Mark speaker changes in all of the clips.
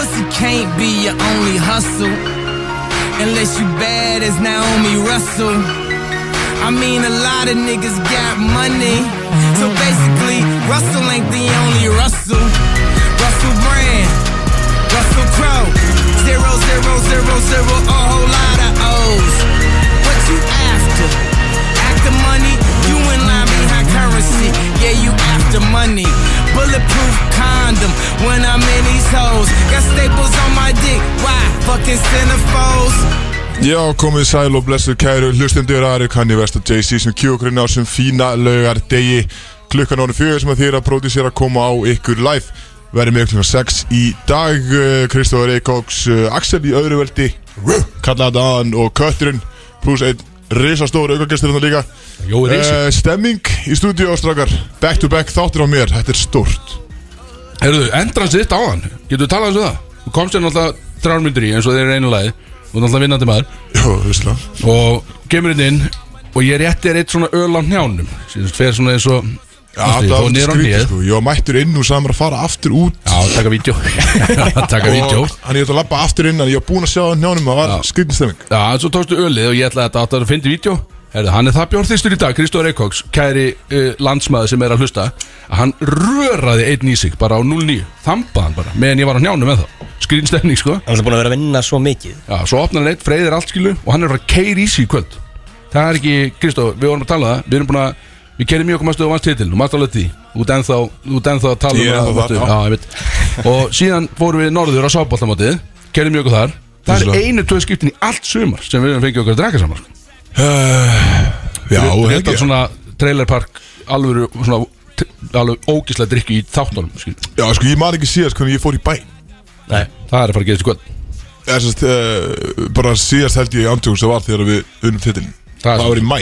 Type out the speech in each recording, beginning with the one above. Speaker 1: might be your only hustle. Unless you bad as Naomi Russell. I mean, a lot of niggas got money. So basically, Russell ain't the only Russell. Russell Brand, Russell Crowe. Zero, zero, zero, zero, a whole lot of O's. What you after? After money? You in line behind currency. Yeah, you after money. Bulletproof condom when I'm in these hoes. Got staples on my dick. Why? Fucking centerfolds.
Speaker 2: Já, komið sæl og blessuð kæru hlustendur aðri kanni vest og Jay-Z sem kjú okkur inn á sem fína laugar degi klukkan ánum fjögur sem að þýra pródísir að koma á ykkur live verið með klukkan 6 í dag eh, Kristóður Eikóks, eh, Axel í öðru veldi kallaðan aðan og Kötturinn pluss einn risastóru aukagestur hérna líka
Speaker 3: Jó, risi
Speaker 2: uh, Stemming í stúdíu ástrakar back to back þáttir á mér, þetta er stórt
Speaker 3: Herruðu, endran sitt á hann Getur við talað um það? Þú komst hérna alltaf þrjármyndur í eins og þeir eru einu lagi Þú er alltaf vinnandi maður
Speaker 2: Jó, vissla
Speaker 3: Og kemur hérna inn Og ég rétti þér eitt svona öl á hnjánum Sýnst fer svona eins og
Speaker 2: Já,
Speaker 3: Þú veist,
Speaker 2: það
Speaker 3: fór
Speaker 2: var
Speaker 3: niður á
Speaker 2: skrítið
Speaker 3: hnéð.
Speaker 2: sko Ég var mættur inn og samar að fara aftur út
Speaker 3: Já, taka vídeo Taka vídeo
Speaker 2: og hann ég ætla að lappa aftur inn en ég var búinn að sjá hann hjánum það var
Speaker 3: Já.
Speaker 2: skritin stemming
Speaker 3: Já, svo tókstu ölið og ég ætlaði að þetta átti að finna í vídeo Herðu, hann er það bjórþýstur í dag, Kristóður Eikóks Kæri uh, landsmaður sem er að hlusta Að hann röraði einn í sig bara á 0-9 Þambaði hann bara, meðan ég var á hnjánum með þá Skrýnstemning, sko
Speaker 4: Hann er búin að vera að vinna svo mikið
Speaker 3: Já, svo opnar hann eitt, freyðir allt skilu Og hann er bara keir í sig í kvöld Það er ekki, Kristóður, við vorum að tala um það Við erum búin að, við kerum mjög okkur mæstu og vannst titil Þú mæstu alveg því, út ennþá, út ennþá að tala
Speaker 2: Ég er
Speaker 3: um
Speaker 2: ennþá
Speaker 3: að-
Speaker 2: þar, já.
Speaker 3: Já, ég veit Og síðan fórum við norður á sábóltamótið Kerum mjög okkur þar Það er
Speaker 2: Vissulega.
Speaker 3: einu tvö skiptin í allt sumar sem við höfum fengið okkur að draka saman sko.
Speaker 2: Já,
Speaker 3: Við
Speaker 2: held
Speaker 3: þetta
Speaker 2: ég
Speaker 3: svona trailerpark alvöru svona t- alveg ógislega drikki í þáttunum skil.
Speaker 2: Já, sko, ég man ekki síðast hvernig ég fór í bæ
Speaker 4: Nei
Speaker 3: Það er að fara að gerast í kvöld
Speaker 2: Eða sérst, uh, bara síðast held ég andjóðum sem var þegar við unnum titilin
Speaker 3: Það er
Speaker 2: Það var í mæ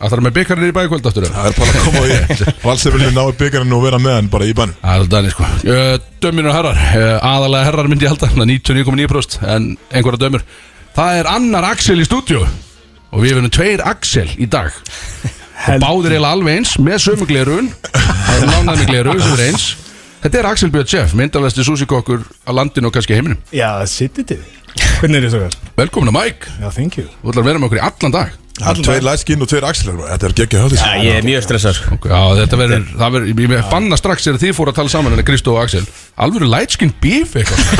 Speaker 3: Það er með byggarnir í bæði kvöld aftur eða?
Speaker 2: Það er bara að koma á því Valsefilin náði byggarinn og vera með hann bara í bann
Speaker 3: Það er alltaf dæni sko uh, Dömjur og herrar, uh, aðalega herrar myndi ég halda þannig að 99,9% en einhverja dömur Það er annar Axel í stúdíu og við verðum tveir Axel í dag og báðir eiginlega alveg eins með sömu glerun það er lánaði með glerun sem er eins Þetta er Axel Björn Sjeff, myndalæsti súsikokkur á landinu og kannski heiminum
Speaker 5: Já, sittir þið Hvernig er þið svo vel?
Speaker 3: Velkomin að Mike,
Speaker 5: Já, thank you
Speaker 3: þú ætlar að vera með okkur í allan dag
Speaker 2: Það er tveir læskinn og tveir axlar Þetta er geggja höfðis
Speaker 4: Já, ég er mjög stressað sko.
Speaker 3: Já, þetta verður, það verður, ég fann það strax þegar þið fóru að tala saman en Kristó og Axel Alvöru lightskin beef eitthvað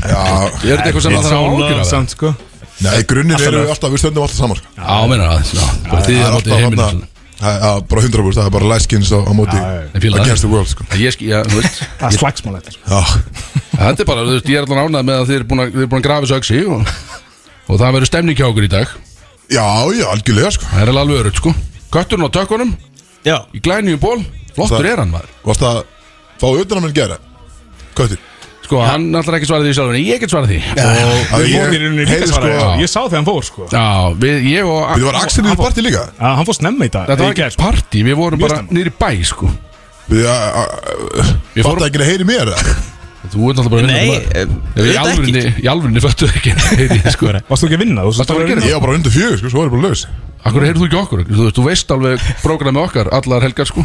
Speaker 2: Já,
Speaker 3: Er þetta eitthvað sem það þarf að ágjöra það?
Speaker 5: Samt sko
Speaker 2: nei, grunninn eru við alltaf, við stöndum alltaf saman sko.
Speaker 3: Já, meina það, já, bara þið
Speaker 2: Það er
Speaker 3: er mótið
Speaker 2: alltaf hann
Speaker 3: heiminn
Speaker 2: að Bara 100% það er bara læskins á á móti
Speaker 3: Ég fíla það.
Speaker 2: Against the world, sko
Speaker 3: Ég skil, já, þú veist
Speaker 5: Það er slagsmál eftir
Speaker 2: Já,
Speaker 3: Þetta er bara, þú veist, ég er allan ánað með að þið er búin að, þið er búin að grafa þessu öxi og, og það verður stemning hjá okkur í dag
Speaker 2: já, já, algjörlega, sko
Speaker 3: Það er alveg alveg örugt, sko Kötturinn á tökkunum,
Speaker 4: Já,
Speaker 3: í glænýjum ból, flottur
Speaker 2: Það-
Speaker 3: er hann maður
Speaker 2: Varst að fá auðvitað minn gera? eh? Köttur
Speaker 3: Sko, hann náttúrulega ekki svarað því sjálfur, en ég get svarað því og,
Speaker 2: Að
Speaker 5: Við fórum í
Speaker 2: ég-
Speaker 5: rauninni
Speaker 2: heyrðu
Speaker 5: líka svara
Speaker 2: sko-
Speaker 5: Ég sá þegar hann fór sko
Speaker 3: Já, við, ég og
Speaker 2: Við var Axel í partí líka
Speaker 5: Já, hann fór snemma í dag
Speaker 3: Þetta
Speaker 5: Nei,
Speaker 3: var
Speaker 5: í
Speaker 3: ekki
Speaker 5: gær, sko.
Speaker 3: eitt partí, við vorum
Speaker 5: Mjög
Speaker 3: bara
Speaker 5: snemma.
Speaker 3: niður í bæ, sko
Speaker 2: Við Við
Speaker 3: Við
Speaker 2: Fattu
Speaker 3: fórum-
Speaker 2: ekki að heyri mér eða?
Speaker 3: Þú ert náttúrulega bara
Speaker 4: Nei, eh,
Speaker 3: vinnandi maður Ég
Speaker 4: auðvitað ekki.
Speaker 3: alvörinni, ég alvörinni föttu ekki Heiti, sko
Speaker 5: sko. Varst þú ekki að vinna? Þú
Speaker 3: Varstu að fara að gera
Speaker 2: Ég var bara undir fjögur, sko, svo er ég bara laus
Speaker 3: Akkur heyrðu þú ekki okkur, þú veist, þú veist alveg Prógramið okkar, allar helgar, sko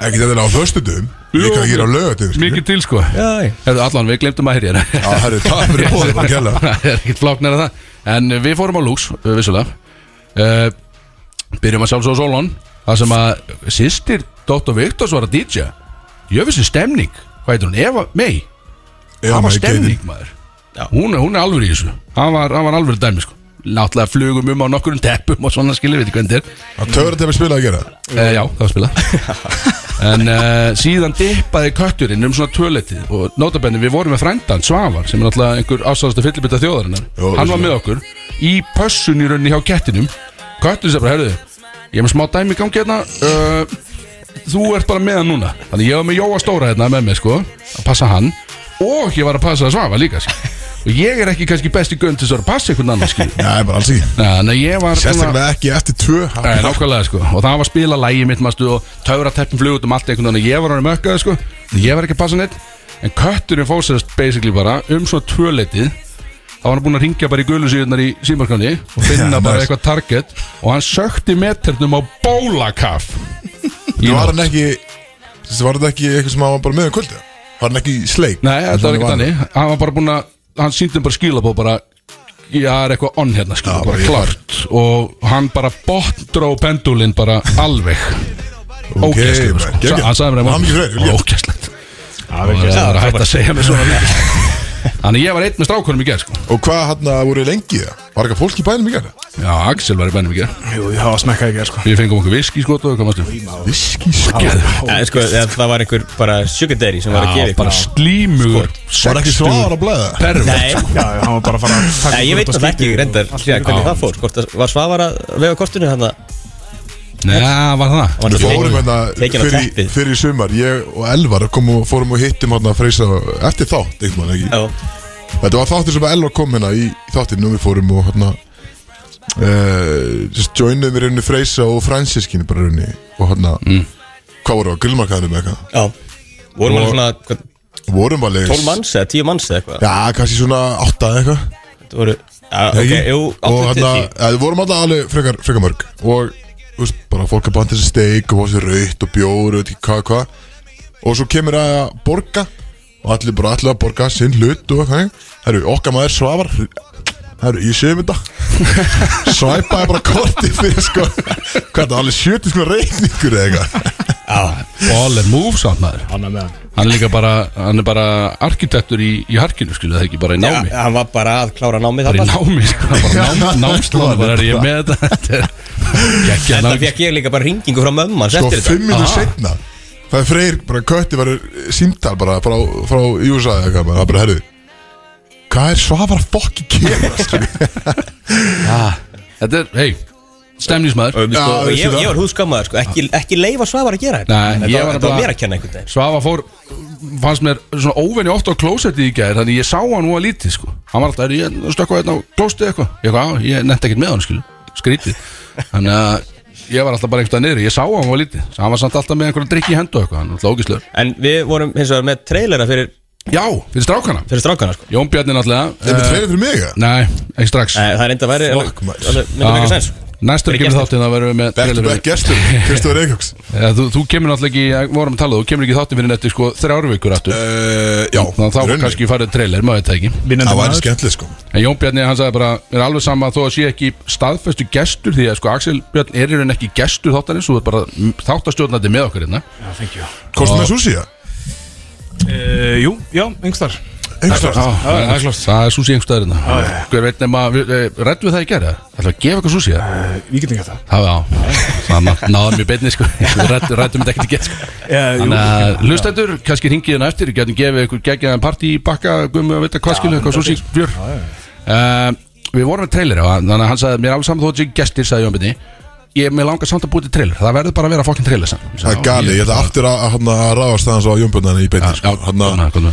Speaker 2: Ekki þetta er á föstudum Líka ekki á lögatum
Speaker 3: Mikið til, sko
Speaker 4: já,
Speaker 3: Herðu, allan, við glemtum að heyrja
Speaker 2: Já, herri, það er fyrir bóðið bara kella
Speaker 3: Það er ekkert fláknar að það En við fórum á Lux, eh, vissulega uh, Byrjum að sjálfsög á Solon Það sem að sýstir Dóttor Viktors var að DJ Jöfisir stemning, hvað heitir hún? Eva May, það var stemning maður
Speaker 4: Já.
Speaker 3: hún, er- hún er alveg í þessu Hann var, hann var alveg dæmi sko Náttúrulega flugum um á nokkurum teppum og svona skilur við ekki hvernig þetta
Speaker 2: Það törður þetta við spila að gera
Speaker 3: er uh, Já, það var spilað En uh, síðan dippaði kötturinn um svona töletið Og notabenni við vorum með frændan Svavar Sem er náttúrulega einhver ástáðasta fyllibita þjóðarinnar
Speaker 2: Jó,
Speaker 3: Hann var
Speaker 2: vissulega.
Speaker 3: með okkur Í pössun í rauninni hjá kettinum Kötturinn sem bara, herðu Ég er með smá dæmi í gangi hérna uh, Þú ert bara með hann núna Þannig ég var með Jóa Stóra hérna með mig sko Að passa hann Og ég var að passa Svavar líka sko. Og ég er ekki kannski besti gönn til þess að vera að passa einhvern annan skil
Speaker 2: Nei, bara alls ekki
Speaker 3: Þannig að ég var svona-
Speaker 2: Sérstaklega ekki eftir tvö
Speaker 3: Nei, nákvæmlega sko Og það var að spila lægi mitt mastu og töfrateppin flug út um allt einhvern veginn og ég var hann mökkaði sko Ég var ekki að passa neitt En kötturinn fór sér basically bara um svona tvöleitið þá var hann búinn að ringja bara í gulusíðunar í símarkanni og finna
Speaker 2: Já,
Speaker 3: bara
Speaker 2: nice.
Speaker 3: eitthvað target og hann sökti meternum á bólakaf
Speaker 2: Það var hann ekki þessi Var þetta ekki eitthvað sem hann var bara með um kvöldi Var hann ekki í sleik
Speaker 3: Nei, þetta var ekki
Speaker 2: hann
Speaker 3: þannig Hann var bara búinn að hann síndi bara skilabóð bara ég er eitthvað onn hérna
Speaker 2: bara
Speaker 3: skilabóð, bara
Speaker 2: ég
Speaker 3: klart og hann bara botndró pendulinn bara alveg ógæslega
Speaker 2: maður,
Speaker 3: sko.
Speaker 2: geggjað.
Speaker 3: hann sagði mér
Speaker 2: Hamingju fyrir þér, vel
Speaker 3: eitthvað
Speaker 2: gert.
Speaker 3: ógæslegt
Speaker 5: Það
Speaker 3: og
Speaker 5: er ekki
Speaker 3: það er hægt að segja mér svona mikið þannig ég var einn með strákunum í gerð sko.
Speaker 2: Og hvað hann voru þið lengi það? Var eitthvað fólk í bænum í gæra?
Speaker 3: já, Axel var í bænum í gerð
Speaker 5: Jú, það var smekkað ekki, sko
Speaker 3: við fengum okkur viski sko og hvað mástu
Speaker 2: Viski sko
Speaker 4: Eða, sko, eða, það var einhver bara sugar daddy sem var að gefa
Speaker 3: bara
Speaker 4: ykkur
Speaker 3: slímugur
Speaker 2: Var ekki svaðar að blæða?
Speaker 3: pervert
Speaker 4: Nei,
Speaker 5: Já, já, hann var bara að fara að taka
Speaker 4: Nei, ég
Speaker 5: okkur
Speaker 4: veit
Speaker 5: upp á
Speaker 4: það ekki,
Speaker 5: skítið
Speaker 4: reyndar
Speaker 5: og allt
Speaker 4: hljóða
Speaker 5: í
Speaker 4: hvernig
Speaker 5: einu.
Speaker 4: það fór Hvort að- Var Svavar að vega kortinu hann að
Speaker 3: Nei, var það
Speaker 4: hann var
Speaker 2: Við fórum
Speaker 4: tekinn-
Speaker 2: hérna
Speaker 4: tekinn á
Speaker 2: fyrir, í-
Speaker 4: teppið
Speaker 2: fyrir í sumar Ég og Elvar komum og fórum og hittum hérna að freysa Eftir þátt, einhvern veginn ekki
Speaker 4: Já,
Speaker 2: Þetta var þáttur sem Elvar kom hérna í þáttinn og við fórum og hérna uh, joinuðum í rauninni Freysa og Fransískinni bara í rauninni og hérna
Speaker 4: Mm.
Speaker 2: hvað voru á grillmarkaðinu með eitthvað
Speaker 4: já Vorum alveg svona hvað,
Speaker 2: vorum alveg
Speaker 4: 12 manns eða 10 manns eða eitthvað
Speaker 2: Já, kannski svona átta eða eitthvað
Speaker 4: Þetta voru Já, ok,
Speaker 2: Ekki?
Speaker 4: jú,
Speaker 2: og
Speaker 4: 8 til
Speaker 2: hérna,
Speaker 4: 10
Speaker 2: ja, við vorum alltaf alveg frekar, frekar mörg og þú veist, bara fólk að banta þessi steik og fá sér raut og bjór og veit ekki hvað hvað og svo kemur að borga og allir bara allir að borga sinn hlut og hvað herru, okkar maður svafar herru, ég séum þetta svæpaði bara kortið fyrir sko hvað það, alveg 70 sko reikningur eða eitthvað
Speaker 3: Ball and move samt maður
Speaker 5: Annað með hann
Speaker 3: Hann er líka bara, hann er bara arkitektur í, í harkinu skilu það er ekki bara í
Speaker 4: Já,
Speaker 3: námi
Speaker 4: hann var bara að klára námið
Speaker 3: Bara í
Speaker 4: þarna
Speaker 3: námi, sko, hann bara nám, námsláð bara er ég með þetta Þetta er geggja
Speaker 4: Þetta
Speaker 3: námi
Speaker 4: fekk ég líka bara ringingu frá mömmu hans
Speaker 2: sko, 5
Speaker 4: eftir þetta
Speaker 2: minnur
Speaker 3: Aha.
Speaker 2: setna það er freyr, bara kötti var símtal bara frá, frá USA eða eitthvað bara, það bara, herru hvað er svafar að fokki kemur
Speaker 3: Ah. Þetta er, hei, stemnismæður
Speaker 4: Og, sko,
Speaker 2: Já,
Speaker 4: og ég,
Speaker 2: veistu
Speaker 4: ég var húskammaður sko, ekki, ekki leifa Svavar að gera þetta
Speaker 3: Nei,
Speaker 4: Þetta
Speaker 3: ég
Speaker 4: var,
Speaker 3: var
Speaker 4: þetta var
Speaker 3: bara-
Speaker 4: mér að kenna einhvern veginn
Speaker 3: Svafa fór, fannst mér svona óvenni oft á klósetti í gæðir Þannig ég sá hann nú að lítið sko Hann var alltaf, er ég stökkvað hérna á klósetti eitthvað Ég eitthvað, "Á, ég nefndi ekkert með hann skilu, skrítið Þannig að ég var alltaf bara einhverstað niður Ég sá hann nú að lítið, hann var samt alltaf með einhverjum drikki í hendu og eitthvað, hann var alltaf ógislur
Speaker 4: En við vorum hins vegar með trailera fyrir,
Speaker 3: Já, fyrir strákana
Speaker 4: fyrir strákana sko.
Speaker 3: Jón Bjarni
Speaker 2: Þeir eru
Speaker 3: náttúrulega eh,
Speaker 2: tveir fyrir mig, eða?
Speaker 3: Nei, ekki strax
Speaker 4: Nei, Eh, Það er enda að væri alveg-
Speaker 2: Fuck, maður.
Speaker 4: alveg- myndi
Speaker 3: Já.
Speaker 4: mikið sens
Speaker 3: Næstur
Speaker 4: Fyrir
Speaker 3: kemur
Speaker 4: gestur.
Speaker 3: þáttinn að verðum við með
Speaker 2: Back to
Speaker 3: trailerinn.
Speaker 2: back gestur, Kristofur Eikjóks
Speaker 3: Eða, þú, þú kemur náttúrulega ekki, ég vorum að tala þú kemur ekki þáttinn fyrir nettu sko þrjárvíkur aftur uh,
Speaker 2: uh, Já,
Speaker 3: Þannig
Speaker 2: í
Speaker 3: að
Speaker 2: rauninni.
Speaker 3: þá kannski farið trailer, maður veit það ekki
Speaker 5: Vinnandi
Speaker 2: Það væri
Speaker 5: maður
Speaker 2: skemmtilegt sko
Speaker 3: En Jón Bjarni, hann sagði bara, er alveg sama þó að sé ekki staðfestu gestur því að sko Axel Bjarni er í raun ekki gestur þáttarins þú er bara þáttastjórnandi með okkur hérna
Speaker 5: Já, thank you
Speaker 2: Kostum við súsíða?
Speaker 5: Eh, Jú, já, yngstar
Speaker 2: Einhverstað
Speaker 3: Já, það er klart Það er súsi einhverstaður hérna Hver veit nema, rættu við það í gerða? Það er að gefa eitthvað súsi það?
Speaker 5: Við getum Eh, ekki þetta
Speaker 3: Já, já, sama, náðum í beinni sko Rættu, rættum þetta ekki til gett sko
Speaker 5: Eh, jú,
Speaker 3: Þannig
Speaker 5: já.
Speaker 3: að hlustendur, kannski ringið hérna eftir Gætum gefið ykkur geggjaðan partí í bakka Guðum við að vita hvað skilu, eitthvað svo sík fjör uh, Við vorum með trailer og hann- Þannig að hann sagði, mér er alveg saman þó að ég gestir Sagði Jón Binni, ég með langar samt að búið til trailer Það verður bara að vera fokkin trailer samt
Speaker 2: Það er gali, ég ætla aftur að, að, að, að ráðast aðeins á Jónbjörnana í beinni sko. hann, að-
Speaker 3: Hanna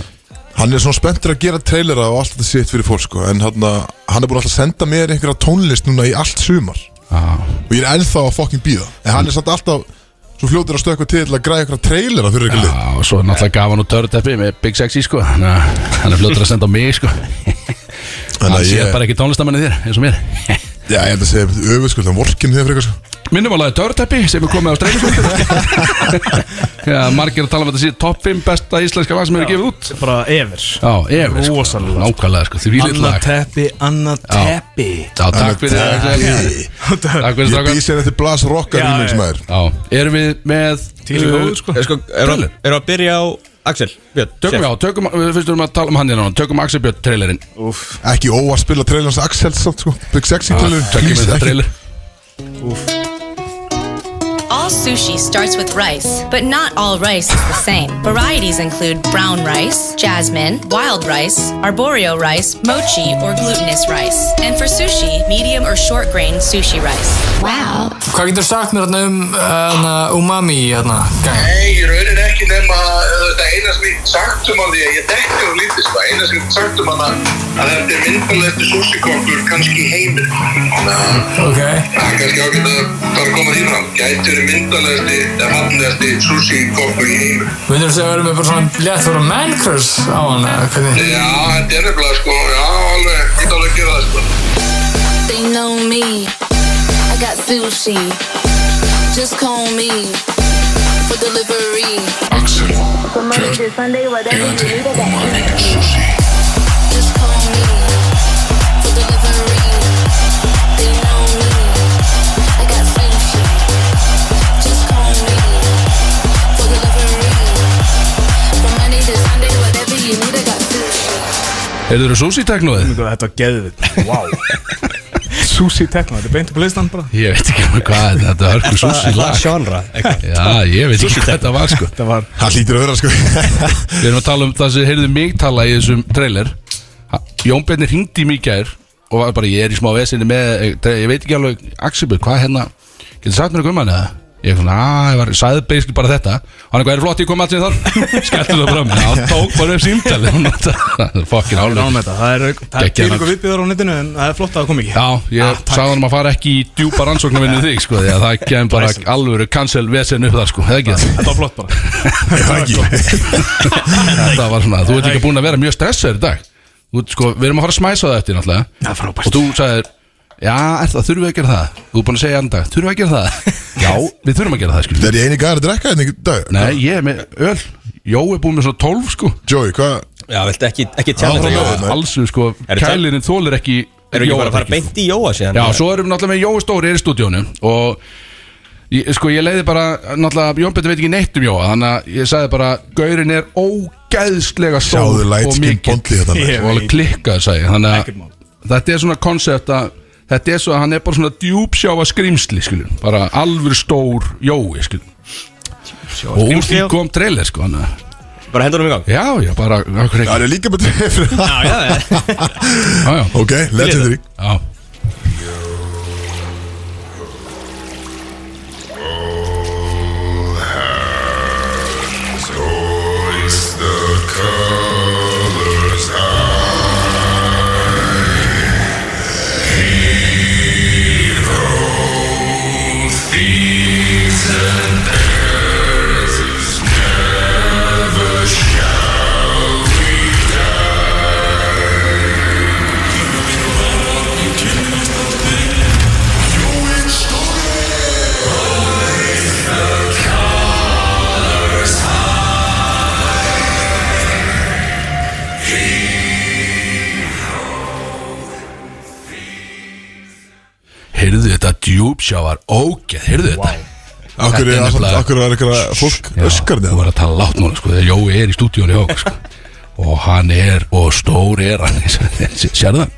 Speaker 2: hann er svona spenntur að gera trailera og allt þetta sitt fyrir fólk sko. En hann, að- hann er búin alltaf að senda mér einhverja tónlist núna í allt sumar Og ég er ennþá að fokkin býða En hann er samt alltaf Svo fljótur að stökkva til að græja einhverja trailera fyrir einhverju lið
Speaker 3: Já, og svo náttúrulega gaf hann úr töruteppi með Big Sexy sko Þannig að hann er fljótur að senda á mig sko
Speaker 2: Þannig
Speaker 3: Hann
Speaker 2: að
Speaker 3: sé
Speaker 2: ég,
Speaker 3: bara ekki tónlistamenni þér, eins og mér
Speaker 2: já, ég held að segja öfuskuld Hann vorkin þegar fyrir eitthvað sko.
Speaker 3: Minnum alveg töruteppi sem er komið á streyfisvöldu Já, margir að tala um þetta síðan Top 5 besta íslenska lag sem hefur gefið út
Speaker 5: Bara yfir
Speaker 3: Já, efir sko,
Speaker 5: Rosalega.
Speaker 3: Nákvæmlega sko, því við
Speaker 5: Anna
Speaker 3: lag
Speaker 5: teppi, Anna teppi
Speaker 3: Já, takk fyrir það Takk fyrir
Speaker 2: Ég
Speaker 3: strákar
Speaker 2: býst henni eftir Blas Rockar
Speaker 5: Já,
Speaker 2: remix
Speaker 5: já.
Speaker 2: maður
Speaker 3: Já, erum við með
Speaker 5: Tíli
Speaker 3: uh,
Speaker 5: góður, sko.
Speaker 4: Er, sko, er,
Speaker 3: Trailer.
Speaker 4: er að byrja á Axel Björn,
Speaker 3: Tökum
Speaker 4: sér.
Speaker 3: já, tökum, við fyrstum að tala um hann hérna núna. Tökum Axel Björn trailerinn
Speaker 5: Úff,
Speaker 2: Ekki óa að spila trailerns Axel samt sko Big Sexy trailer
Speaker 3: Tökum við þetta trailer
Speaker 6: All sushi starts with rice, but not all rice is the same. Varieties include brown rice, jasmine, wild rice, arboreal rice, mochi, or glutinous rice. And for sushi, medium or short grain sushi rice.
Speaker 7: Wow. Hvað getur sagt mér þarna um hana, umami hérna?
Speaker 8: Nei, ég raunin ekki nema uh, það eina sem ég sagt um hann því að ég dekki hann lítið sko, eina sem ég sagt um hann að að þetta er myndalegstu súsikokkur kannski í heimir. Þannig að
Speaker 7: Ok.
Speaker 8: það er kannski ágætt að bara koma því fram. Gæti verið myndalegsti, eða hafnilegsti súsikokkur í heimir.
Speaker 7: Myndur þú segja að verðum við bara svona létt voru mannkurs á hana? Hvernig?
Speaker 8: Já, þetta er nefnilega sko, já, alveg, ég get alveg að gera það sko.
Speaker 9: They know me. I got sushi. Just call me for delivery. Just call me for delivery. They know me. I got sushi. Just call me for delivery. From Monday to Sunday, whatever you need, I got sushi.
Speaker 3: Er þurru sushi teknóðið?
Speaker 5: Þetta var geðvitt Wow Sushi Tekno, þetta er beint upp á listan bara
Speaker 3: Ég veit ekki alveg hvað þetta þetta er hörku sushi
Speaker 4: Það
Speaker 3: lag
Speaker 4: er sjónra
Speaker 3: Já, ég veit ekki hvað þetta var sko
Speaker 5: Þetta var
Speaker 2: Það hlýtur að vera sko
Speaker 3: Við erum að tala um það sem heyrðu mig tala í þessum trailer Jón Bjarni ringdi í mig í gær og var bara, ég er í smá vesinni með ég veit ekki alveg, Axibur, hvað hérna getur sagt mér eitthvað um hann eða? Ég er svona, að, ég var, sagði basically bara þetta og hann eitthvað, er flott, ég kom alls í þar skelltu það fram, hann tók bara upp símtali fokkin
Speaker 5: Ánum
Speaker 3: álveg
Speaker 5: þetta, það er auk- það er
Speaker 3: Geggjaður
Speaker 5: til ykkur viðbjöður á netinu en það er flott að það kom ekki
Speaker 3: Já, ég
Speaker 5: Ah, takk.
Speaker 3: sagði hann að fara ekki í djúpa rannsóknarvinni þig, sko, því að það kemur bara
Speaker 5: Glæsilegt.
Speaker 3: alvöru cancel vesen upp þar, sko, það ekki það
Speaker 5: Þetta var flott bara
Speaker 2: Það er ekki
Speaker 5: Ah.
Speaker 3: Þetta var svona, þú ert ekki búin að vera mjög stressaður í dag þú, ert, sko, Við erum að fara að smæsa það eftir náttúrulega
Speaker 5: Já, frábært.
Speaker 3: Og þú sagðir, já, er það, þurfum við að gera það Þú er búin að segja andan dag, þurfum við að gera það Já, við þurfum að gera það,
Speaker 2: Það
Speaker 3: skilur
Speaker 2: er ég eini gæðan að drekka þetta í dag
Speaker 3: Nei, ég er með öl Jó er búin með svona 12, sko
Speaker 2: Joey, hvað?
Speaker 4: Já, viltu ekki, ekki tjána
Speaker 2: Áfram
Speaker 4: þetta
Speaker 2: Jóa.
Speaker 4: Jóa?
Speaker 2: nei.
Speaker 3: Alls, sko,
Speaker 4: Er þetta-
Speaker 3: kælirinn þólir ekki
Speaker 4: Erum ekki
Speaker 3: Jóa
Speaker 4: bara að fara
Speaker 3: drikkið.
Speaker 4: beint í Jóa síðan?
Speaker 3: Já, svo erum við náttúrulega með Jói Stóri er í stúdíónu og ég, sko ég leiði bara náttúrulega, Jón Petur veit ekki neitt um Jóa þannig að ég sagði bara, Gaurin er ógæðslega stór
Speaker 2: Sjáðu
Speaker 3: og
Speaker 2: lightskin hérna
Speaker 3: mikill
Speaker 2: bondli þetta
Speaker 5: Ég-
Speaker 2: maður.
Speaker 3: og alveg klikkaði sagði ég. þannig
Speaker 5: Ekkert mál.
Speaker 3: að þetta er svona koncept að þetta er svo að hann er bara svona djúpsjáfa skrimsli skilum, bara alveg stór jói skilum og úr því
Speaker 5: skrimsli, já.
Speaker 3: kom trailer sko hann að-
Speaker 4: Bara hendur um í gang
Speaker 3: já já bara
Speaker 2: Það
Speaker 3: okkur ekki
Speaker 2: er líka betur fyrir það
Speaker 3: já já
Speaker 2: Ok, legendary
Speaker 3: já heyrðu þetta djúpsjávar ógeð heyrðu þetta
Speaker 2: Akkur er
Speaker 3: Þetta er
Speaker 2: það
Speaker 3: nefnilega-
Speaker 2: Akkur er eitthvað fólk
Speaker 3: Já,
Speaker 2: öskarni
Speaker 3: Þú var að tala látt núna sko Þegar Jói er í stúdíónu hjá okkur sko Og hann er og stór er hann Sérðu það?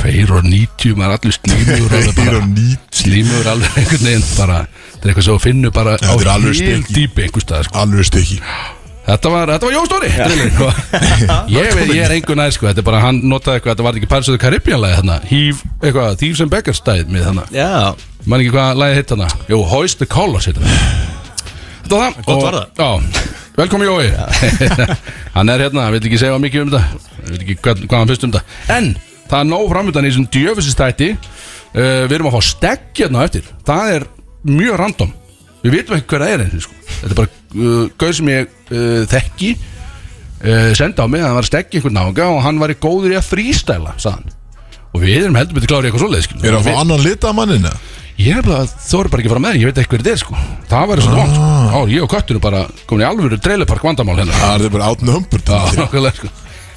Speaker 3: Tveir og nítjú Maður er allir slímur alveg
Speaker 2: Þeir
Speaker 3: bara
Speaker 2: eru nýtt
Speaker 3: Slímur alveg einhvern veginn bara Þetta er eitthvað sem þú finnur bara
Speaker 2: Já,
Speaker 3: Á
Speaker 2: þetta er alveg
Speaker 3: hel
Speaker 2: speki.
Speaker 3: dýpi einhvers stað sko
Speaker 2: Alveg stykki
Speaker 3: Þetta var, þetta var Jói Stóri trailerinn, og- Ég veit, ég er einhver næð sko Þetta er bara hann notaði eitthvað Þetta var ekki Paris of the Caribbean lagi þarna Hýf, eitthvað Thieves and Beggars stæð með þarna
Speaker 4: Já,
Speaker 3: Man ekki hvað lagið hitt hana Jó, Hoist the Colors hitt hana Þetta var það
Speaker 4: Gott
Speaker 3: Og-
Speaker 4: var það.
Speaker 3: Já, velkomin Jói Hann er hérna, hann vil ekki segja mikið um þetta Hann vil ekki hvað, hvað hann fyrst um þetta En, það er nóg framöndan í þessum djöfisistætti uh, Við erum að fá stegg hérna á eftir Það er mjög random Við vitum ekki hver það er einhver sko. Þetta er bara uh, gauð sem ég uh, þekki uh, Senda á mig að hann var að steggi einhvern nága Og hann var í góður í að frístæla, sagði hann Og við erum heldur betur klárið eitthvað svoleið
Speaker 2: Er það annan lit af mannina?
Speaker 3: Ég er bara, þó er bara ekki að fara með þér, ég veit ekki hver þetta er sko Það væri svona vant,
Speaker 5: Ah.
Speaker 3: sko. já, ég og köttinu bara komin í alvöru treylupark vandamál hérna Já,
Speaker 2: Það er bara átna hömpur Það
Speaker 3: nokkuðlega sko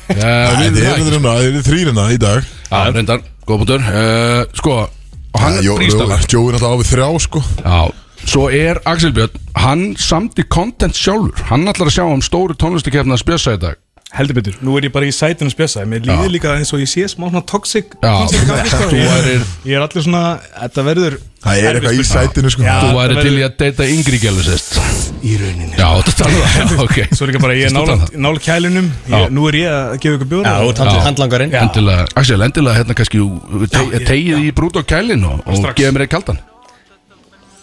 Speaker 3: Já, við erum það
Speaker 2: eru þrýrina hérna í dag
Speaker 3: Já, reyndar, góð bútur uh, Sko, og hann er prístafar
Speaker 2: Jói er alltaf á við þrjá sko
Speaker 3: Já, svo er Axel Björn, hann samti content sjálfur Hann ætlar að sjá um stóru tónlistakefna að spjösa í dag
Speaker 5: Heldur betur, nú er ég bara í sætinu spjösað Mér líður líka eins og ég sé smá svona toxic
Speaker 3: Já,
Speaker 5: toxic kaffi, sko.
Speaker 3: þú værir-
Speaker 5: Ég er allir svona, þetta verður
Speaker 2: Það er eitthvað í sætinu sko
Speaker 5: Já.
Speaker 3: Þú
Speaker 5: þetta
Speaker 3: væri
Speaker 5: verður-
Speaker 3: til í að deyta yngri gælu sérst
Speaker 5: Í rauninni sko.
Speaker 3: Já, þetta tala það, já, ok
Speaker 5: Svo er líka bara ég er
Speaker 3: Stórt
Speaker 5: nála,
Speaker 3: annað.
Speaker 5: nála kælinum
Speaker 3: Já.
Speaker 5: ég, Nú er ég að gefa ykkur bjóra
Speaker 4: já út handl- handlangarinn
Speaker 3: Endilega, Axel, endilega hérna kannski te-
Speaker 5: ég-
Speaker 3: tegið í brút á kælin og, og
Speaker 5: Strax.
Speaker 3: gefið mér eitt kaldan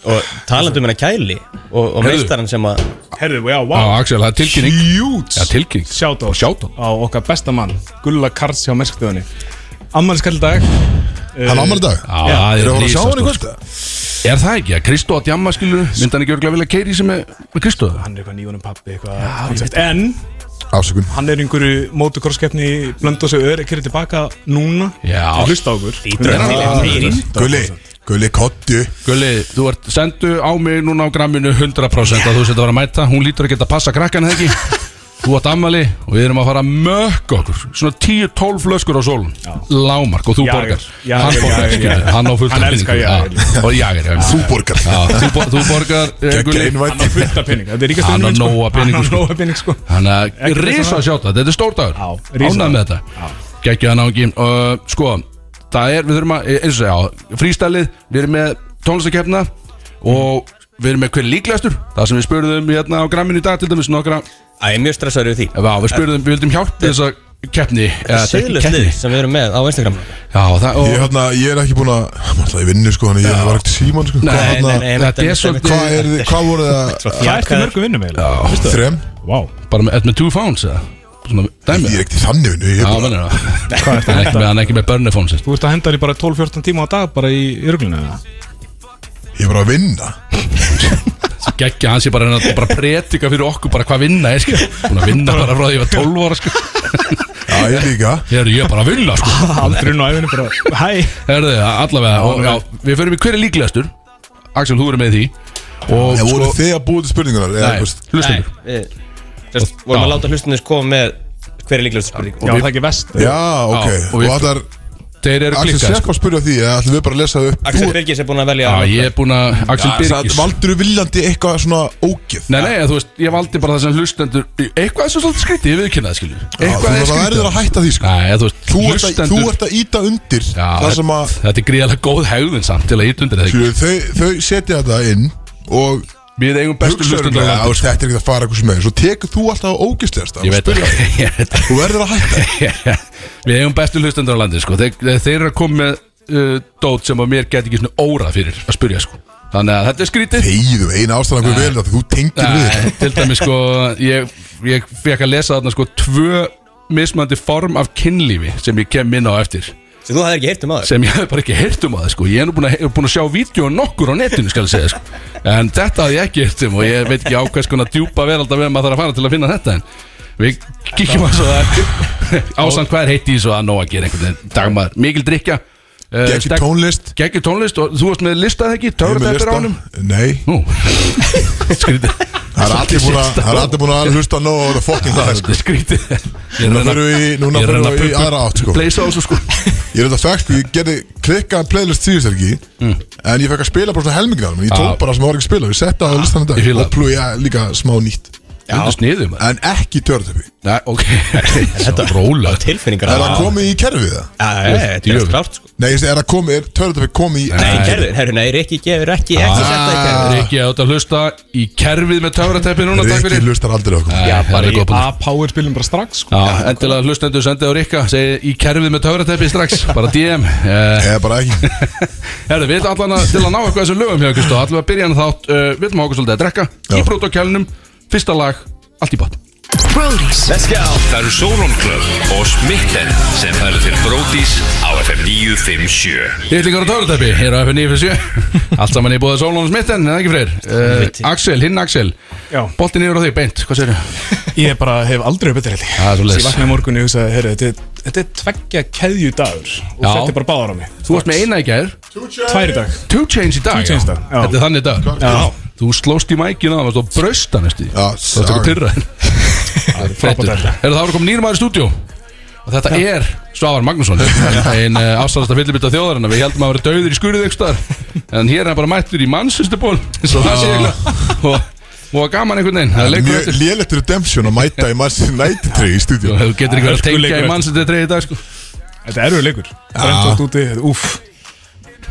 Speaker 4: Og talandum hennar Kæli Og,
Speaker 3: Heyrðu.
Speaker 4: og meistaran sem að
Speaker 5: Herðu, já, vá
Speaker 3: Já, Axel, það er tilkynning
Speaker 5: Hjúts
Speaker 3: Já, tilkynning
Speaker 5: Sjátt á
Speaker 3: Og sjátt á
Speaker 5: Á okkar besta mann Gulla Karls hjá mersktöðunni Ammæliskall dag
Speaker 2: Hann ámar dag
Speaker 3: Já,
Speaker 2: Eru
Speaker 3: það er
Speaker 2: það að sjá hann
Speaker 3: risastórt,
Speaker 2: í
Speaker 3: sko.
Speaker 2: kvölda?
Speaker 3: Er það ekki? Að Kristó að djamma skilur Myndi hann ekki örgulega vilja keiri sem er með Kristó eða?
Speaker 5: Hann er eitthvað nýjunum pappi eitthvað koncept. En
Speaker 2: Ásökun
Speaker 5: hann er í einhverju mótokorskeppni Blönd og svo öðru Kyrri tilbaka núna
Speaker 3: Já.
Speaker 5: Hann Hlusta á okkur
Speaker 4: Hlýtur að
Speaker 5: Hann-
Speaker 4: fíla þetta.
Speaker 2: Gulli Gulli kottu
Speaker 3: Gulli, þú ert sendu á mig núna á gramminu 100% að þú setja að vera að mæta Hún lítur að geta að passa krakkan eða ekki Þú átt ammali og við erum að fara að mökka okkur Svona 10-12 flöskur á sólun Lámark og þú
Speaker 5: Jager.
Speaker 3: borgar
Speaker 5: Jager,
Speaker 3: Hann borgar,
Speaker 5: Jager,
Speaker 3: skilur, hann á fullt af
Speaker 5: Hann elskar
Speaker 3: peningum.
Speaker 5: Jager.
Speaker 3: Já, Og jager, já
Speaker 2: Þú borgar
Speaker 3: Já, þú, bo þú borgar eh, Gulli.
Speaker 5: Hann á fullta pening Þetta er ríkast
Speaker 3: Hann á nóga pening,
Speaker 5: Hann á
Speaker 3: sko.
Speaker 5: nóga pening sko
Speaker 3: Þannig að
Speaker 5: Ekki
Speaker 3: risa
Speaker 5: þess
Speaker 3: að
Speaker 5: að-
Speaker 3: sjáta, þetta er stór dagur
Speaker 5: Já, risa.
Speaker 3: Ánægð með þetta Gekkjaðan ángin uh, Sko, það er, við þurfum að, eins og já Frístælið, við erum með tónlistakefna Og við erum með hver er líklegastur Það sem við spurðum hérna á gramminu í dag Til dæmis nokkra,
Speaker 4: Æ, ég er mjög stressaður yfir því
Speaker 3: já, við spurðum, við vildum hjálp Þess að keppni
Speaker 4: Þetta
Speaker 3: eða
Speaker 4: er
Speaker 3: þetta er ekki
Speaker 4: Söðlust lið
Speaker 3: keppni.
Speaker 4: sem við erum með á Instagram Nei,
Speaker 3: Já, það,
Speaker 2: Ég,
Speaker 3: og
Speaker 2: hérna, ég er ekki búin að Ég er alltaf í vinnu sko Þannig ég var ekkert síman sko Hvað,
Speaker 4: nei, nei,
Speaker 2: hérna,
Speaker 4: nei,
Speaker 3: þetta er
Speaker 4: einmitt, einmitt,
Speaker 3: svolítið-
Speaker 2: hvað, er, þið- hvað voru það?
Speaker 4: einmitt.
Speaker 5: Hvað ertu
Speaker 4: Þjakaður.
Speaker 5: mörgum vinnum eiginlega? Veistu það?
Speaker 2: Þrem?
Speaker 5: Vá
Speaker 3: bara með, með two phones eða Svona
Speaker 2: Ég
Speaker 3: dæmi
Speaker 2: er ekkert í þannig vinnu Ég
Speaker 3: Já,
Speaker 2: er bara
Speaker 3: mennir það Hann er ekki með- hann er ekki með börnifón sér
Speaker 5: Þú ert að henda þér í bara 12-14 tíma á dag bara í örglinu
Speaker 2: Ég er bara að vinna
Speaker 3: geggja hans ég bara, að reyna að bara predika fyrir okkur bara hvað vinna er sko Búin að vinna bara frá því ég var 12 ára sko
Speaker 2: Já, ég líka
Speaker 3: Herðu, ég er bara að vinna sko
Speaker 5: Aldrei nú æfinu bara Hæ
Speaker 3: Herðu, allavega og, já, Við förum í hver er líklegastur Axel, þú verður með í því og
Speaker 2: Ég voru
Speaker 3: sko,
Speaker 2: þið að búið til spurningunar eða,
Speaker 3: nei,
Speaker 2: þú veist,
Speaker 3: hlustum við
Speaker 4: við Sest, vorum að láta hlustunir koma með hver er líklegast spurning
Speaker 5: Já það er ekki vest
Speaker 2: Já, ok
Speaker 3: Já, og
Speaker 2: Og
Speaker 3: við-
Speaker 2: það er
Speaker 3: Þeir eru
Speaker 2: Axel
Speaker 3: klikkað
Speaker 2: Sepp
Speaker 3: sko
Speaker 2: að spurja því Eða ætlum við bara að lesa það upp
Speaker 4: Axel Birgis er búin að velja
Speaker 3: Já, ég er búin að Axel Birgis
Speaker 2: Valdur er viljandi eitthvað svona ógið
Speaker 3: Nei, nei, þú veist, ég valdi bara það sem hlustendur Eitthvað er svo svolítið skrítið, ég viðkynna það skilju Eitthvað
Speaker 2: Það verður að hætta því sko
Speaker 3: Nei, þú veist,
Speaker 2: Þú ert, að, þú
Speaker 3: hlustendur
Speaker 2: ert að íta undir
Speaker 3: Já,
Speaker 2: það sem að
Speaker 3: Þetta er gríðalega góð hegðun samt til að ít undir þetta
Speaker 2: Skilju, þau, þau setja þetta inn og
Speaker 3: Við eigum bestu
Speaker 2: hugsa
Speaker 3: hlustendur á
Speaker 2: örugglega,
Speaker 3: landinu.
Speaker 2: "Á, Þetta er ekki að fara eitthvað sem er Svo tekur þú alltaf ógislegast
Speaker 3: Ég veit það Ég veit það
Speaker 2: Þú verður að hætta
Speaker 3: Við eigum bestu hlustendur á landi sko. þeir, þeir eru að koma með uh, dót sem að mér get ekki svona órað fyrir að spurja sko. Þannig að þetta er skrítið
Speaker 2: Heiðu, eina ástæðan hverju vel þetta Þú tengir við
Speaker 3: Nei, Til dæmis sko ég, ég fekk að lesa þarna sko tvö mismandi form af kynlífi sem ég kem inn á eftir
Speaker 4: sem þú hafði ekki heyrt um aður
Speaker 3: sem ég hef bara ekki heyrt um að það sko. ég er nú búin að, he- búin að sjá vídjóin nokkur á netinu skal ég segja sko. en þetta hafði ég ekki heyrt um og ég veit ekki á hvers konar djúpa verald að vera maður þarf að fara til að finna þetta en við kíkjum að svo það ásamt hvað er heitt í þessu að nóg að gera einhvern veginn dagmaður, mikil drikja uh,
Speaker 2: Gekki tónlist
Speaker 3: geggjur tónlist og þú varst með listað ekki
Speaker 2: ég er með
Speaker 3: törðættir
Speaker 2: lista.
Speaker 3: ánum
Speaker 2: Nei,
Speaker 3: nú, skrítið
Speaker 2: það er allir búin að Það er allir búin að hlusta nóg á þetta fokkin það sko.
Speaker 3: Þetta er skrítið Ég
Speaker 2: Núna förum við í- núna
Speaker 3: ég er
Speaker 2: förum
Speaker 3: að reyna að
Speaker 2: við í
Speaker 3: plugga-
Speaker 2: aðra átt, sko.
Speaker 3: Pleysa á þessu sko
Speaker 2: Ég er þetta fækt, ég gerði klikkað playlist síðust ekki
Speaker 3: Mm.
Speaker 2: En ég fekk að spila bara svona helmingin alveg Ég
Speaker 3: Já.
Speaker 2: tók bara sem var ekki að spila Ég setta á listan
Speaker 3: Ég Ah.
Speaker 2: þetta
Speaker 3: fíla það.
Speaker 2: Og plúja líka smá nýtt
Speaker 3: Þetta sniðum maður
Speaker 2: En ekki törðupi
Speaker 3: Nei, ok Þetta er róla
Speaker 4: Tilfinningar
Speaker 2: Er
Speaker 3: Ah.
Speaker 2: það komið í kerfið það?
Speaker 4: Já, já, já, Þetta er
Speaker 3: Djöfull.
Speaker 4: allt klárt sko
Speaker 2: Nei, ég segi, er það komið, er törðupi komið í
Speaker 4: Nei, gerður, herru, nei, Rikki gefur ekki ekki setta í
Speaker 2: Ah.
Speaker 4: gerður
Speaker 3: Rikki átt að hlusta í kerfið með töfrateppi núna Takk
Speaker 2: Rikki
Speaker 3: fyrir
Speaker 2: hlustar aldrei á okkur
Speaker 3: Já, bara í góðbúna
Speaker 5: A-Power spilum bara strax sko
Speaker 3: Já, endilega hlustendur sendið á Rikka Segið í kerfið með töfrateppi strax Bara DM uh,
Speaker 2: Eða bara ekki
Speaker 3: Herðu, við ætlum allan að til að ná eitthvað þessum lögum hjá Kristó Allan að byrja hann þátt uh, Við ætlum að okkur svolítið að drekka Í
Speaker 2: Já.
Speaker 3: protokjálnum Fyrsta lag Allt í bát
Speaker 10: Það eru Solon Club og Smitten sem færðu til Bródís á FM 957
Speaker 3: Hitlingar og töfrateppi Hér á FN 957 Allt saman í búða Sólón Smitten Eða ekki freyr uh, Axel, hinn Axel
Speaker 5: Já.
Speaker 3: Boltin yfir á þig, beint Hvað segir
Speaker 5: Ég bara hef aldrei betri
Speaker 3: Það
Speaker 5: held
Speaker 3: er
Speaker 5: Svo ég
Speaker 3: svolítið
Speaker 5: vaknaði í morgun og ég hugsaði, heyrðu, þetta, er- þetta er tveggja keðju dagur og
Speaker 3: Já.
Speaker 5: þetta er bara báðar á mig
Speaker 3: Þú varst með eina í gær
Speaker 5: Tvær í dag
Speaker 3: Two Chains í dag
Speaker 5: Two Chainz í dag,
Speaker 3: já.
Speaker 5: já.
Speaker 3: Þetta er þannig dag
Speaker 5: Já.
Speaker 3: Þú slóst í mækina Það varst á brausta næstu
Speaker 2: Já,
Speaker 3: Það varst ekki
Speaker 2: sorry.
Speaker 3: pyrra Frettur
Speaker 5: frábært.
Speaker 3: Er það ára komin nýr maður í stúdíó Og þetta er Svavar Magnússon Ein uh, afstæðasta fyllibita þjóðarinn Við heldum að vera dauður í skurðið ykkur staðar En hér er hann bara mættur í mannsustuból Svo það sé ég Og og var gaman einhvern veginn Það er leikur
Speaker 2: Mjög
Speaker 3: eftir
Speaker 2: lélegt redemption að mæta í Mars United 3 í stúdíu
Speaker 3: Þú getur ekki verið að
Speaker 5: Hörku leikur
Speaker 3: tengja í
Speaker 5: eftir.
Speaker 3: mannsustuból í dag sko
Speaker 5: Þetta er erfið leikur Brent átt úti, þetta- úff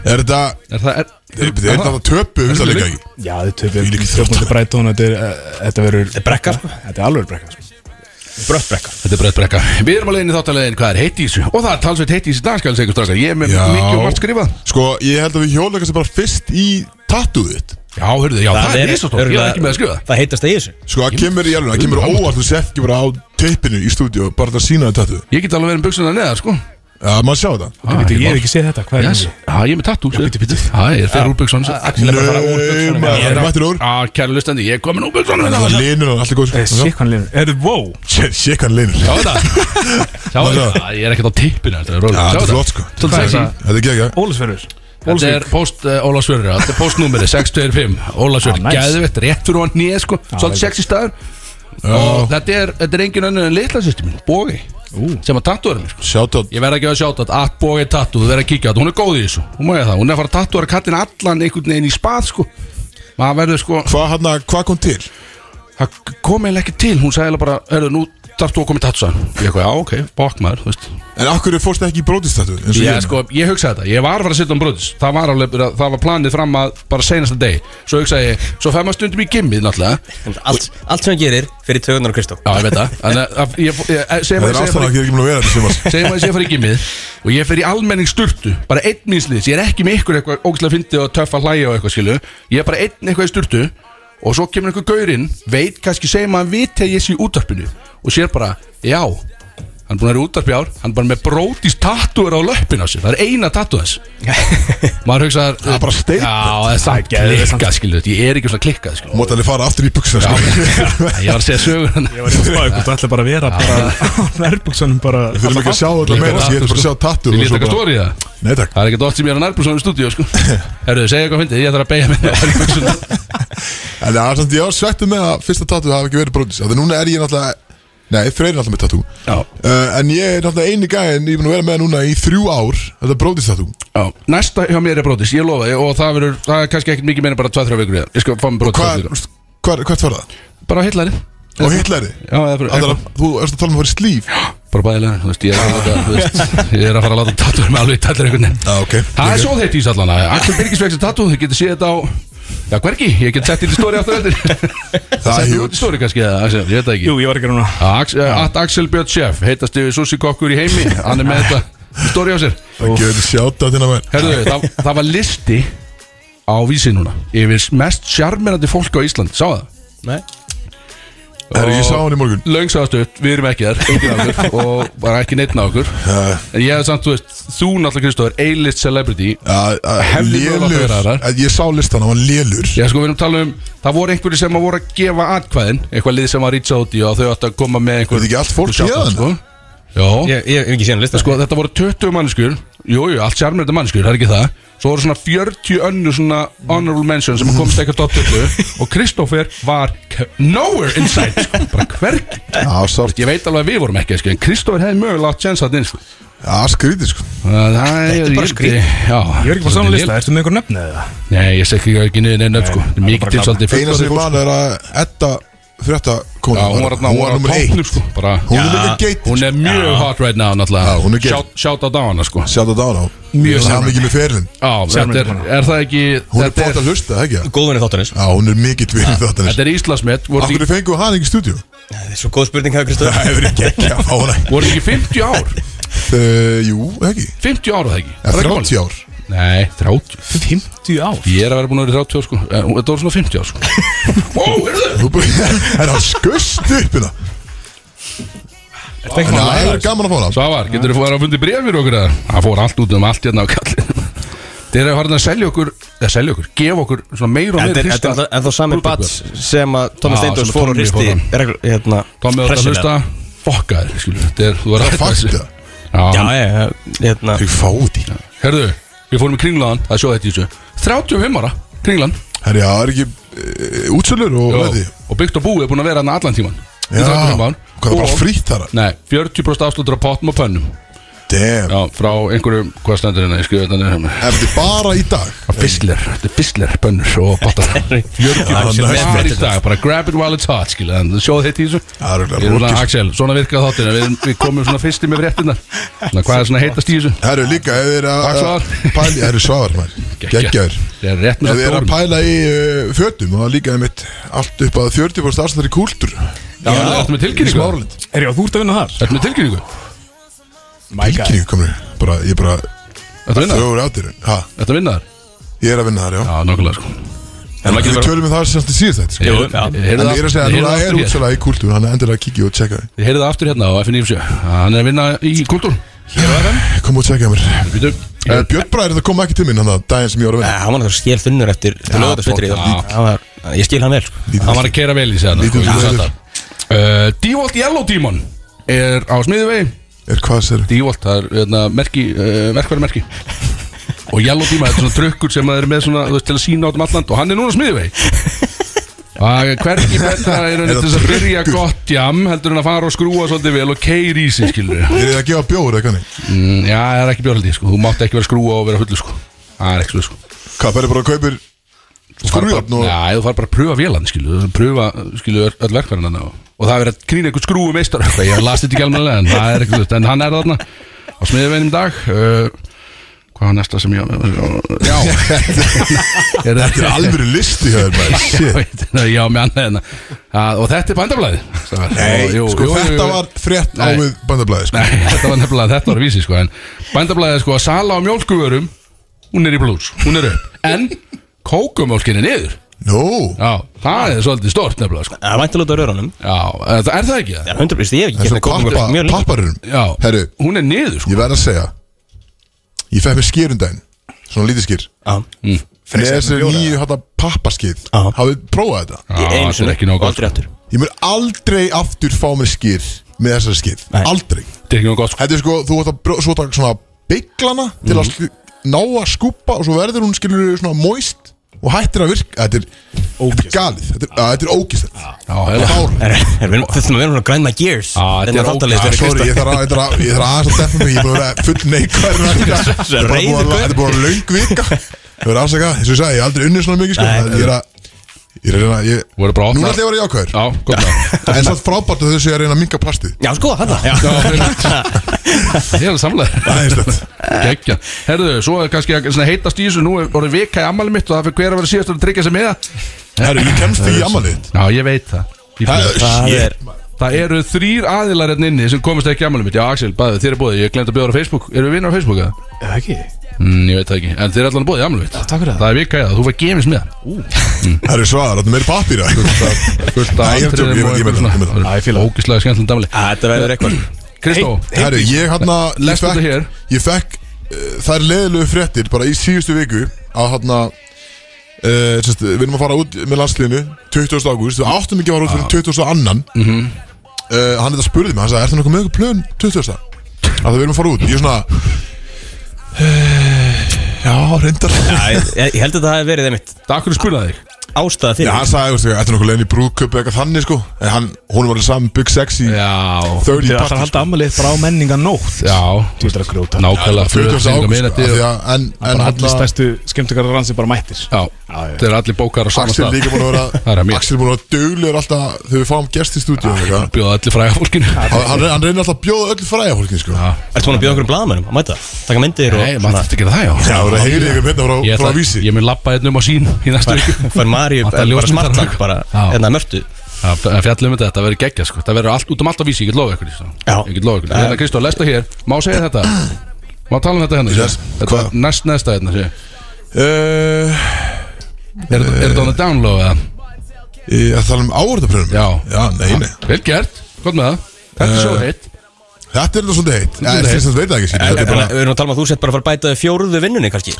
Speaker 2: Er þetta,
Speaker 3: Er það er
Speaker 2: er þetta er þetta töpu um það leika ekki?
Speaker 5: Já, þetta er
Speaker 2: Þvílík
Speaker 5: Þetta
Speaker 2: þjóta.
Speaker 5: er mútið Brighton, þetta er eh, Þetta verður
Speaker 4: brekka, sko.
Speaker 5: Þetta er alveg brekka
Speaker 2: Ah,
Speaker 5: sko.
Speaker 4: Brött brekka
Speaker 3: Þetta er bröðt brekka Við erum alveg inn í þáttalegin Hvað er heitt í þessu? Og það er talsveit heitt í þessu dagskælis Ekkur strákar Ég er með
Speaker 2: Já.
Speaker 3: mikið og margt skrifað
Speaker 2: Sko, ég held að við hjóla kannski bara fyrst í tattooðu þitt
Speaker 3: Já, hörðu, já, það, er risastórt Ég er
Speaker 4: örugglega-
Speaker 3: ekki með að skrifa það.
Speaker 4: Það heitast það í þessu
Speaker 2: Sko, það kemur í alveg, það kemur óvart Þú sett ekki bara á teipinu í stúdíu Bara það sína þið tattoo
Speaker 3: Ég get alveg verið um buksuna neðar, sko
Speaker 2: Já, maður sjá þetta
Speaker 3: ah,
Speaker 5: Ég hef ekki séð þetta, hvað er
Speaker 3: yes.
Speaker 5: þetta?
Speaker 3: Já, ég er með tattoo Já, Ah, ég er fyrir úr buksun
Speaker 4: Axel er bara að fara úr
Speaker 2: Nei,
Speaker 4: buxunum.
Speaker 2: maður, mættir úr
Speaker 3: Já, kæra lustandi, ég er komin úr hérna. buksun
Speaker 2: Það er linur og allt er góð
Speaker 5: Eh, Sikk hann linur Er þetta, wow
Speaker 2: Sjekk hann linur
Speaker 3: Sjá þetta Sjá
Speaker 2: Sjá.
Speaker 3: þetta Ég er ekkert á tippinu Þetta er rólega.
Speaker 2: Já,
Speaker 3: Sjá
Speaker 2: þetta er flott, sko.
Speaker 3: Svolítið
Speaker 5: Hvað er
Speaker 3: sexy.
Speaker 5: það?
Speaker 2: Þetta er gegja
Speaker 5: Ólisverður
Speaker 3: Þetta er post uh, Ólafsfjörður Þetta er postnúmeri 625 Ólafsfjörður,
Speaker 5: Ah, nice. Ah,
Speaker 3: gæðvett, rétt fyrir hann nýja sko Svolítið
Speaker 5: vel.
Speaker 3: sexy staður og þetta er, þetta er engin önnur en litla sýsti mín, Bógi sem að tattúra mér sko.
Speaker 2: Shoutout
Speaker 3: Ég verð að gefa shoutout, at Bógi tattoo, þú verð að kíkja á þetta, hún er góð í þessu Hún má ég það, hún er að fara að tattúra kattin allan einhvern veginn í spað sko Maður verður sko
Speaker 2: Hvað hann, hvað kom til?
Speaker 3: Það kom eiginlega ekki til, hún sagði eiginlega bara, herru, nú þarf þú að koma í tattúsan Ég eitthvað, já, ok, bók maður, þú veist
Speaker 2: En akkur fórst ekki í brótistattu?
Speaker 3: Já, sko, ég hugsaði þetta, ég var að fara að setja um bröðis það var, alveg, bara- það var planið fram að bara senasta deg Svo hugsaði ég, svo fær maður stundum í gimmið náttúrulega
Speaker 4: Allt, allt sem hann gerir fyrir tögunar og Kristó
Speaker 3: Já, ég veit það Þannig að ég, ég, ég,
Speaker 2: Það
Speaker 3: segjum
Speaker 2: er ástæðan að ég er ekki múin að vera þetta sumar
Speaker 3: segjum að ég fyrir gimmið og ég fyrir almenning sturtu bara einn minnsliðs, ég er ekki með ykkur eitthvað ógæslega fyndið og töff að hlæja og eitthvað skilu ég er bara einn eitthvað í sturtu og svo kemur einhver gaurinn, veit kannski segjum að hann viti að ég sé í útvarpinu og sér bara, já hann er búin að vera í útvarpi í ár, hann er bara með brótis tattúar á löppin á sér, það er eina tattúð hans maður hugsa það er bara
Speaker 2: steik
Speaker 3: já, það er samt klikkað skilu ég er ekki svona klikkað skilu
Speaker 2: Mátt alveg fara aftur í buksuna sko.
Speaker 3: ég var að segja sögur hann
Speaker 5: Ég var eitthvað spáðið hvort þú ætla bara að vera
Speaker 3: Ah.
Speaker 5: bara á nærbuksunum bara
Speaker 2: Við þurfum ekki að sjá þetta meira, ég ætla bara að sjá tattoo
Speaker 3: Ég
Speaker 2: og
Speaker 3: lít
Speaker 2: svo
Speaker 3: eitthvað
Speaker 2: bara-
Speaker 3: stóri í það
Speaker 2: Nei takk
Speaker 3: Það er ekkert oft sem ég er að nærbúsa um stúdíu sko. Herðu, segja eitthvað fyndið, ég þarf að beigja minna
Speaker 2: En það er samt, ég var svettu með að fyrsta tattoo hafi ekki verið brótis Þannig núna er ég náttúrulega Nei, Freyr er náttúrulega með tattoo
Speaker 3: Já.
Speaker 2: uh, En ég er náttúrulega eini gæðin Ég er búin að vera með núna í þrjú ár Þetta brótis tattoo
Speaker 3: Já, Næsta hjá mér er brótis, ég lofa því, Og það, verður, það er kannski ekkert mikið meina bara 2-3 vikur í það. Ég skal fá mér
Speaker 2: Hvað,
Speaker 3: brótis
Speaker 2: hvað, hvað var það?
Speaker 3: Bara heitlari
Speaker 2: Og Hitlari?
Speaker 3: Já, eða bara-
Speaker 2: Þannig að Þú erst að tala um að fara í slíf
Speaker 3: Bara bæðilega, þú veist, ég er að, láta, þú veist, ég er að fara að láta tattur með alveg tattur einhvern veginn
Speaker 2: Já, Ah, ok
Speaker 3: Það er svo þeitt ís allan að Axel Birgis vexti tattu, þið getur séð þetta á Já, hvergi, ég get sett þetta í stóri aftur eftir
Speaker 2: Það er
Speaker 3: Settu
Speaker 2: huge.
Speaker 3: út í stóri kannski, eða, Axel, ég veit það ekki
Speaker 5: Jú, ég var ekki núna
Speaker 3: Ax- eh, At Axel Björn Sjöf, heitast yfir Susi Kokkur í heimi Hann er með þetta stóri á sér
Speaker 2: Það gefur þetta sjáta þinn að mér
Speaker 3: Herðu, það, það var listi á vísi núna Yfir mest sjarmerandi fólk á Ísland, sá það?
Speaker 4: Nei.
Speaker 2: Herri, ég sá hann í morgun
Speaker 3: Langsagastuð, við erum ekki þar enginn af okkur, Og bara ekki neittn á okkur
Speaker 2: Já.
Speaker 3: En ég hef samt, þú veist, þú náttúrulega Kristóður A-list celebrity
Speaker 2: Já, já,
Speaker 3: Hefði
Speaker 2: eh, Lélur
Speaker 3: mögulega átt að
Speaker 2: Eh,
Speaker 3: vera þar.
Speaker 2: Ég sá listan, hann var lélur
Speaker 3: Já, sko, við erum að tala um Það voru einhverju sem að voru að gefa atkvæðin Eitthvað lið sem að rýtsa út í og þau ættu að koma með
Speaker 2: Er
Speaker 3: einhver
Speaker 2: þetta ekki allt fólk héðan?
Speaker 3: sko. Já,
Speaker 4: Ég ég hef ekki séð hann lista
Speaker 3: sko, þetta voru 20 mannskur Jú, jú, allt sjarmjönda mannskur, það er ekki það Svo voru svona 40 önnu svona honorable mention sem komst ekki að dottöku og Kristófer var k- nowhere inside, sko, bara hvergi
Speaker 2: Já, sárt
Speaker 3: Ég veit alveg að við vorum ekki, sko, en Kristófer hefði mögulega átt sjens að þinn, sko
Speaker 2: Já, skrítið sko
Speaker 3: Það er bara skrýt Ég
Speaker 5: Ég var ekki bara saman lista, ertu með einhver nöfn eða?
Speaker 3: Nei, ég segi ekki niður neina upp sko Þetta er Mikið tilsaldi
Speaker 2: Eina sem ég man er að Edda frétta kona
Speaker 3: Já, hún var þarna, hún var á
Speaker 2: nummer
Speaker 3: toppnum
Speaker 2: eitt
Speaker 3: sko bara,
Speaker 2: Hún er líka geit
Speaker 3: Hún er mjög hot right now náttúrulega
Speaker 2: Já, hún er geit.
Speaker 3: Shout- Shout out á hana sko
Speaker 2: Sjáta þetta á hana
Speaker 3: Mjög
Speaker 2: Það er
Speaker 3: sjarmerandi.
Speaker 2: mikið með ferlinn
Speaker 3: Já, þetta er, er það ekki
Speaker 2: Hún er
Speaker 3: þetta,
Speaker 2: bótt að hlusta, ekki?
Speaker 4: Góðvinni þáttanins
Speaker 2: Já, hún er mikið tvinni þetta
Speaker 3: þetta er Íslandsmet Voru
Speaker 2: Akkur
Speaker 3: þetta
Speaker 2: er fengu hann ekki í stúdíu?
Speaker 4: Það er svo góð spurning hefur Kristó
Speaker 2: Það hefur ekki ekki að fá hana
Speaker 3: ekki- voru þetta ekki 50 ár
Speaker 2: Uh, Jú, ekki
Speaker 3: 50 ár var það ekki
Speaker 2: Eða
Speaker 3: Var það ekki
Speaker 2: 30 ár
Speaker 3: málið? Nei, 30
Speaker 5: 50 ár
Speaker 3: Ég er að vera búin að vera í 30 ár sko Eh, hún- Þetta voru svona 50 ár sko Ó, er það?
Speaker 2: Þú bara- En hann skust upp hérna En það er gaman að fá hana
Speaker 3: Svavar, getur þú að fundi bref fyrir okkur eða? Það fór allt út um allt hérna á kallinu Þeir eru farin að selja okkur Eða selja okkur, gefa okkur svona meira og
Speaker 4: Þetta
Speaker 3: meira
Speaker 4: er- þetta er alltaf- en þá sami bats sem að Thomas
Speaker 3: Já, sem
Speaker 4: Steindors fór og
Speaker 3: Tommy
Speaker 4: hristi
Speaker 3: fór hann.
Speaker 4: reglu- hérna,
Speaker 3: Tómið átt að
Speaker 4: pressuna.
Speaker 3: hlusta Fokka þér, skilur Þetta er, þú er
Speaker 2: Það
Speaker 3: að
Speaker 2: er
Speaker 3: hætta
Speaker 2: fakt
Speaker 3: þessu.
Speaker 2: það
Speaker 4: Já,
Speaker 3: Já,
Speaker 4: ég, hérna
Speaker 2: Ég fá út í
Speaker 3: Herðu, við fórum í kringlaðan Það sjóði þetta í þessu 35 ára, kringlan
Speaker 2: Herri, já, er ekki uh, útsölur og veði
Speaker 3: Og byggt og búið er búin að vera hann allan tíman
Speaker 2: Já,
Speaker 3: Í 35 ár.
Speaker 2: hvað er bara
Speaker 3: Og-
Speaker 2: frýtt þar?
Speaker 3: Nei, 40% afslutur á pottum og pönnum
Speaker 2: Damn,
Speaker 3: Já, frá einhverju, hvað stendur hérna Ég skrifa þetta nefnum
Speaker 2: er þetta bara í dag?
Speaker 3: Fissler, þetta er fissler, pönnur og pottar 40%
Speaker 2: Já, hann er
Speaker 3: bara í dag, bara grab it while it's hot skilja, en sjóðu þetta í þessu
Speaker 2: Það er
Speaker 3: Ég
Speaker 2: örugglega
Speaker 3: er svona,
Speaker 2: rokið, sko.
Speaker 3: Axel, svona virkað þáttina Við, við komum svona fyrsti með fréttina Svona, Hvað er svona heitast í þessu?
Speaker 2: Það eru líka, ef þið eru
Speaker 3: Takk,
Speaker 2: að
Speaker 3: Svavar.
Speaker 2: pæla Það eru svavar, maður Gekkjaður
Speaker 3: Það er
Speaker 2: Ef
Speaker 3: rétt með
Speaker 2: þið eru að
Speaker 3: stórum
Speaker 2: pæla í uh, fötum og líka einmitt allt upp að 40% starfsnæri kúltúr
Speaker 3: Já, ertu með
Speaker 2: í
Speaker 3: tilkynningu?
Speaker 2: smáralind
Speaker 5: Er ég á þú ert að vinna þar?
Speaker 3: Ertu með tilkynningu?
Speaker 2: Tilkynningu komur bara, ég bara
Speaker 3: Ertu að vinna þar?
Speaker 2: þrjóður átir ha,
Speaker 3: Ertu að vinna þar?
Speaker 2: ég er að vinna þar, já,
Speaker 3: Já, nokkulega sko
Speaker 2: en við tölum við það sem þetta síðast þetta sko.
Speaker 3: Jú,
Speaker 2: en ég er að segja að núna er
Speaker 3: Ég
Speaker 2: útsöla í kúltúr hann er endilega að kíkja og tjekka þig.
Speaker 3: heyrði það aftur hérna á FNF7 Hann er að vinna í kultúr
Speaker 2: kom og tjekka mér
Speaker 3: Býtu
Speaker 2: Eh, Björn Bræðir það kom ekki til minn hann að daginn sem ég var að
Speaker 4: Já,
Speaker 2: vinna
Speaker 4: Hann var náttúrulega skél þunnur eftir eftir
Speaker 3: Já,
Speaker 4: lögadagsfundri
Speaker 3: flott, já.
Speaker 4: Hann var- Ég skil hann vel sko.
Speaker 3: Eh, Hann var að kera vel í sig hann
Speaker 2: Lítið
Speaker 3: sko, ég
Speaker 2: fyrir
Speaker 3: sagði
Speaker 2: þér.
Speaker 3: það. Uh, Devolt Yellow Demon er á smiðuvegi
Speaker 2: er hvað sér
Speaker 3: Devolt, það er hérna, merki, uh, verkværi um og Yellow Demon, þetta er svona drukkur sem maður er með svona, þú veist, til að sína átum alland og hann er núna á smiðuvegi Það er hverki betra er henni til þess að byrja gott jam heldur en að fara og skrúa svolítið vel og keiri í sig skilur Er
Speaker 2: þið að gefa bjóður eitthvað neitt?
Speaker 3: Mm, já, það er ekki bjórhaldi sko, þú mátt ekki vera að skrúa og vera hullu sko Það er ekki svo sko
Speaker 2: Hvað, ferðu bara að kaupir
Speaker 3: skrújafn og... Já, þú fara bara að pröfa vélan skilur, þú pröfa skilur öll verkfærin hann og, og það er verið að krýna einhvern skrúu meistar Ég las þetta ekki alveg en það er ekki þú En hann er þarna á smiðiveginum í dag uh, Hvað var næsta sem ég Já
Speaker 2: Þetta er alvöru listi hjá þér, maður, shit.
Speaker 3: maður Já, með annað en að Og þetta er bandablaði
Speaker 2: Nei, sko, þetta var frétt á við bandablaði sko.
Speaker 3: Nei, þetta var nefnilega, þetta var vísi sko En bændablaðið sko að sala á mjólkuvörum Hún er í blús, hún er upp En kókumjólkin er niður
Speaker 2: Nú
Speaker 3: Já, það er svolítið stort nefnilega sko Það vænti lóta rörunum Já, eh, það- er það ekki það? Já,
Speaker 4: 100% ég hef
Speaker 3: Hérna
Speaker 2: En svo pappa, papparum
Speaker 3: Já,
Speaker 2: Herru,
Speaker 3: hún er niður sko
Speaker 2: Ég verð að segja Ég fekk mér skýrundaginn Svona lítið skýr
Speaker 4: Já
Speaker 2: Með
Speaker 4: Frekar
Speaker 2: þessu
Speaker 4: en bjóra.
Speaker 2: nýju hata pappaskið Hafið prófað þetta
Speaker 4: Ég einu sinni og aldrei aftur
Speaker 2: Ég mun aldrei aftur fá mér skýr Með þessari skýr Aldrei
Speaker 3: Þetta er ekki nóg gott
Speaker 2: Þetta er sko, þú ætti að brjó- svo taka svona bygglana Til að sku- ná að skúpa Og svo verður hún skilur svona moist Og hættir að virka Þetta er, þetta er galið Þetta er, að, þetta er ógist
Speaker 4: Þetta er verið grænna gears Þetta er hóttalist
Speaker 2: Sorry, ég þarf að- ég þarf að- ég þarf aðeins að defna mig Ég er búin að vera full neikvæður Þetta er bara búin að- þetta er búin að vera löng vika Ég verður afsaka, þess að ég sagði, ég hef aldrei unnið svona mikið sko.
Speaker 3: Nei.
Speaker 2: Þannig Ég er að Ég er að reyna ég,
Speaker 3: opnar-
Speaker 2: Núna ætla ég að vera jákvæður
Speaker 3: Já, gott
Speaker 2: En það er frábært að þessu ég er að reyna að minka plastið
Speaker 4: Já, sko, hann
Speaker 3: Já, Ég er alveg samlega
Speaker 2: Það er stött
Speaker 3: Gekja Herðu, svo er kannski að svona heitast í þessu Nú er orðið vika í ammali mitt Og það fyrir hver að vera síðast að tryggja sig með það
Speaker 2: Herru, ég kemst í afmælið þitt.
Speaker 3: Já, ég veit það Ég
Speaker 2: Það er-
Speaker 3: fíla það
Speaker 2: shit,
Speaker 3: er Það eru þrýr aðilar hérna inni sem komist ekki í ammali mitt Já, Axel, bæði, þér er bóðið Ég glemt að bjóða á Facebook Eru við vinnar á Facebook eða?
Speaker 5: Eða ekki?
Speaker 3: Mm, ég veit það ekki En þér er allan bóðið í ammali mitt Takk fyrir það Það er vika í það Þú fær gefins með
Speaker 2: Það eru svaðar, þetta er meiri pappýra
Speaker 3: Fullt
Speaker 2: Nei, ég er að tjóka, ég- ég meina það, ég meina það.
Speaker 3: það Ógislega skemmtilega damli
Speaker 4: Þetta verður eitthvað
Speaker 3: Kristó
Speaker 2: Herru, ég hann
Speaker 3: Lest þetta hér
Speaker 2: Ég fekk uh, Það er leðilegu fréttir Bara í síðustu viku Að hérna, hann að Við erum að fara út með landsliðinu 20. ágúst Við áttum ekki að fara út
Speaker 3: Ah.
Speaker 2: fyrir 20. annan
Speaker 3: Mhm.
Speaker 2: uh, Hann þetta spurði mig Hann sagði, er það nokkuð með ykkur plön 20. Að það við erum að fara út Ég er svona "Eh, Já, reyndar
Speaker 4: ég, ég held að það hef verið einmitt
Speaker 3: Það akkur spurði þig
Speaker 4: Ástæða
Speaker 2: Já,
Speaker 4: fyrir
Speaker 2: hann sagði, veistu, þetta er nokkuð leiðin í brúðköp Eitthvað þannig, sko En hann, hún var alveg saman Big Sexy
Speaker 3: Já
Speaker 2: 30
Speaker 5: Þið ætlar
Speaker 2: party,
Speaker 5: að halda afmælið bara á menninga nótt
Speaker 3: Já
Speaker 5: Þú ætlar að grjóta
Speaker 3: Nákvæmlega
Speaker 2: 20. ágúst sko, af því að- En,
Speaker 5: En
Speaker 2: en
Speaker 5: allir
Speaker 2: hann
Speaker 5: stærstu skemmtugarðar hans er bara mættir
Speaker 3: Já, þeir eru allir bókar á saman
Speaker 2: Axel líka búin að
Speaker 3: Það er
Speaker 2: vera
Speaker 3: að mér. Ah,
Speaker 2: Axel er búin að vera döglegur alltaf Þegar við fáum gest í stúdíu og eitthvað.
Speaker 3: Bjóða allir fræga fólkinu
Speaker 2: Hann- hann, hann reynir alltaf að bjóða öllu fræja fólkin sko.
Speaker 3: Ah.
Speaker 4: Ertu búin að bjóða okkur um blaðamennum að mæta? Taka myndir og
Speaker 3: Nei, maður þarf að gera það, já
Speaker 2: Já, það er að heyri ykkur hérna frá,
Speaker 3: Ég,
Speaker 2: frá
Speaker 3: ætla,
Speaker 2: vísi
Speaker 3: ég mun labba hérna um á sín í næstu viku
Speaker 4: Fær Maríu
Speaker 3: Vantar
Speaker 4: bara
Speaker 3: ljósmyndara
Speaker 4: smartlag
Speaker 3: líka.
Speaker 4: bara
Speaker 3: Já.
Speaker 4: Hérna mörtu
Speaker 3: Það það fjalla um þetta, þetta verður geggja sko Það verður allt út um allt á vísi, ég get lofa ykkur því, sko.
Speaker 4: Já.
Speaker 3: Ég get lofa ykkur því. Hérna Kristó, lesta hér, má segja þetta Má tala um þetta hérna
Speaker 2: Yes,
Speaker 3: sko. Þetta
Speaker 2: hvað?
Speaker 3: er næst næsta hérna sé.
Speaker 2: uh, Eh.
Speaker 3: Er er þetta on the down low eða?
Speaker 2: Ég að tala um áhörðapröfum
Speaker 3: Já. Ah,
Speaker 2: Já, nei, nei Eh,
Speaker 3: Vel gert, gott með það Þetta er svo heitt
Speaker 2: Þetta er þetta svolítið heitt Ég
Speaker 3: Svolítið heitt.
Speaker 2: finnst að veit það ekki skilur.
Speaker 4: En-
Speaker 2: Þetta
Speaker 4: en-
Speaker 2: er bara
Speaker 4: en Við erum að tala um að þú sett bara að fara að bæta fjóruðu vinnunni kannski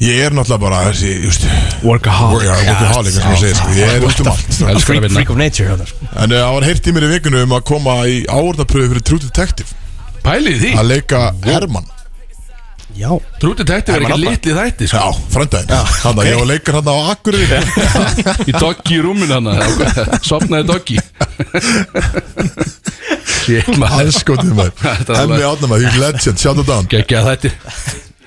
Speaker 2: Ég er náttúrulega bara þessi just,
Speaker 3: Ah,
Speaker 5: Workaholic
Speaker 2: work- Workaholic eins og maður segir, sko. Ég er út um allt
Speaker 3: Elskar að
Speaker 4: Freak,
Speaker 3: vinna
Speaker 4: freak of nature hérna, sko.
Speaker 2: En eh, það var heyrt í mér í vikunum um að koma í áhörðapröfu fyrir True Detective
Speaker 3: Pælið í því,
Speaker 2: Að leika Herman
Speaker 4: Já
Speaker 3: trúti tætti verður ekki
Speaker 4: Herman
Speaker 3: litli þætti sko.
Speaker 2: Já, frendaginn Þannig að ég var leikar hann á Akureyri
Speaker 3: Í doggi í rúminu hann Sopnaði doggi Sér
Speaker 2: Það
Speaker 3: maður
Speaker 2: er skotið maður
Speaker 3: Þetta er
Speaker 2: Hemmi
Speaker 3: alveg-
Speaker 2: átna maður, he's legend, shout out down
Speaker 3: Gekkja þætti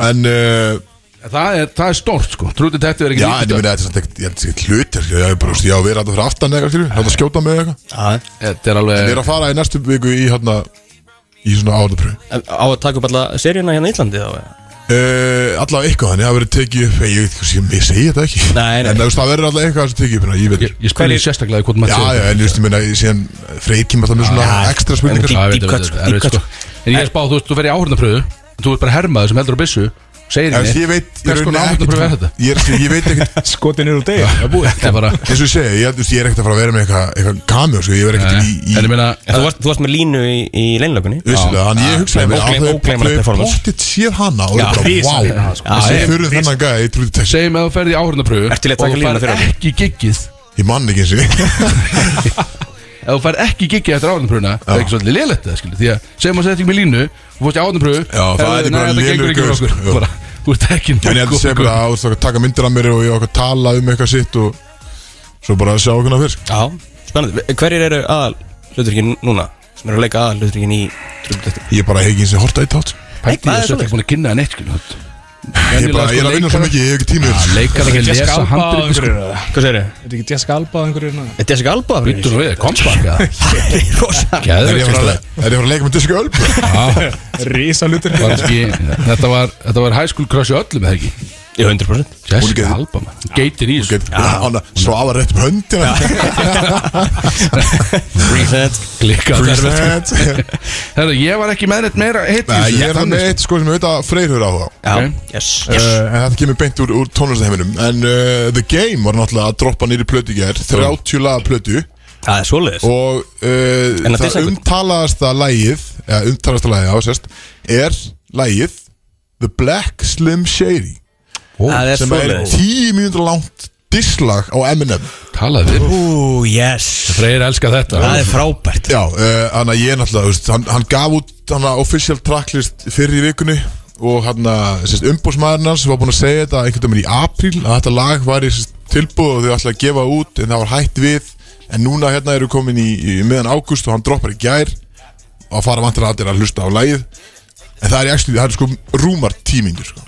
Speaker 2: En uh,
Speaker 3: Það er, það er stórt sko Trúti tætti verður
Speaker 2: já,
Speaker 3: ekki
Speaker 2: en ég
Speaker 3: litli
Speaker 2: meina þetta er samt ekkert, ég held ekki hlutir Ég hef bara, þú veist, ég á að vera þetta fyrir aftan eða eitthvað Þetta skjóta með eitthvað
Speaker 4: Já.
Speaker 3: Þetta er
Speaker 2: Við
Speaker 3: alveg
Speaker 2: erum að fara í næstu viku í hérna Í svona áðapröð uh,
Speaker 4: En Á að taka upp alla seríuna hérna í Íslandi þá eða?
Speaker 2: Eh, Allavega eitthvað þannig, það verður tekið upp Ég veit hvað sem ég segi þetta ekki
Speaker 4: Nei, nei.
Speaker 2: En þú veist, það verður allavega eitthvað sem tekið upp hérna, Ég veit
Speaker 3: Ég, ég spurði sérstaklega hvort
Speaker 2: Já,
Speaker 3: maður
Speaker 2: já, en þú veist, ég meina, síðan Freyr kemur alltaf með svona ekstra spurningar
Speaker 3: Já,
Speaker 4: Deep
Speaker 3: veit,
Speaker 4: cut,
Speaker 3: veit,
Speaker 4: sko,
Speaker 3: veit,
Speaker 4: deep
Speaker 3: veit,
Speaker 4: cut,
Speaker 3: sko. En ég er spáð, þú veist, þú fer í áhörnapröfu Þú ert bara hermaður sem heldur á byssu Segir
Speaker 2: Já, þú veist,
Speaker 3: henni
Speaker 2: Ég veit, ég
Speaker 3: Hvers
Speaker 2: rauninni
Speaker 3: konar
Speaker 2: ekkert-
Speaker 3: áhörnapröfu er þetta?
Speaker 2: ég er- ég veit ekkert
Speaker 5: Skotin eru úr degi
Speaker 3: Það er búið, þetta er bara
Speaker 2: eins og ég segi, ég, þú veist, ég er ekkert að fara að vera með eitthvað eitthva kamjó, sko, ég er ekkert í, í
Speaker 3: En ég meina
Speaker 4: En Þú varst- þú varst með línu í, í leinlökunni
Speaker 2: vissilega, þannig ég hugsaði mér
Speaker 4: ógleym- ógleymanlegt
Speaker 2: að þau
Speaker 4: performance.
Speaker 2: pottit séð hana og ég
Speaker 5: rísa
Speaker 2: bara,
Speaker 5: fyrir hana,
Speaker 2: wow,
Speaker 5: sko.
Speaker 2: þessi
Speaker 3: Já,
Speaker 2: fyrir þennan gæði, ég trúið þess,
Speaker 3: Segjum að þú ferð í áhörnapröfu
Speaker 4: Ertu til í að taka
Speaker 3: Og þú
Speaker 4: línuna fyrir
Speaker 3: færð
Speaker 4: hann?
Speaker 3: ekki giggið
Speaker 2: ég mann ekki eins og
Speaker 3: ef þú fær ekki gigið eftir áhörnumpröfuna það er ekki svolítið lélætt það skilur því að segjum að setja ekki með línu og fórst í áhörnumpröfu
Speaker 2: Já, það er bara lélegur gaur,
Speaker 3: okkur
Speaker 2: já.
Speaker 3: bara þú ert ekki
Speaker 2: en ég held að segja bara, þú veist, að taka myndir af mér og ég okkar tala um eitthvað sitt og Svo bara að sjá okkurna fyrst
Speaker 4: Já, spennandi Hverjir eru aðal hluturkin núna? Sem eru að leika aðal hluturkin í trúbdætti
Speaker 2: Ég er bara heginn sem horta í tát
Speaker 3: Pældi ég þessu ekki búin að kynna það neitt skilur. sko,
Speaker 2: Ég er bara, ég er að vinna svo mikið, ég hef ekki tími í þessu.
Speaker 3: Leikar Ah, ekki
Speaker 5: Jessica
Speaker 3: lesa sko.
Speaker 5: Alba og
Speaker 3: handrið
Speaker 5: einhverjir, eða?
Speaker 4: Hvað segir
Speaker 5: Er þetta ekki Jessica Alba á einhverju hérna?
Speaker 4: Er Jessica Alba?
Speaker 3: Býttu nú við, kom baka
Speaker 2: Er ég Ah. að fara
Speaker 3: Geðveikt,
Speaker 2: að- er ég að fara að leika með diska ölbu?
Speaker 3: Já,
Speaker 5: Rísa hlutur
Speaker 3: var ekki- Þetta var Þetta var high school crush í öllum eða ekki
Speaker 4: Ég 100%
Speaker 2: Hún er
Speaker 3: Jessica
Speaker 2: geð-
Speaker 3: Alba man. Geitin í þessu
Speaker 2: Svo aðvar rétt með höndina
Speaker 4: Reset
Speaker 3: Klikka
Speaker 2: Present
Speaker 3: Herra, ég var ekki með neitt meira hitt í
Speaker 2: Nei,
Speaker 3: þessu,
Speaker 2: ég er það
Speaker 3: þannig,
Speaker 2: með eitt sko sem ég veit að freyrhur á það
Speaker 4: Já,
Speaker 3: Ok.
Speaker 4: yes
Speaker 2: yes. En þetta kemur beint úr, úr tónlistaheiminum En uh, The Game var náttúrulega að droppa nýri plötu í ger 30 laga plötu
Speaker 4: Það er svoleiðis
Speaker 2: Og uh,
Speaker 4: En að
Speaker 2: það
Speaker 4: dissa einhvern?
Speaker 2: umtalaðasta lagið Eða umtalaðasta lagið á sérst Er lagið The Black Slim Shady
Speaker 4: Það er
Speaker 2: Sem er
Speaker 4: svoleiðis
Speaker 2: 10 mínútur langt disslag á Eminem
Speaker 3: sko. Talaðu við
Speaker 4: Ú, yes
Speaker 3: Freyr elska þetta
Speaker 4: Það er frábært
Speaker 2: Já, eh, hann að ég náttúrulega, þú veist, hann, hann gaf út hann að official tracklist fyrir í vikunni og hann að umbúsmaðurinn hans var búinn að segja þetta einhvern veginn í apríl að þetta lag var í sérst, tilbúð og þau ætlaði að gefa út en það var hætt við en núna hérna eru komin í, í meðan águst og hann droppar í gær og að fara vantilega allir að hlusta á lagið en það er, actually, það er sko rúmar tímingur sko.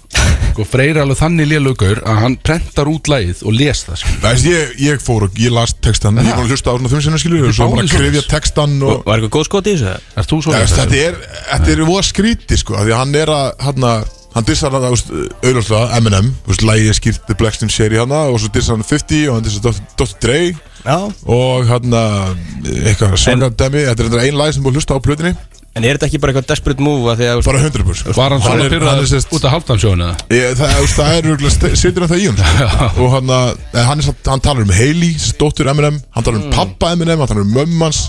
Speaker 3: Sko, Freyr er alveg þannig lélugur að hann prentar út lagið og les það sko.
Speaker 2: Það veist, ég, ég fór og ég las textan ég er búinn að hlusta á svona fimm sinna skilur og svo
Speaker 3: báðir
Speaker 2: bara að
Speaker 3: svoleiðis.
Speaker 2: krefja textan og
Speaker 4: Var eitthvað góð skot í þessu?
Speaker 3: Er þú svo
Speaker 2: Já, veist, þetta er, þetta er voða skríti sko, af því að hann er að, hann að hann dissar hann að, auðvitað, Eminem þú veist, lægið skýrt The Blackstone Sherry hann og svo dissar hann 50 og hann dissar Dr. Dr. Dre
Speaker 4: Já
Speaker 2: og hann að, eitthvað, Sörgandemi þetta er þetta einn læg sem er búið að hlusta á plötinni
Speaker 4: En er þetta ekki bara eitthvað desperate move að því að
Speaker 2: bara 100 burs
Speaker 3: Var hann svona
Speaker 2: er, hann er
Speaker 3: pyrraður
Speaker 2: sérst,
Speaker 3: út af halvdansjónu eða?
Speaker 2: ég, það, það, það er auðvitað, setur hann það í hún sko. og hann að, en hann, er samt- hann talar um Hailey, sérst, dóttur Eminem hann talar um pappa Eminem, hann talar um mömmans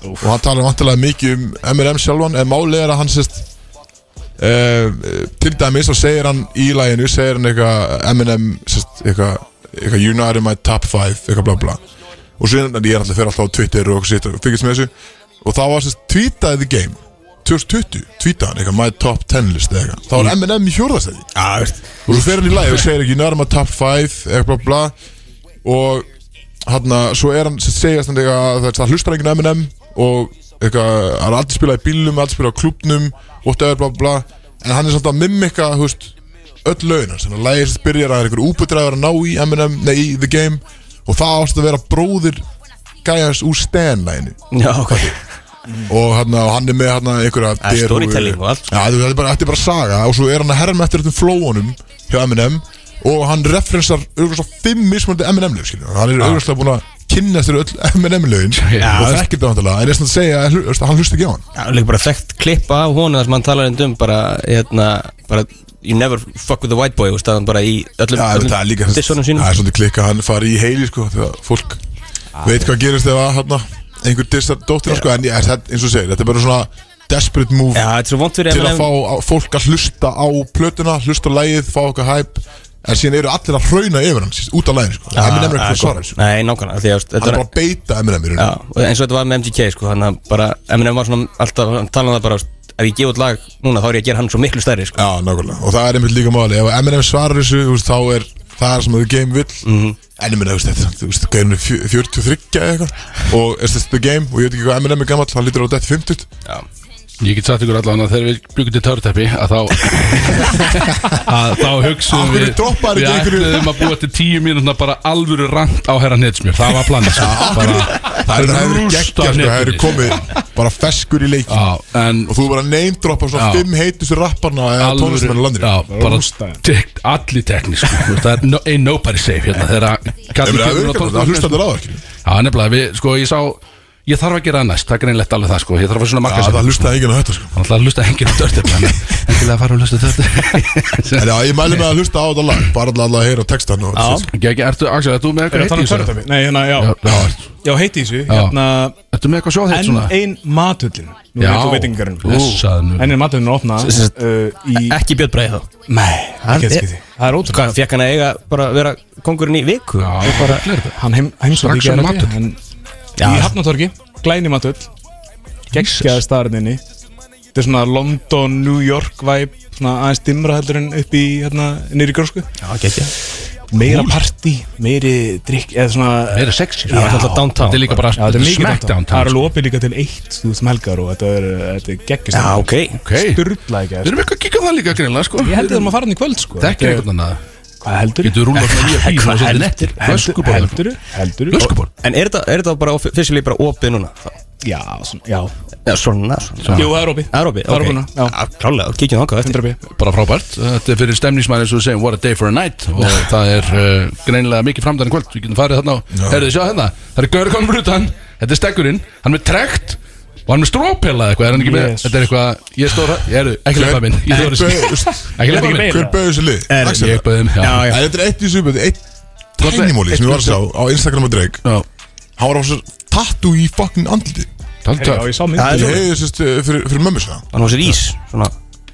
Speaker 2: og hann talar vantilega mikið um Eminem sjálfan en málið er að hann sérst uh, til dæmis og segir hann í læginu segir hann eitthvað Eminem sest, eitthvað, eitthvað you know I'm my top 5 eitthvað bla bla og svo er ég er alltaf fyrir alltaf á Twitter og sitt og fylgist með þessu og þá var sérst tweetaði the game 2020 tweetaði hann eitthvað my top 10 list eða eitthvað þá var Eminem í hjórðastæði
Speaker 4: Já, veist
Speaker 2: og svo fer hann í lægi og segir ekki you know I'm my top 5 eitthvað bla bla og hann svo er hann segjast hann eitthvað það, það hlustar enginn á Eminem og eitthvað, hann er aldrei spilað í bílum aldrei spilað á klubnum, whatever, bla bla en hann er samt að mimika, þú veist öll lögin hans, hann að lægir sem byrjar að er einhver úpudræður að ná í Eminem, nei, í The Game og það ást að vera bróðir gæjans úr Stan-læginu
Speaker 4: Já, ok
Speaker 2: og hann, og hann er með hann einhverja
Speaker 4: Það er
Speaker 2: derhúfu.
Speaker 4: storytelling og allt, sko.
Speaker 2: Já, þetta er bara, þetta er bara saga og svo er hann að herra með eftir þetta flóunum hjá Eminem og hann referensar auðvitað fimm mismunandi Eminem lög skilur hann er auðvitað búin að kynna þér öll Eminem lögin
Speaker 3: Já,
Speaker 2: og þekkir það vantilega en þess að segja að hlu- veist, hann hlusti ekki á hann
Speaker 4: Já, líka bara þekkt klippa af honu þar sem hann talar einnig um bara, hérna, bara You never fuck with the white boy, þú veist, að hann bara í öllum,
Speaker 2: Já,
Speaker 4: öllum
Speaker 2: það er líka
Speaker 4: dissonum
Speaker 2: það
Speaker 4: sínum
Speaker 2: er svolítið klikka hann fari í heili sko þegar fólk veit hvað gerist þegar hann einhver dissar dóttir sko en ég, þetta- eins og segir þetta er bara svona desperate move
Speaker 4: Já, þetta er svo vont fyrir
Speaker 2: til að
Speaker 4: Eminem
Speaker 2: fá á- fólk að hlusta á plötuna, hlusta á lægið, fá okkar hæp en síðan eru allir að hrauna yfir hann síst, út af læginu, sko. Eminem er ekki
Speaker 4: Ah,
Speaker 2: að
Speaker 4: sko.
Speaker 2: svara þessu
Speaker 4: Nei, nákvæmlega, því að þetta
Speaker 2: hann er bara að beita Eminem í
Speaker 4: Já,
Speaker 2: rauninu
Speaker 4: og eins og þetta var með MGK sko, hann að bara, Eminem var svona alltaf, hann talaði um það bara, veist, ef ég gefa út lag núna þá er ég að gera hann svo miklu stærri sko.
Speaker 2: Já, nákvæmlega, og það er einmitt líka máli ef Eminem svarar þessu, þú veist, þá er það er sem The Game vill en ég minna, þú veist, þetta, þú veist, gæðinu 43 eða eitthvað og er þetta The Game og ég veit ekki hvað Eminem er gammal, hann lítur á þetta 50
Speaker 4: Já.
Speaker 3: Ég get sagt ykkur allan að þegar við byggum til törteppi að þá að þá hugsaðum
Speaker 2: Af hverju
Speaker 3: við
Speaker 2: droppar
Speaker 3: við
Speaker 2: ekki einhverju?
Speaker 3: ætluðum að búa til tíu mínúna bara alvöru rant á herra netsmjör það var planið sko. bara
Speaker 2: það er það eru
Speaker 3: rústa
Speaker 2: geggja, sko, það eru
Speaker 3: netinu.
Speaker 2: komið bara feskur í leikin
Speaker 3: Já, en
Speaker 2: og þú bara name droppa svona
Speaker 3: Já.
Speaker 2: fimm heitustu rapparna eða
Speaker 3: alvöru-
Speaker 2: tónlistmennu landri
Speaker 3: já, bara
Speaker 5: Rústa þeim.
Speaker 3: tek, allir teknísk það er no, ain't nobody safe hérna þegar að
Speaker 2: Ef það
Speaker 3: kallinn kemur á
Speaker 2: virkar,
Speaker 3: tónlistina,
Speaker 2: það hlusta
Speaker 3: sko.
Speaker 2: allir á það, ekki?
Speaker 3: Já, nefnilega, við, sko, ég sá Ég þarf að gera það næst, það er greinlegt alveg það, sko Ég þarf að svona marka
Speaker 2: Já, það hlustaði enginn á þetta sko
Speaker 3: Þannig að hlusta hengið á dörti Engilega að fara að hlusta dörti
Speaker 2: En já, ég mæli mig að hlusta á þetta lag Bara alltaf að heyra textan og
Speaker 3: Gæki, ertu, Axel, ertu með
Speaker 5: Er
Speaker 3: eitthvað heitt
Speaker 5: það tala
Speaker 3: í
Speaker 5: um
Speaker 3: þessu?
Speaker 5: törnatafi? Nei, hérna, já
Speaker 3: Já,
Speaker 5: Já, heiti í þessu, hérna
Speaker 3: Ertu með eitthvað sjóð heitt
Speaker 5: Enn
Speaker 3: svona?
Speaker 5: ein matullin Nú
Speaker 3: Já.
Speaker 5: er þú veitingarinn
Speaker 3: Blessaður nú.
Speaker 5: Enn ein matullin er opna uh, Í
Speaker 4: e- Ekki Björn Breið þá
Speaker 5: Nei,
Speaker 4: Hann-
Speaker 5: ekki að skiti Það er ótrúlega
Speaker 4: Hvað, fekk hann að eiga bara að vera kongurinn í viku?
Speaker 3: Já,
Speaker 4: Og bara,
Speaker 3: hvað er þetta?
Speaker 5: Hann heim, heimsótti
Speaker 3: Strax
Speaker 5: ekki
Speaker 3: önnur matull.
Speaker 5: hann, Í Hafnatorgi, glæni matull Gekkjaði staðarninni Þetta er svona London, New York vibe Svona aðeins dimra heldur en upp í hérna, Nýri grósku
Speaker 4: já, ekki ekki
Speaker 5: meira partí, meiri drikk eða svona
Speaker 3: Meira sex,
Speaker 5: Já,
Speaker 3: það er alltaf downtown. Þetta er líka bara
Speaker 5: Já, þetta er mikið
Speaker 3: smack
Speaker 5: downtown.
Speaker 3: downtown,
Speaker 5: Það er
Speaker 3: sko.
Speaker 5: alveg opið líka til eitt, þú veist, um helgar og þetta er, þetta er geggjast
Speaker 3: Já, ok. Ok.
Speaker 5: Sturla ekki
Speaker 3: Við erum eitthvað að kíka á það líka greinlega sko
Speaker 5: Ég held að maður fara hann í kvöld sko
Speaker 3: Þekkir einhvern annað
Speaker 5: Hvað heldur?
Speaker 3: Getur rúlað svona nýja bíl og
Speaker 5: Hvað
Speaker 3: setja
Speaker 5: heldur-
Speaker 3: nettir
Speaker 5: heldur-
Speaker 3: Flöskuborð
Speaker 5: heldur- heldur-
Speaker 3: Flöskuborð
Speaker 4: En er þetta, er þetta bara officially bara opið núna? Þá?
Speaker 5: Já, svona, já
Speaker 4: Já, svona, svona.
Speaker 5: Jú, það er opið
Speaker 4: Það er opið,
Speaker 5: Það er
Speaker 4: ok.
Speaker 5: opið núna, já.
Speaker 4: Já, klálega, kíkjum þangað eftir
Speaker 5: 100p
Speaker 3: Bara frábært Þetta er fyrir stemningsmæri eins og við segjum What a day for a night Og það er uh, greinlega mikið framdæðan kvöld Við getum farið þarna og Herðu þið sjá hérna Það er Görgon Brutan Þetta er stekkurinn Hann er með trekt Og hann er með strópela eitthvað Er hann ekki með
Speaker 5: Jesus.
Speaker 3: Þetta er eitthvað Ég stóra Ég eru ekki
Speaker 2: Hver-
Speaker 3: lepa minn Ég
Speaker 2: hver
Speaker 3: þori þessu.
Speaker 2: bauð-
Speaker 3: Ekki lepa
Speaker 5: Ég
Speaker 3: minn
Speaker 2: Hver bauði þessu lið?
Speaker 3: Er-
Speaker 2: Axel?
Speaker 3: ég bauð þeim, já.
Speaker 2: En Þetta er eitt í sögböðu, eitt
Speaker 3: Gott með-
Speaker 2: tænimóli sem ég var að sjá á Instagram að Drake
Speaker 3: Já.
Speaker 2: Hann var á þessu tattu í fucking andliti
Speaker 3: Takk,
Speaker 5: Já,
Speaker 3: takk.
Speaker 5: ég sá
Speaker 2: Það
Speaker 5: myndið
Speaker 2: er heiðið sérst uh, fyrir, fyrir mömmu sér
Speaker 4: Hann var sér ís, svona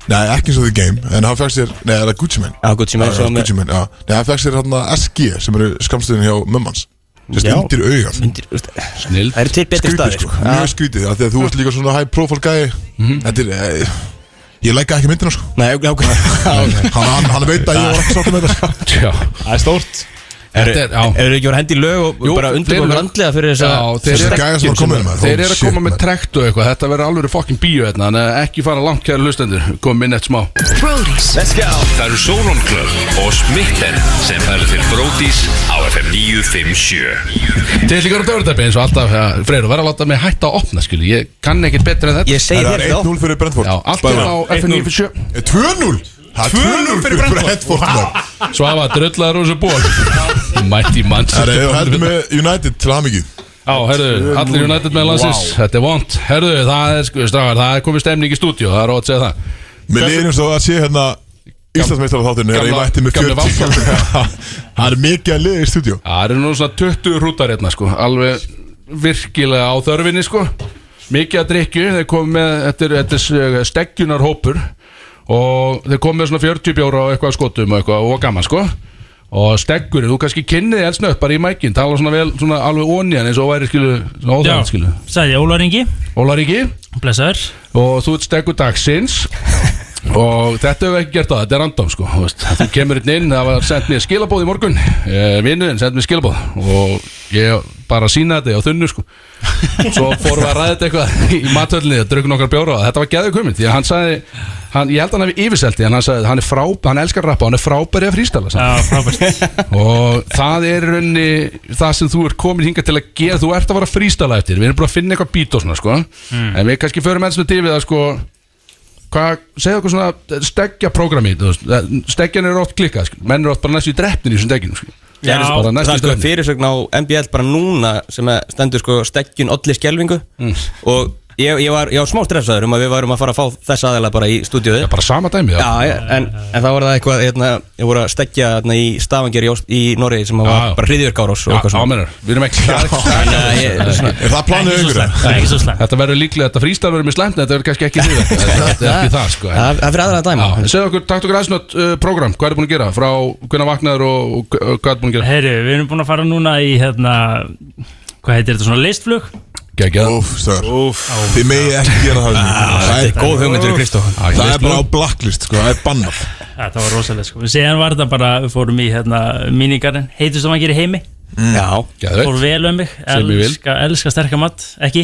Speaker 2: Nei, ekki eins og The Game En hann fekk sér, nei, það er Gucci Man
Speaker 4: Já, gott sem
Speaker 2: Já,
Speaker 4: ég svo með
Speaker 2: Gucci Man, já Nei, hann fekk sér hérna SG sem eru skamstöðin hjá mömmans Sérst
Speaker 4: Já.
Speaker 2: undir augað
Speaker 4: Myndir, veist,
Speaker 3: Snill
Speaker 4: Það eru til betri
Speaker 2: Skrítið
Speaker 4: staðir
Speaker 2: sko,
Speaker 4: sko.
Speaker 2: mjög skrítið af Því að þú ert líka svona high profile gæi Þetta er, eh, ég læka ekki myndina sko
Speaker 4: Nei, ok, ok
Speaker 2: Hann, hann, hann veit að ég var ekki sáttum með þetta sko.
Speaker 3: Já
Speaker 5: Það er stórt
Speaker 3: Þetta er Já
Speaker 4: Ef þau ekki voru hendi í lög og
Speaker 3: Jú,
Speaker 4: bara
Speaker 3: fleiri
Speaker 4: undirbúið
Speaker 3: lög.
Speaker 4: randlega fyrir þess
Speaker 3: Já,
Speaker 4: að
Speaker 3: þeir
Speaker 2: Þessi gæja sem var komin með
Speaker 3: Þeir eru að koma með trekt og eitthvað Þetta verður alveg fucking bíu hérna Þannig að ekki fara langt kæra hlustendur Komum inn eitt smá
Speaker 10: Let's go Það eru Solon Club og Smitten sem færðu til Brótis á FM 957
Speaker 3: Til líka á dörrdæpi eins og alltaf ja, Freyr, verður að láta mig hætta að opna skilji Ég kann ekkert betra en þetta
Speaker 4: Ég segi
Speaker 2: Það
Speaker 4: þér
Speaker 2: er
Speaker 4: þá
Speaker 2: 1-0 fyrir Brentford
Speaker 3: Já, allt er á FN 97
Speaker 2: Eh, 2-0 Það er 2-0 fyrir Brentford maður.
Speaker 3: Svafa, dröllaður og þessu ból Mætti
Speaker 2: Það er
Speaker 3: Manchester
Speaker 2: heldur með United til hamingju
Speaker 3: Já, herðu, allir United með landsins Þetta er vond Herðu, það er, sko, strafar, það er komið stemning í stúdíu Það er ótt að segja það
Speaker 2: Mér liðir eins og að sé hérna Íslandsmeistar á þáttunni er ég
Speaker 3: Gamla-
Speaker 2: mætti með
Speaker 3: gamla
Speaker 2: 40 Það er mikið að liða í stúdíu
Speaker 3: Já, Það eru nú svona 20 hrútar hérna sko Alveg virkilega á þörfinni sko Mikið að drikju Þeir komið með, þetta er, þetta er steggjunar hópur Og þeir komið með svona 40 bjóra og eitthvað af skotum og eitthvað og gaman sko Og steggurinn, þú kannski kynnið þið elsnöpp bara í mækinn Tala svona vel, svona alveg onjan eins og væri skilu Svona
Speaker 11: Já,
Speaker 3: óþægand skilu
Speaker 11: sagði Ólar Ingi,
Speaker 3: Ólar Ríki
Speaker 11: blessaður
Speaker 3: Og þú ert steggur dagsins Og þetta hefur ekki gert það, þetta er random sko þú veist. Þú kemur hérna inn, það var sendt mér skilabóð í morgun eh, Vinnuðinn sendt mér skilabóð Og ég bara sína þetta á þunnu sko Svo fórum við að ræða þetta eitthvað í matölinni og drukkum nokkar bjóra og Þetta var geðið komin því að hann sagði hann, Ég held hann hefði yfirselti en hann sagði Hann, er frá, hann elskar rappa, hann er frábæri að frístala sagði hann.
Speaker 11: Já, frábært
Speaker 3: Og það er í rauninni það sem þú ert komin hingað til að gera Þú ert að vara frístala eftir Við erum búin að finna eitthvað bít og svona sko En við kannski förum eins með til við að sko Hvað, segðu okkur svona stegja programmi Stegjan er oft klikkað sko. Menn Eh, eru oft bara næstu í drefnin í þessum stegjunum sko.
Speaker 11: Já,
Speaker 3: Bara
Speaker 11: það
Speaker 3: næstu
Speaker 4: Það er
Speaker 3: í
Speaker 4: sko
Speaker 3: drefnin.
Speaker 4: fyrirsögn á MBL bara núna sem að stendur sko stekkjun olli skelvingu og ég, ég, var, ég var smá stressaður um að við varum að fara að fá þess aðeila bara í stúdíuði
Speaker 3: Já, bara sama dæmi
Speaker 4: Já, já, en, en það var það eitthvað, hérna, ég voru að stekja hérna, í Stavanger í, Ást- í Noregi sem var
Speaker 3: já.
Speaker 4: bara hriðjörgárós og
Speaker 3: Já,
Speaker 4: eitthvað svona
Speaker 3: ámennur, við erum ekki
Speaker 4: Þannig að ég- það er svona-
Speaker 2: Er það planuð ykkur?
Speaker 11: Það er ekki svo slæmt
Speaker 3: Þetta verður líklega, þetta frístal verður mér slæmt en Þetta verður kannski ekki því Þetta er ekki- ekki það sko en-
Speaker 4: Það það er fyrir aðra að dæma
Speaker 3: Já, segðu okkur, takt okkur aðsnött uh, program, hvað er búin að gera? Frá hvernig vaknaður og, og, og hvað er búin að gera?
Speaker 11: Herru, við erum búin að fara núna í hérna Hvað heitir þetta svona listflug?
Speaker 3: Gægjað
Speaker 2: Úf, stöður Þið megið ekki gera það við mig. Það er
Speaker 4: Góð hugmyndur Kristóf
Speaker 2: Það er bara á blacklist sko, það er bannað
Speaker 11: Þetta var rosalega sko Síðan var þetta bara, við fórum í hérna Míningarinn, heitur sem að gera heimi
Speaker 3: Mm.
Speaker 4: Já,
Speaker 11: Fór
Speaker 3: Gæðveitt
Speaker 11: vel um mig
Speaker 3: Sem ég vil.
Speaker 11: Elska, elska sterka mat, ekki?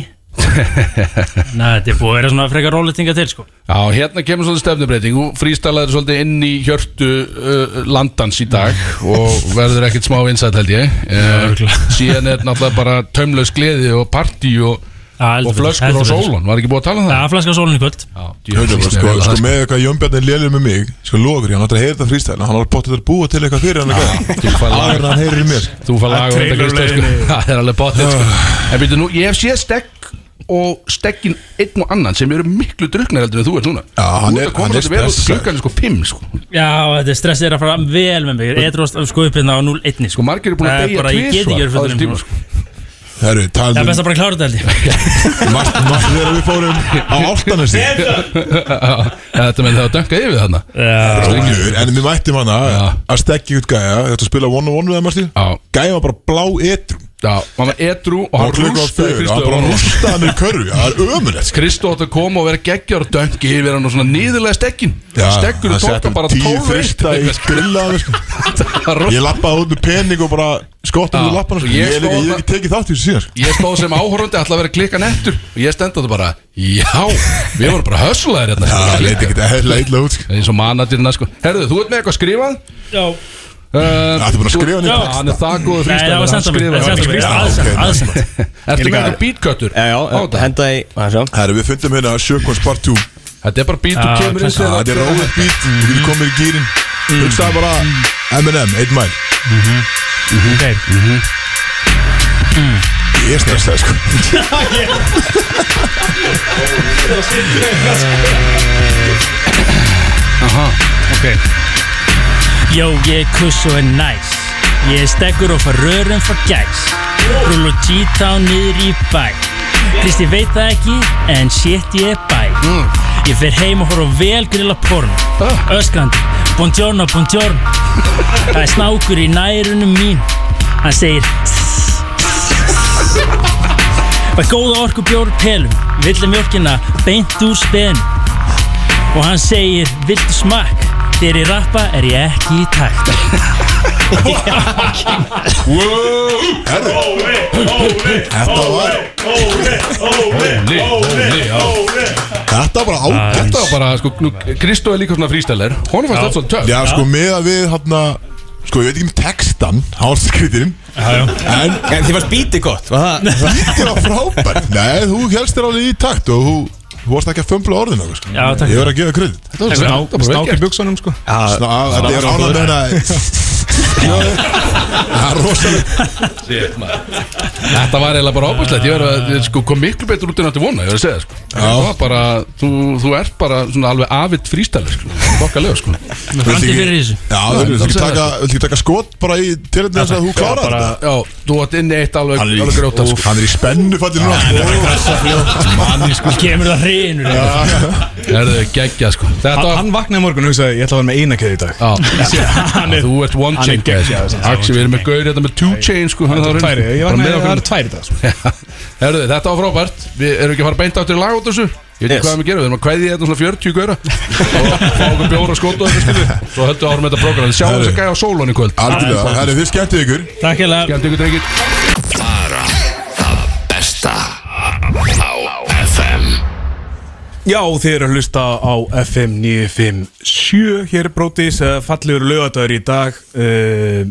Speaker 11: Næ, þetta er búið að vera svona frekar rólitinga til sko
Speaker 3: Já, hérna kemur svolítið stefnubreiting og frístalaður svolítið inn í hjörtu uh, landans í dag og verður ekkert smá vinsætt held ég uh, síðan er náttúrulega bara tömlaus gleði og partí og,
Speaker 11: Já, heldur
Speaker 3: og
Speaker 11: betur,
Speaker 3: flöskur
Speaker 11: heldur
Speaker 3: og
Speaker 11: betur.
Speaker 3: sólun, var ekki búið að tala um
Speaker 11: Það
Speaker 3: það?
Speaker 11: er flaska sólun í kvöld
Speaker 3: Já,
Speaker 2: Hörðu,
Speaker 3: djöfull,
Speaker 2: Sko,
Speaker 3: snurðu
Speaker 2: sko
Speaker 3: það,
Speaker 2: með eitthvað Jönbjarni lélir með mig Sko loður ég, hann ætlar að heyra þetta freestyle Hann har bóttið að búa til eitthvað fyrir hann eitthvað
Speaker 3: Þú fær
Speaker 2: Áður en
Speaker 3: laga-
Speaker 2: hann heyrir í mér
Speaker 3: Þú fær laga þetta Kristof sko Það er alveg bóttið sko
Speaker 2: Ah.
Speaker 3: En byrju nú, ég hef séð stekk og stekkin einn og annan sem eru miklu druknar heldur en þú ert núna
Speaker 2: Já, hann
Speaker 3: Þú ert
Speaker 2: er-
Speaker 3: að koma
Speaker 2: hann er
Speaker 3: svolítið vel út,
Speaker 2: stressaður.
Speaker 3: klukkan er sko 5 sko
Speaker 11: Já, þetta er stressið er að fara vel með mig Edróst sko upp hérna á 0-1
Speaker 3: Sko margir eru búin að
Speaker 11: Það er
Speaker 3: deyja
Speaker 11: bara- ég get ekki
Speaker 3: tvisvar
Speaker 11: verið
Speaker 3: á
Speaker 11: fullur
Speaker 3: þessum
Speaker 11: um
Speaker 3: tíma,
Speaker 11: núna,
Speaker 3: sko.
Speaker 2: Herru,
Speaker 11: Það er
Speaker 2: talum
Speaker 11: best að bara klára þetta held ég
Speaker 2: Mast þegar við fórum á áltanesi
Speaker 3: Þetta með það að dönka yfir þarna
Speaker 11: Já,
Speaker 2: Rúlur, en við mættum hana að stekki út gæja Þetta spila one on one við það, Martín
Speaker 3: Já.
Speaker 2: Gæja var bara blá etrum
Speaker 3: Já, hann var edru og hann
Speaker 2: Og klukkan
Speaker 3: rústaði
Speaker 2: fjögur,
Speaker 3: Kristó
Speaker 2: hann bara rústaði hann í körfu, það er sko. ömulegt
Speaker 3: Kristó átt að koma og vera geggjar og döngi yfir hann og svona nýðilega stekkin Stekkur og tóka bara 12
Speaker 2: frista í grillaði Ég lappaði út með pening og bara skottum
Speaker 3: Já,
Speaker 2: við lappan
Speaker 3: og
Speaker 2: sko. Ég
Speaker 3: ég
Speaker 2: hef
Speaker 3: stóð
Speaker 2: ekki- ég hef
Speaker 3: þarna-
Speaker 2: ekki tekið þátt í þessu síðan sko.
Speaker 3: Ég stóð sem áhorandi alltaf að vera klikkan eftir og ég stendaði bara, já, við vorum bara hösslaðir hérna
Speaker 2: Já, leit ekkert eðlilega illa út
Speaker 3: Eins og managerina sko Herðu, þú ert með eitthvað skrifað?
Speaker 11: Já
Speaker 3: Það
Speaker 2: er búin að skrifa
Speaker 3: Já,
Speaker 2: niður
Speaker 3: hann er það góður
Speaker 11: Nei, það var
Speaker 3: hann
Speaker 11: sent á mig.
Speaker 3: skrifar.
Speaker 11: Það var sent á mig.
Speaker 3: Já,
Speaker 11: Aðsent,
Speaker 3: ok.
Speaker 11: aðsent.
Speaker 3: Ertu með eitthvað beatcutter?
Speaker 4: Já, já, henda í
Speaker 2: Herru, við fundum hérna Sjökons part 2
Speaker 3: Þetta er bara beat og kemur inn þegar-
Speaker 2: Þetta er róið beat, þú getur komið í gýrin Hugsaði bara M&M, 1 mæl
Speaker 11: Ok
Speaker 2: Ég er stressaði sko
Speaker 11: Aha, ok Jó, ég er kuss og er næs Ég er stekkur og far rörum far gæs Rúl og G-town niður í bæ Kristi veit það ekki, en shit ég er bæ Ég fer heim og horf á vel grilla porno Öskrandi, buongiorno, buongiorno Það er snákur í nærunum mín Hann segir Var góða orku bjór pelum Villu mjölkina beint úr spenum og hann segir viltu smakk þegar ég rappa er ég ekki í takt
Speaker 2: Herru Þetta var Þetta var bara á
Speaker 3: Þetta var bara, sko, nú, Kristó er líka svona frístælar Hún fannst þetta svona töf
Speaker 2: Já, sko, með að við hann Sko, ég veit ekki um textan, hálskritirinn En
Speaker 4: En þið varst bítið gott var það?
Speaker 2: Bítið var frábært Nei, þú helst þér alveg í takt og þú Þú varst ekki að fömbla orðin okkur sko.
Speaker 11: Já, takk.
Speaker 2: Ég verð að gefa krydd
Speaker 3: Þetta var svona- þetta var bara vel
Speaker 5: Snák í
Speaker 3: gert.
Speaker 5: buksunum sko
Speaker 2: Þetta er ánað með hana Það er rosalega
Speaker 3: Shit, maður. Þetta var eiginlega bara ábúrslegt Ég verð að, ég, sko, kom miklu betur út en átti vona Ég verð að segja, sko Það var bara, þú, þú ert bara svona alveg afitt frístælar, sko Bokkalega, sko
Speaker 11: Með framtíð fyrir þessu
Speaker 2: Já, þú vilt ekki taka, vilt ekki taka skot bara í tilhættin þess að þú klárar þetta
Speaker 3: Já, þú átt inn eitt alveg,
Speaker 2: Hann er í-
Speaker 3: alveg grjóta, sko
Speaker 2: Hann er í spennu fattir núna Manni sko
Speaker 11: Kemur það hreinu
Speaker 3: Erðu geggja, sko Þetta
Speaker 5: Hann
Speaker 3: var
Speaker 5: hann vaknaði í morgun og hugsaði Ég ætla að vera með eina keði í dag
Speaker 3: Já, Já, þú ert one
Speaker 5: hann er
Speaker 3: chain guy, sko.
Speaker 5: geggjaður, sko.
Speaker 3: Axi, við erum með gaur hérna með two chain sko, hann er það
Speaker 5: Tværi,
Speaker 3: raunin, bara með
Speaker 5: ég vaknaði Það
Speaker 3: okkur.
Speaker 5: eru tværi í dag sko.
Speaker 3: Herðu, þetta var frábært Við erum ekki að fara beint áttur í lag út þessu Ég veit ekki
Speaker 4: Yes.
Speaker 3: hvað við gerum, við erum að kveðja hérna svona 40 gauðra og fá okkur bjóra skóta og þetta skilu Svo höldum við árum þetta program Sjáum þess að gæja á sólun í kvöld
Speaker 2: Algjörlega, það er þið skemmtið ykkur
Speaker 11: Takk hella
Speaker 3: Gæmt ykkur drengir
Speaker 10: Bara það besta Á FM
Speaker 5: Já, þið eru að hlusta á FM 957 Hér er Brótis, fallegur lögadagur í dag uh,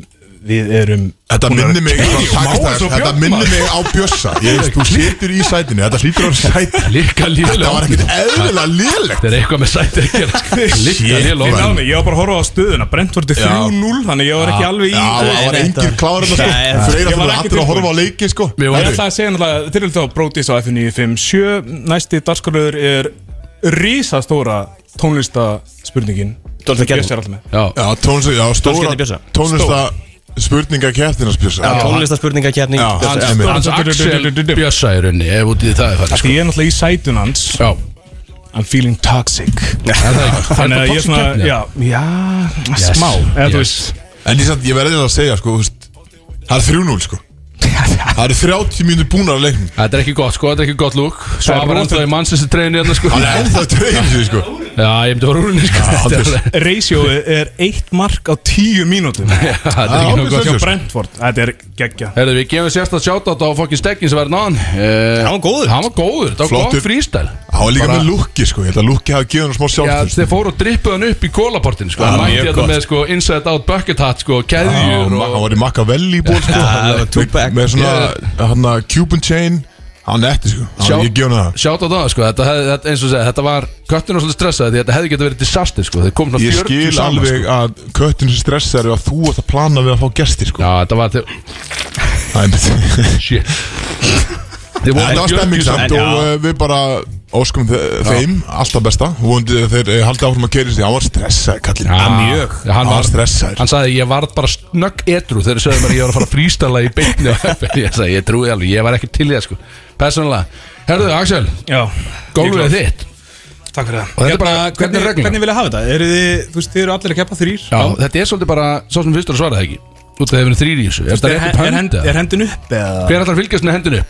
Speaker 5: Við erum
Speaker 2: Þetta minnir mig
Speaker 5: Keyri,
Speaker 2: á
Speaker 5: má
Speaker 2: takistæðar,
Speaker 5: þessu á
Speaker 2: Þetta
Speaker 5: Björn,
Speaker 2: minnir
Speaker 5: maður?
Speaker 2: mig á bjössa Ég veist, þú situr í sætinu Þetta hlýtur á sætinu
Speaker 3: Líka
Speaker 2: Þetta
Speaker 3: lífilega
Speaker 2: var ekkert eðlilega lélegt
Speaker 3: Þetta er eitthvað með sæti að gera sko.
Speaker 2: Shit,
Speaker 3: Líka
Speaker 5: Ég
Speaker 3: lífilega
Speaker 5: náði, mig, ég var bara að horfa á stöðuna Brentford er
Speaker 2: Já.
Speaker 5: 3-0, þannig ég var ekki alveg í
Speaker 2: Já, það var
Speaker 4: Nei,
Speaker 2: engir
Speaker 4: þetta-
Speaker 2: klárar
Speaker 4: Nei,
Speaker 2: þetta Freyra
Speaker 5: ég var
Speaker 2: fyrir
Speaker 5: ekki
Speaker 2: allir að horfa á
Speaker 5: tilbúin.
Speaker 2: leikin sko
Speaker 3: Við
Speaker 5: Ég
Speaker 3: vorum
Speaker 5: ætla að segja náttúrulega til þetta á Brótis á FM 957 Næsti dagskorlöður er risastóra tónlistaspurningin
Speaker 4: Dálítið
Speaker 5: sem
Speaker 4: gerðum.
Speaker 5: Bjössi er alltaf með.
Speaker 3: Já,
Speaker 2: Já, tónlist, já,
Speaker 4: Tónlistin
Speaker 2: stóra
Speaker 4: í Bjössa.
Speaker 2: Tónlista spurninga kæftinars bjössa
Speaker 4: Tónlistaspurningakeppning
Speaker 2: Já,
Speaker 4: Bjössi.
Speaker 2: einmitt.
Speaker 3: hans Axel Bjössa í rauninni Ef út í það er farið
Speaker 5: Því
Speaker 3: sko.
Speaker 5: ég er náttúrulega í sætun hans
Speaker 3: Já,
Speaker 5: I'm feeling toxic
Speaker 3: er það ekki Það er
Speaker 5: Þannig að ég er
Speaker 3: toxic
Speaker 5: svona,
Speaker 3: keppni,
Speaker 5: já, já,
Speaker 3: Yes,
Speaker 5: smá Eða
Speaker 3: yes.
Speaker 5: þú veist
Speaker 2: En ég, samt- ég verði að segja sko, þú veist, það er 3-0 sko Það eru 30 mínútur búnar að leiknum
Speaker 3: Þetta er ekki gott sko, þetta er ekki gott lúk
Speaker 5: er
Speaker 3: Svafar
Speaker 5: rosalegt.
Speaker 3: ennþá í mannsins treyni hérna sko
Speaker 2: Hann er ennþá treyðin sér sko
Speaker 3: Já, ég myndi fara úr henni sko Þetta er
Speaker 2: aldrei.
Speaker 3: alveg-
Speaker 5: Ratioið er eitt mark á tíu mínútum
Speaker 3: Já, Þetta er ekki nóg gott
Speaker 5: Hjá
Speaker 2: Ágætis.
Speaker 5: Brentford, þetta er geggja
Speaker 3: Herðu, við gefum sérstætt sjátátt á fokkin stekkin sem verður náðan uh,
Speaker 4: Hann var góður.
Speaker 3: Hann var góður, það var
Speaker 2: Flottur.
Speaker 3: gott frístæl
Speaker 2: Hann var líka
Speaker 3: Bara-
Speaker 2: með lukki sko, ég held að lukki hafi gefið hann smá
Speaker 3: Já,
Speaker 2: sjálfstöld
Speaker 3: þeir fóru og drippuð hann upp í kólaportin sko.
Speaker 2: Já,
Speaker 3: Hann
Speaker 2: mjög
Speaker 3: mætti þetta
Speaker 2: gott.
Speaker 3: með sko, inside out bucket hat sko,
Speaker 2: Já, ma-
Speaker 3: Keðjur og
Speaker 2: hann var í Machiavelli ból sko
Speaker 4: það var two
Speaker 2: með,
Speaker 4: pack.
Speaker 2: með svona, hann að Cuban chain Hann eftir sko,
Speaker 3: Sjá-
Speaker 2: hann, ég gef hann það
Speaker 3: Sjátátt á það, sko. þetta, hef, þetta, eins og segja Þetta var, köttin var svolítið stressaði Því þetta hefði getið verið disaster sko. Þeir kom svona
Speaker 2: Ég
Speaker 3: 40
Speaker 2: skil
Speaker 3: saman
Speaker 2: alveg
Speaker 3: sko.
Speaker 2: að köttinu sem stressar er að þú ert að plana við að fá gesti sko
Speaker 3: Já, þetta var til,
Speaker 2: Það er mitt
Speaker 3: shit Þeir
Speaker 2: Þetta
Speaker 3: voru
Speaker 2: var
Speaker 3: 40
Speaker 2: stemming
Speaker 3: saman.
Speaker 2: samt
Speaker 4: En
Speaker 2: og
Speaker 4: já.
Speaker 2: uh, við bara óskum þe- þeim alltaf besta Vóndi þeir eh, haldi áfram að keira sig Hann var stressaði kallinn
Speaker 3: Já, já, hann
Speaker 2: Hann
Speaker 3: var-
Speaker 2: var stressaði
Speaker 3: Hann sagði ég var bara snögg edru þegar sögðu mér að ég var að fara að frístala í beinni á FM Ég sagði ég trúi alveg, ég var ekki til í það sko Persónulega Herðu Axel,
Speaker 5: Já,
Speaker 3: gólfið er þitt
Speaker 5: takk fyrir það
Speaker 3: Og þetta er bara, hvernig er reglan?
Speaker 5: Hvernig vil ég hafa þetta? Eru þið, þú veist, þið eru allir að keppa þrýr
Speaker 3: Já, þetta er svolítið bara, svo sem fyrstur að svara það ekki út af hefur þrýr í þessu Er þetta
Speaker 5: Er
Speaker 3: rétt upp
Speaker 5: hen- er
Speaker 3: hönd?
Speaker 5: hen-
Speaker 3: eða?
Speaker 5: er hendin upp eða?
Speaker 3: Hver ætlar að fylgjast með hendinu?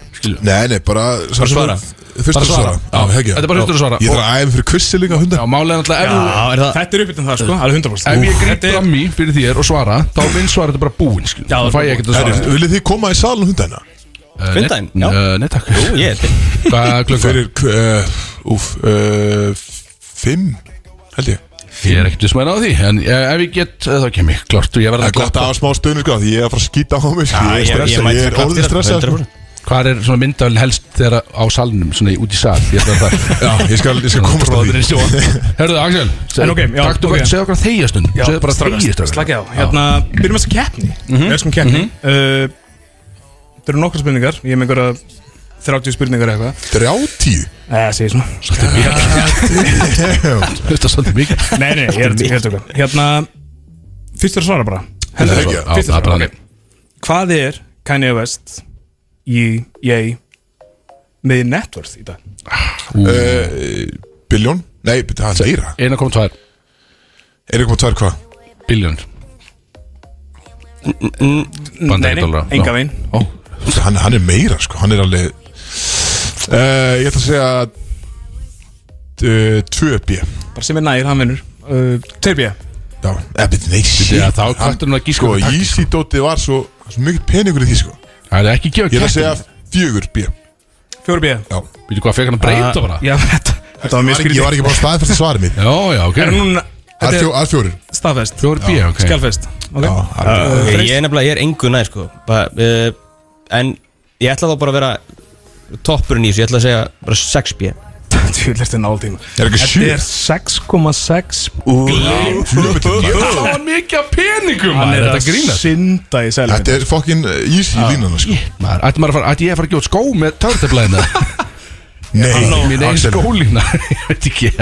Speaker 2: Nei, nei, bara
Speaker 3: Bara svara
Speaker 2: Fyrst
Speaker 3: Bara
Speaker 2: að svara
Speaker 3: Já, Þetta er bara fyrst að svara
Speaker 2: Ég þarf að æfa fyrir kvissi líka hundar
Speaker 3: Já, málega náttúrulega ef þú-
Speaker 5: Þetta er uppbytun það sko, alveg 100%
Speaker 3: Ef ég grýp fram í fyrir þér og svara Þá minn svara þetta bara búinn skilur. Þá fæ ég ekkert að svara
Speaker 2: Herri, Viljið þið koma í salun hundana?
Speaker 3: Eh,
Speaker 4: Hundaginn?
Speaker 3: nei- eh, Nei, takk Jú,
Speaker 4: ég er til
Speaker 3: Hvað klukka?
Speaker 2: Fyrir, uh, úf, uh, fimm, held ég
Speaker 3: Ég er ekkert smæðin á því En eh, ef ég get, eh, þá kem ég klart Ég verð
Speaker 2: Það
Speaker 3: að
Speaker 2: er gott að
Speaker 3: klappa
Speaker 2: hafa smá stöðnir sko, því ég er að fara að skýta á mig sko. Ég er stressað, ég er orðið stressað sko.
Speaker 3: Hvar er svona myndavælin helst þegar á salnum Svona í- út í sal Ég ætla að það
Speaker 2: Já, ég skal, ég skal komast að því
Speaker 3: Herðu, Axel
Speaker 5: En ok, já,
Speaker 3: Takk, þú
Speaker 5: ok.
Speaker 3: okay. segðu okkur að þegja stund
Speaker 5: Já,
Speaker 3: Segðu bara Mhm.
Speaker 5: strax,
Speaker 3: þegja stund
Speaker 5: Slakið á, hérna, byrjum við þess að keppni Við elskum keppni Uh, Það eru nokkra spurningar, ég er með einhverja 30 spurningar eða eitthvað
Speaker 2: Þrjá tíu
Speaker 5: Nei, það segir svona
Speaker 3: Svolítið mikið Þetta er svolítið mikið
Speaker 5: Nei, nei, ég er ég er að tökka Hérna, fyrst er að svara bara Hendur
Speaker 2: Ekki,
Speaker 5: svo,
Speaker 2: já,
Speaker 5: fyrst er
Speaker 3: það er
Speaker 5: að
Speaker 3: bara
Speaker 5: svara
Speaker 3: þannig.
Speaker 5: ok. Hvað er Kanye West í, ég, með networth í dag? Eh,
Speaker 2: Biljón? Nei, það er meira
Speaker 3: 1,2
Speaker 2: 1,2 hvað?
Speaker 3: biljón Bandaríkjadollara. Já.
Speaker 5: enga veginn
Speaker 2: Hann, hann er meira sko, hann er alveg uh, Ég ætla að segja uh, 2B
Speaker 5: Bara sem er nær, hann vinnur uh, 2B
Speaker 2: Já, eða byrja, nei, shit
Speaker 3: Já, þá kvartar hún að gíska
Speaker 2: Sko,
Speaker 3: okkur taktík,
Speaker 2: Yeezy dótið var svo, svo mikið peningur í því sko
Speaker 3: Það er ekki gefa
Speaker 2: Ég ætla að
Speaker 3: kæftin
Speaker 2: segja 4B
Speaker 5: 4B
Speaker 3: Vítu hvað fekk hann að breyta bara
Speaker 5: Ah, Já, þetta þetta var mjög
Speaker 2: Ég
Speaker 5: skrítið
Speaker 2: var ekki bara staðfært að svara mitt
Speaker 3: Já, já, ok
Speaker 5: Er núna,
Speaker 2: Það
Speaker 5: þetta
Speaker 2: er fjó-
Speaker 5: er
Speaker 2: það er fjórir
Speaker 5: staðfest
Speaker 3: 4B, ok
Speaker 5: Skjálfest Ok
Speaker 2: Já, það er-
Speaker 4: Ok, Ég er nefnilega, ég er engu næ sko Bara, eh, En ég ætla þá bara að vera Toppurinn í þessu, ég ætla að segja bara 6B
Speaker 5: Þú lert þetta náltíma
Speaker 2: Er ekki sjö?
Speaker 5: Þetta er 6,6
Speaker 2: Helviti, ég-
Speaker 3: Það var mikið af peningum maður,
Speaker 5: Hann er
Speaker 3: Þetta
Speaker 5: að
Speaker 3: grínast
Speaker 5: synda í selvi
Speaker 2: Þetta er fokkin Yeezy
Speaker 5: Ah.
Speaker 2: í línuna sko
Speaker 3: Maður, Ætti maður að fara, ætti ég að fara að gefa út skó með törtablæðina
Speaker 2: Nei,
Speaker 3: Mín eigin
Speaker 2: Axel.
Speaker 3: skólína Ég veit ekki Ég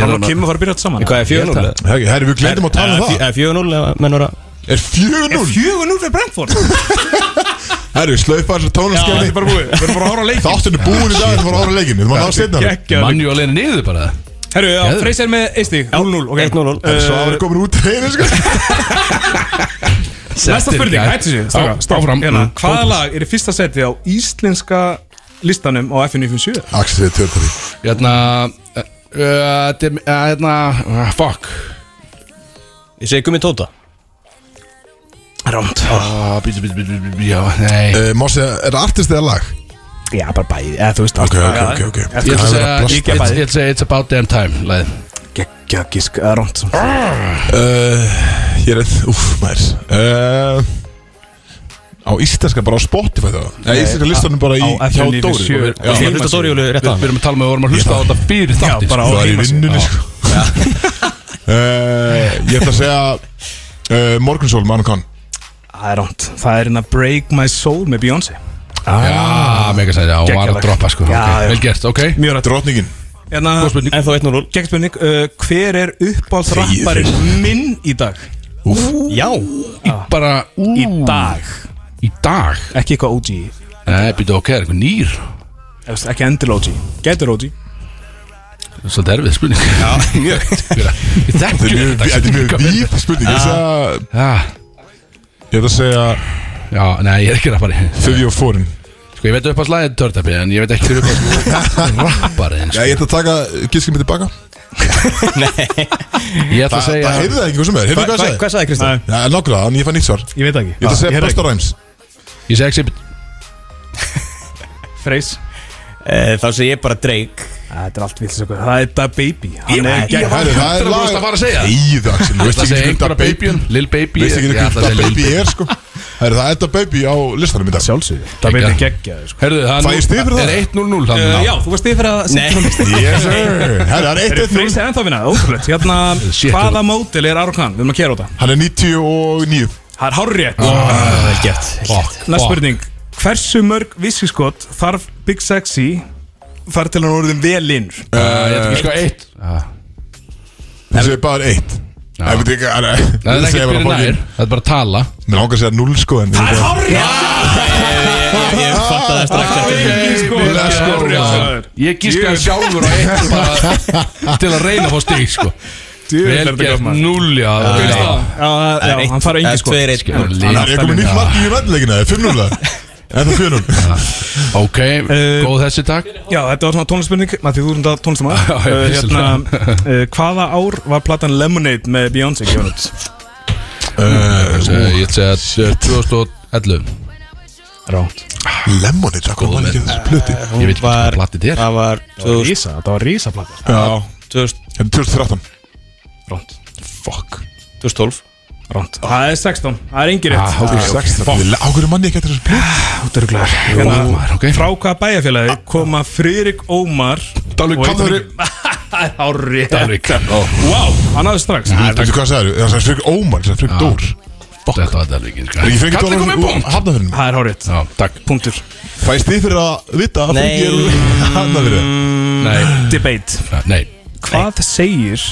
Speaker 3: er
Speaker 5: hann og
Speaker 3: alveg-
Speaker 5: Kim að fara að byrja þetta saman
Speaker 4: Hvað er 4-0? eða?
Speaker 2: Herri, herri, við glemdum að tala um það
Speaker 4: Eða fj- eða 4-0 eða menn voru að
Speaker 2: Er 4-0
Speaker 5: Fjögur nú fyrir Brentford
Speaker 2: Herru, slaupa þessu
Speaker 5: Þetta er
Speaker 2: tónarskefni
Speaker 5: bara búið Við erum bara að ára leik
Speaker 2: Þátturinn er búin í dag, þetta var ára leikin Þetta var náða setna
Speaker 3: Manju á leiðinu niður bara
Speaker 5: Herru, já,
Speaker 3: Geðveikt.
Speaker 5: Freys er með einstík 0-0 ok.
Speaker 4: 1-0.
Speaker 5: Eh,
Speaker 2: Svo að vera komin út reyni sko
Speaker 5: Næsta spurning, hættu sér
Speaker 3: Á- áfram.
Speaker 5: hérna,
Speaker 3: Mm.
Speaker 5: Hvaða lag er í fyrsta seti á íslenska listanum á FN957?
Speaker 2: Axel segir törpari
Speaker 3: Hérna eh, eh, dim- eh, Hérna ah, Fuck
Speaker 4: Ég segi Gummi Tóta
Speaker 5: Rámt
Speaker 3: Ah, Bítu, bítu, bítu, bítu, bítu, Já, nei
Speaker 2: Eh, Má segja, er það artist eða lag?
Speaker 5: Já, bara bæði, eða þú veist
Speaker 2: Ok, ok, ok, ok
Speaker 3: Ég ætla að
Speaker 2: Það er
Speaker 3: segja
Speaker 2: að
Speaker 3: Ég
Speaker 2: blasta.
Speaker 3: ætla að segja It's about damn time Læði
Speaker 5: Gekkja, gísk, eða rámt
Speaker 2: Eh, Ég er eitthvað, úf, maður Eh, Á íslenska, bara á Spotify það Nei, íslenska listanum bara í
Speaker 5: á
Speaker 2: Hjá
Speaker 5: FNI fyrir
Speaker 2: Dóri
Speaker 5: sjö.
Speaker 2: Já,
Speaker 4: Ég hlusta Dóri Júli rétt
Speaker 3: Við
Speaker 4: að
Speaker 3: við erum að tala með að við vorum að hlusta á þetta fyrir þáttis
Speaker 5: bara á
Speaker 2: Það er í
Speaker 5: heimasíðu.
Speaker 2: vinnunni sko Eh, Ég ætla að segja eh, Morgunsól, Manu Kahn
Speaker 5: Það er rámt Það er hérna Break My Soul með Beyoncé
Speaker 2: sko.
Speaker 3: Já, mega sæti, já, hún var að
Speaker 5: Geggjalag.
Speaker 3: droppa sko
Speaker 5: Já,
Speaker 3: ok.
Speaker 5: já.
Speaker 3: Vel gert, ok
Speaker 5: Mjög rætt
Speaker 2: Drotningin
Speaker 5: Hérna,
Speaker 3: Góð spurning
Speaker 4: En þá 1-0
Speaker 5: gegn spurning uh, Hver er uppáhaldsrapparinn minn í dag?
Speaker 4: Já
Speaker 3: Bara ú,
Speaker 5: Í dag
Speaker 3: Í dag
Speaker 5: Ekki eitthvað OG
Speaker 3: Nei, býtu, ok, er eitthvað nýr
Speaker 5: Eða, veist, Ekki endil OG Getur OG
Speaker 3: Svo derfið spurning Já, mjög Ég
Speaker 2: Þetta
Speaker 3: þekki
Speaker 2: er mjög- þetta er mjög
Speaker 3: nýr
Speaker 2: víð spurning Ég ætla að-
Speaker 3: Já,
Speaker 2: ég ætla að segja
Speaker 3: nei, ég er ekki rappari
Speaker 2: Þriði og fórin
Speaker 3: Sko, ég veit upp að slæðið törtapi En ég veit ekki hver upp að rapparinn
Speaker 2: Já,
Speaker 3: sko.
Speaker 2: ég ætla að taka gískum mitt tilbaka
Speaker 3: Ég ætla að
Speaker 2: Það
Speaker 3: segja
Speaker 2: heyrði það ekki hvað sem er, heyrðu hvað það
Speaker 4: Hvað
Speaker 2: sagði
Speaker 4: sagði Kristján?
Speaker 2: Já, nákvæmlega, en ég fann nýtt svar Ég
Speaker 5: Ég veit það ekki
Speaker 2: ætla að segja
Speaker 5: það
Speaker 2: Busta Rhymes
Speaker 3: Ég segi exhibit
Speaker 5: Freys
Speaker 4: Eh, Þá segi ég bara Drake
Speaker 5: Þetta er allt vilt sér Það er Da Baby Hann er
Speaker 2: Ég
Speaker 5: gegn
Speaker 2: var
Speaker 3: 100% að fara að segja.
Speaker 2: Íð, Axel, þú veist
Speaker 3: Ég ætla að
Speaker 2: ekki
Speaker 3: segja
Speaker 2: hvernig Da
Speaker 3: einhverja
Speaker 2: Baby
Speaker 3: babyn Lil Baby
Speaker 2: Veist ekki
Speaker 3: Ég ætla
Speaker 2: hvernig Da
Speaker 3: að segja Lil
Speaker 2: Baby er, sko Herru, það er Da Baby á listanum í dag
Speaker 5: Sjálfsögðu Da Baby er geggja
Speaker 3: Herðu, það
Speaker 2: Fæ ég stig fyrir
Speaker 3: nú-
Speaker 2: það?
Speaker 3: er 1-0-0 þannig.
Speaker 5: Eh, Já, þú varst yfir fyrir að
Speaker 4: Nei
Speaker 2: Yes, sir Herru, það er eitt
Speaker 5: Eru
Speaker 2: eitt
Speaker 5: Freys er ennþá minna Ótrúlegt Hérna
Speaker 3: Shit,
Speaker 5: Hvaða mótil er Arokan? Við erum að kera á það
Speaker 2: Hann er 99
Speaker 5: Það er hárrið
Speaker 4: Vel gert
Speaker 3: Fuck,
Speaker 5: Næst
Speaker 3: fuck.
Speaker 5: spurning Hversu mörg viskiskot þarf Big Sexy þar til hann orðin velinnur?
Speaker 3: Uh, Ég ætla ekki sko eitt
Speaker 2: Þú segir bara eitt Það veit ekki, hann er
Speaker 3: Það er ekki fyrir nær Það er bara að tala
Speaker 2: Mér langar að segja 0 sko en Það er hárið
Speaker 4: Eh, Ég fatt að það strax eftir
Speaker 2: Mér langar að segja
Speaker 3: Ég gískaði sjálfur á eitt bara til að reyna að fá stig sko
Speaker 5: Djöfull er
Speaker 3: Vel
Speaker 5: þetta
Speaker 3: gert,
Speaker 5: gaman.
Speaker 3: núll, já
Speaker 5: Já, já, já, já, hann fara engi sko
Speaker 2: Það er komið nýtt mark í vendleikina, 5-0 En það 4-0
Speaker 3: Ok, góð þessi takk
Speaker 5: Já, þetta var svona tónlistspurning Matti, þú erum þetta tónlistamæð
Speaker 3: Já, já,
Speaker 5: hérna,
Speaker 3: vissulega.
Speaker 5: uh, Hvaða ár var platan Lemonade með Beyoncé gefin út?
Speaker 2: Eh,
Speaker 3: Eh, Ég ætla að segja 2011
Speaker 5: Rátt
Speaker 2: Lemonade, það kom hann ekki þessu plöti
Speaker 3: Ég veit ekki hvað platið er
Speaker 4: Það var
Speaker 5: Það var rísa, það var rísa platan
Speaker 2: Já, Hérna, 2013
Speaker 5: Rátt
Speaker 2: Fuck
Speaker 4: 2012
Speaker 5: Rátt Það er 16, það er engi rétt
Speaker 2: Það er 16 Á hverju manni ekki eftir þessu plöti
Speaker 5: Þú eru glæður
Speaker 3: Ómar, ok.
Speaker 5: Frá hvaða bæjarfélagi koma Friðrik Ómar
Speaker 2: Dalvík,
Speaker 5: og
Speaker 2: hvað
Speaker 5: Eiríkur- Það er hárið
Speaker 3: Dalvík. Ó.
Speaker 5: Wow, hann hafði strax
Speaker 2: Veitu hvað það er? Það er Frigg Ómar, það er Frigg Dór
Speaker 3: Þetta var Dalvíkin
Speaker 2: Er ekki Frigg
Speaker 3: Kalli
Speaker 2: Dór
Speaker 3: komið búm
Speaker 2: Hafnafjörnum
Speaker 5: Það er hárið
Speaker 3: Já, takk
Speaker 5: Punktur
Speaker 2: Fæst þið fyrir að vita að Frigg er úr Hafnafjörnum
Speaker 3: Nei,
Speaker 5: Mm. Debate
Speaker 3: nei
Speaker 5: Hvað segir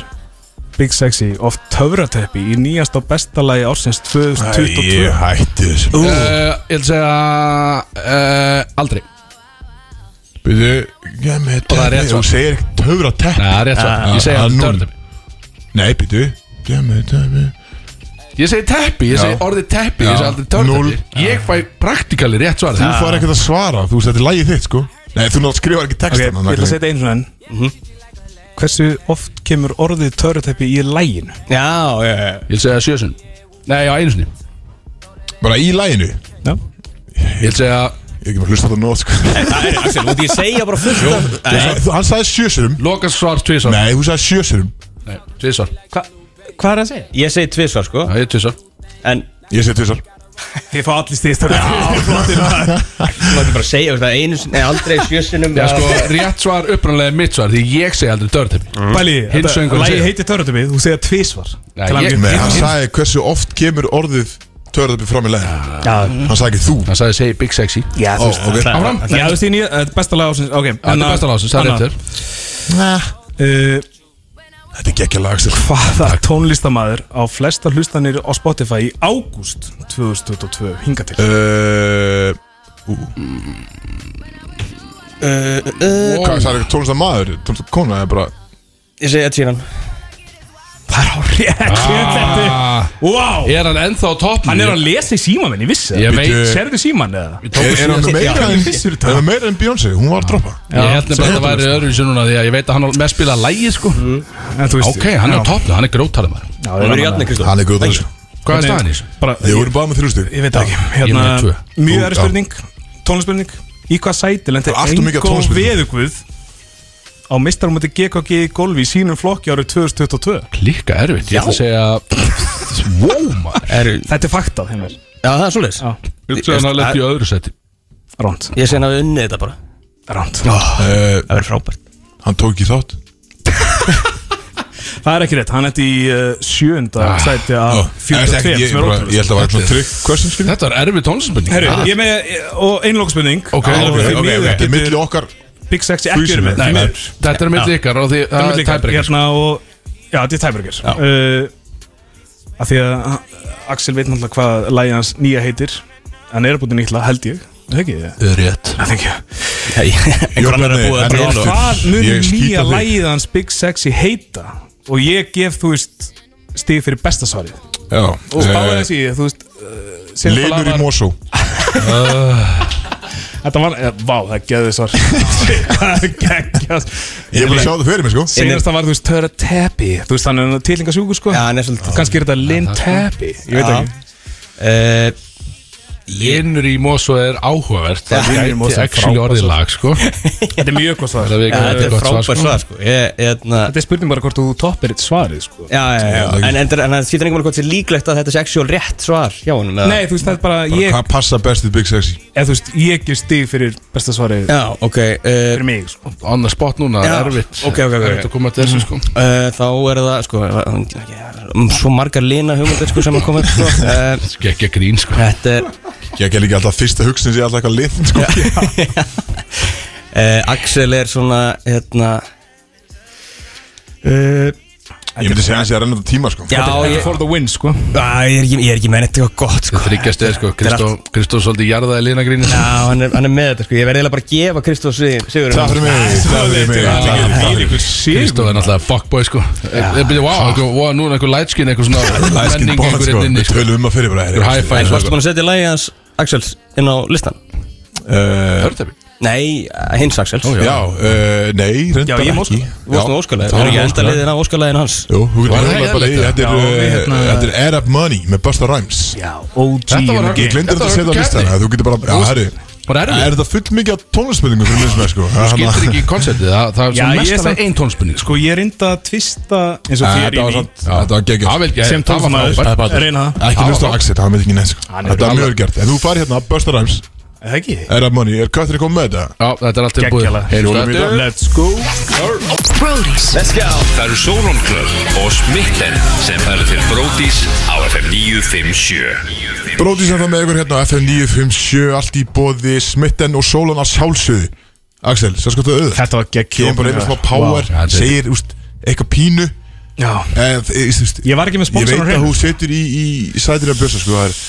Speaker 5: Big Sexy of Töfrateppi í nýjast og besta lagi ársins 2022?
Speaker 2: Ég hætti þessu
Speaker 3: Uh, Ég ætla að segja uh, Aldrei
Speaker 2: Byrju, ég með
Speaker 3: það er rétt
Speaker 2: teppi
Speaker 3: svar.
Speaker 2: Þú segir ekki töfra
Speaker 3: Nei,
Speaker 2: teppi
Speaker 3: það er rétt svo Ég
Speaker 2: Ah,
Speaker 3: segja
Speaker 2: núll.
Speaker 3: törnum
Speaker 2: Nei, byrju Ég með teppi
Speaker 3: Ég segi teppi, ég segi orðið teppi, ég segi aldrei
Speaker 2: Núll.
Speaker 3: törntepi Ég fæ praktikali rétt svar
Speaker 2: Þú fær ekkert að svara, þú veist þetta er lagið þitt sko Nei, þú náttúrulega skrifar ekki
Speaker 5: Ok, ég
Speaker 2: textan
Speaker 5: ætla að setja einu svona enn Mhm. Hversu oft kemur orðið töfrateppi í læginu?
Speaker 4: Já, já, já
Speaker 3: Ég vil segja sjösun Nei, já, einu sinni
Speaker 2: Bara í laginu
Speaker 5: Já
Speaker 3: Ég vil segja
Speaker 2: Ég er ekki maður að hlusta á þetta nót sko
Speaker 4: Það er Axel, út ég segja bara fullt af
Speaker 2: Þú
Speaker 4: Nei,
Speaker 2: sagði- Hann sagði sjösurum
Speaker 3: Lokas svar tvisar
Speaker 2: Nei, þú sagði sjösurum
Speaker 3: Nei, tvisar
Speaker 5: Hva, hvað er það að segja?
Speaker 4: Ég segi tvisvar sko
Speaker 3: Já, ég er tvisar
Speaker 4: En
Speaker 2: Ég segi tvisar
Speaker 5: Ég fá allir stíðist Já, flottir
Speaker 4: þú mátti bara segja veist það einu sinni Nei, aldrei sjössinum
Speaker 3: Já, sko, rétt svar upprunalega er mitt svar Því ég segi aldrei törntepi
Speaker 5: Bæli,
Speaker 3: Hinn
Speaker 5: þetta
Speaker 3: söngurinn
Speaker 5: lagi
Speaker 3: segir.
Speaker 5: heitir töfrateppi, þú segja tvísvar
Speaker 3: Nei,
Speaker 5: Til
Speaker 3: ég-
Speaker 5: hamingju.
Speaker 2: Nei, hann sagði hversu oft kemur orðið Törðabbi fram í leginu
Speaker 5: Já,
Speaker 2: Hann sagði ekki þú
Speaker 3: Það sagði segi Big Sexy
Speaker 5: já,
Speaker 2: Ó, ok
Speaker 3: Áfram
Speaker 5: Já, þú veist, ég nýja, þetta er besta lag ársins Ok,
Speaker 3: Það er besta lásins, það er rétt þér
Speaker 5: þér
Speaker 2: Þetta er geggja lag sko. Axel.
Speaker 5: Eh, Hvaða tónlistamæður á flesta hlustanir á Spotify í ágúst 2022 hinga
Speaker 3: Eh.
Speaker 5: til?
Speaker 2: Uh, uh. Hvað sagði ekki tónlistar maður? Tónlistar kona er bara
Speaker 4: Ég segi að síðan
Speaker 5: Það er á rétt ah. Wow,
Speaker 3: Er hann ennþá á topnum?
Speaker 5: hann er að lesa í síman minn, ég vissi
Speaker 3: Ég
Speaker 5: það
Speaker 3: veit
Speaker 2: Bíddu.
Speaker 5: Serðu síman eða?
Speaker 2: Er, er hann meira en Er hann meira en Beyoncé? Hún var að droppa
Speaker 3: Ég held nefnilega að það væri öðruvísu núna Því að ég veit að hann á- með spila lægi sko
Speaker 5: En þú veist
Speaker 3: Ok, hann er á topnum, hann er grótalum
Speaker 5: Já,
Speaker 4: Það verður
Speaker 5: ég,
Speaker 4: játni Kristóf
Speaker 2: Hann er góð þessu
Speaker 3: Hvað er staðan í þessu?
Speaker 5: bara,
Speaker 2: Ég voru bara með þrjústu
Speaker 5: ég veit það ekki
Speaker 3: Ég
Speaker 5: hérna,
Speaker 3: með tvö.
Speaker 5: Mjög
Speaker 2: Þú-
Speaker 5: erri
Speaker 2: já.
Speaker 5: spurning, tónlistspurning Í hvað sæti
Speaker 2: Það
Speaker 5: lendi
Speaker 2: er allt of mikið af
Speaker 5: Engo
Speaker 2: tónlistarspurningum.
Speaker 5: Veðugvöð á meistarumöti GKG í golfi í sínum flokki árið 2022
Speaker 3: Líka erfitt, ég ætla að segja Wow, maður
Speaker 4: Er,
Speaker 5: Þetta er faktað, heimir
Speaker 4: já, það er svoleiðis
Speaker 5: Já,
Speaker 3: Ég ætla að hann að leta í öðru seti
Speaker 5: ránt,
Speaker 4: Ég segi að við unnið þetta bara
Speaker 5: ránt
Speaker 2: uh,
Speaker 4: Það verður frábært
Speaker 2: Hann tók ekki þátt
Speaker 5: Það er ekki rétt, hann ætti í uh, sjöunda sæti
Speaker 2: Ó,
Speaker 5: af
Speaker 2: ég-
Speaker 5: 42
Speaker 2: Ah. ég-
Speaker 5: sem er
Speaker 2: bara- Ég
Speaker 5: ótrúlega
Speaker 2: held að það væri svona trygg Hversum skilja?
Speaker 3: Þetta var erfið tónlistarspurning
Speaker 5: Herru, ég er með, og einlókspurning
Speaker 3: Ok,
Speaker 5: og
Speaker 2: Ok,
Speaker 5: því
Speaker 2: ok, ok
Speaker 5: miður
Speaker 2: Þetta er
Speaker 5: getur
Speaker 2: milli okkar
Speaker 5: Big Sexy ekki verið
Speaker 2: Freezing,
Speaker 5: með
Speaker 2: nei,
Speaker 5: því
Speaker 2: nei.
Speaker 5: miður.
Speaker 3: Þetta er mitt ykkar og því
Speaker 5: Þetta er
Speaker 3: það
Speaker 5: milli
Speaker 3: er
Speaker 5: ykkar,
Speaker 3: tæbrekkar
Speaker 5: hérna og, já, þetta er tæbrekkar uh, að því að uh, Axel veit náttúrulega hvað lagið hans nýja heitir hann er að búin nýtla, held ég Er það ekki,
Speaker 3: Rétt
Speaker 5: það ekki
Speaker 4: Einhver annar er búið að
Speaker 2: Bjarni,
Speaker 4: bregja
Speaker 2: en
Speaker 4: þetta
Speaker 2: aftur.
Speaker 5: hvað mun
Speaker 2: Ég skýt á
Speaker 5: nýja
Speaker 2: þig.
Speaker 5: lagið hans Big Sexy heita og ég gef, þú veist stig fyrir besta svarið
Speaker 2: Já
Speaker 5: og spáði
Speaker 2: eh,
Speaker 5: þessi, í, þú veist uh, Silfa
Speaker 2: Linur í
Speaker 5: Lamar-
Speaker 2: Mosó
Speaker 5: Þetta var, eh, vá, það geði svar Það geggja
Speaker 2: Ég er bara að sjá það fyrir mig sko
Speaker 5: Einast það var, þú veist, Töra Teppi Þú veist, hann er tilingasjúku, sko
Speaker 4: Já, hann er svolítið
Speaker 5: Kannski er þetta Lynn Teppi Ég veit
Speaker 4: Já.
Speaker 5: ekki
Speaker 4: Eh,
Speaker 3: Linnur í Mosó er áhugavert Það
Speaker 5: Linur í Mosó
Speaker 3: gæti
Speaker 5: er
Speaker 3: actually
Speaker 5: frábært
Speaker 3: orðið lag sko
Speaker 5: Þetta er mjög gott svar
Speaker 3: Það er
Speaker 5: Þetta
Speaker 3: við-
Speaker 4: Þetta
Speaker 3: þetta
Speaker 4: er
Speaker 3: er gott
Speaker 4: frábært
Speaker 3: svar, sko.
Speaker 4: svar sko Ég, hérna
Speaker 5: er spurning bara hvort þú toppir eitt svarið sko.
Speaker 4: Já, já, já En en það skiptir einhvern veginn hvort sé líklegt að þetta sé actual rétt svar hjá honum eða?
Speaker 5: Nei, þú veist, það er bara ég
Speaker 2: Hvað passa best við Big Sexy?
Speaker 5: eða, Þú veist, ég gef stig fyrir besta svarið
Speaker 4: Já, ok uh,
Speaker 5: Fyrir mig, sko
Speaker 3: On the spot núna,
Speaker 4: Já,
Speaker 3: erfitt
Speaker 4: ok, ok, ok.
Speaker 3: Erfitt að koma til þessu sko
Speaker 4: uh, Þá er það, sko uh, Svo margar lina hugmyndir, sko, sem að koma upp sko. uh,
Speaker 3: Gekkja grín sko
Speaker 4: Þetta er
Speaker 2: Ég gæti líka alltaf fyrsta hugsin sem ég alltaf eitthvað lind sko.
Speaker 4: eh, uh, Axel er svona, hérna
Speaker 5: uh,
Speaker 2: Ég myndi segja að hann sé að renna út á tíma sko
Speaker 4: Já, Þetta er ég- for
Speaker 5: the win sko
Speaker 4: Æ, ég er ekki, ég er ekki með þetta gott sko
Speaker 3: Þryggja stöð sko, Kristó, Kristó svolítið jarðaði sko. línagrínu
Speaker 4: Já, hann er, hann er með þetta sko Ég verði eiginlega bara að gefa Kristó Sigur
Speaker 3: Takk fyrir mig, takk fyrir mig, takk fyrir mig. Kristó er náttúrulega fuckboy sko
Speaker 4: Já.
Speaker 3: Ég byrja, wow, einhver- wow, nú er einhver lightskin Einhver svona
Speaker 2: Lightskin
Speaker 3: menning
Speaker 2: bond,
Speaker 3: einhver
Speaker 2: sko.
Speaker 3: einn inni,
Speaker 2: Við tölum um að fyrir bara,
Speaker 3: Einhver high five
Speaker 4: En varstu
Speaker 3: sko.
Speaker 4: búin að setja lagi hans Axels inn á listan?
Speaker 2: Hörðabíl?
Speaker 4: Nei, hins Axels
Speaker 2: Eh, já. Já, eh, nei, reyndar
Speaker 4: Já, ég
Speaker 2: ekki.
Speaker 4: móskala Þú varst
Speaker 2: Já.
Speaker 4: nú óskala
Speaker 2: Það
Speaker 4: Það er
Speaker 2: var
Speaker 4: ekki enda
Speaker 2: Óskalaðið.
Speaker 4: liðin á óskalaðin hans
Speaker 2: Jú, þú getur
Speaker 4: Var það
Speaker 2: hjólað bara í
Speaker 4: eðlilegt?
Speaker 2: Þetta er,
Speaker 4: Já,
Speaker 2: uh,
Speaker 4: við hérna-
Speaker 2: þetta er Add Up Money með Busta Rhymes
Speaker 5: Já, OG
Speaker 2: Þetta var
Speaker 3: in the
Speaker 2: ekki
Speaker 3: game.
Speaker 2: Ég glemdi þetta að
Speaker 3: Þetta var
Speaker 2: setja á
Speaker 3: keppni.
Speaker 2: listan Þú getur bara,
Speaker 3: Þú-
Speaker 2: já, herri
Speaker 3: Bara erfið.
Speaker 2: Er þetta full mikið af tónlismyndingu fyrir minn sem er sko
Speaker 3: Þú skildir ekki konceptið Það, það er
Speaker 5: Já,
Speaker 3: svo
Speaker 5: ég er
Speaker 3: mestalega
Speaker 5: samt-
Speaker 3: ein tónspunni
Speaker 5: Sko ég reynda að tvista eins og
Speaker 2: Æ,
Speaker 5: þér
Speaker 2: þetta var
Speaker 5: í
Speaker 2: samt- þetta var geggjað.
Speaker 3: Það vel ekki,
Speaker 5: Sem
Speaker 3: það var
Speaker 5: tónlismaður.
Speaker 3: frábært.
Speaker 5: Patur. Reyna það.
Speaker 2: Ekki
Speaker 5: Það
Speaker 2: hlust á
Speaker 5: var-
Speaker 2: Axel, það veit ekki neins sko
Speaker 5: Hann er
Speaker 2: Þetta er
Speaker 5: alveg-
Speaker 2: mjög gert En þú farið hérna, Busta Rhymes
Speaker 5: Eða ekki?
Speaker 2: Add Up Money, er Katrin komið með þetta?
Speaker 3: Já, þetta er allt
Speaker 2: tilbúið. Heyrðu, þetta er-
Speaker 5: Let's go
Speaker 10: Let's go Það eru Sólon Club og Smitten sem færðu til Brótis á FM 957
Speaker 2: Bróti sem það með ykkur hérna á FM 957 Allt í bóði smitten og sólan að sjálfsöðu Axel, sér sko þetta auð
Speaker 5: Þetta var geggjum
Speaker 2: Kemur bara einu smá power,
Speaker 5: Vá.
Speaker 2: segir úst, eitthvað pínu
Speaker 5: Já
Speaker 2: en, þú veist,
Speaker 5: Ég var ekki með hérna.
Speaker 2: Ég
Speaker 5: sponsorinn
Speaker 2: veit
Speaker 5: hreinu.
Speaker 2: að hún setur í, í sætina bjösa sko, það er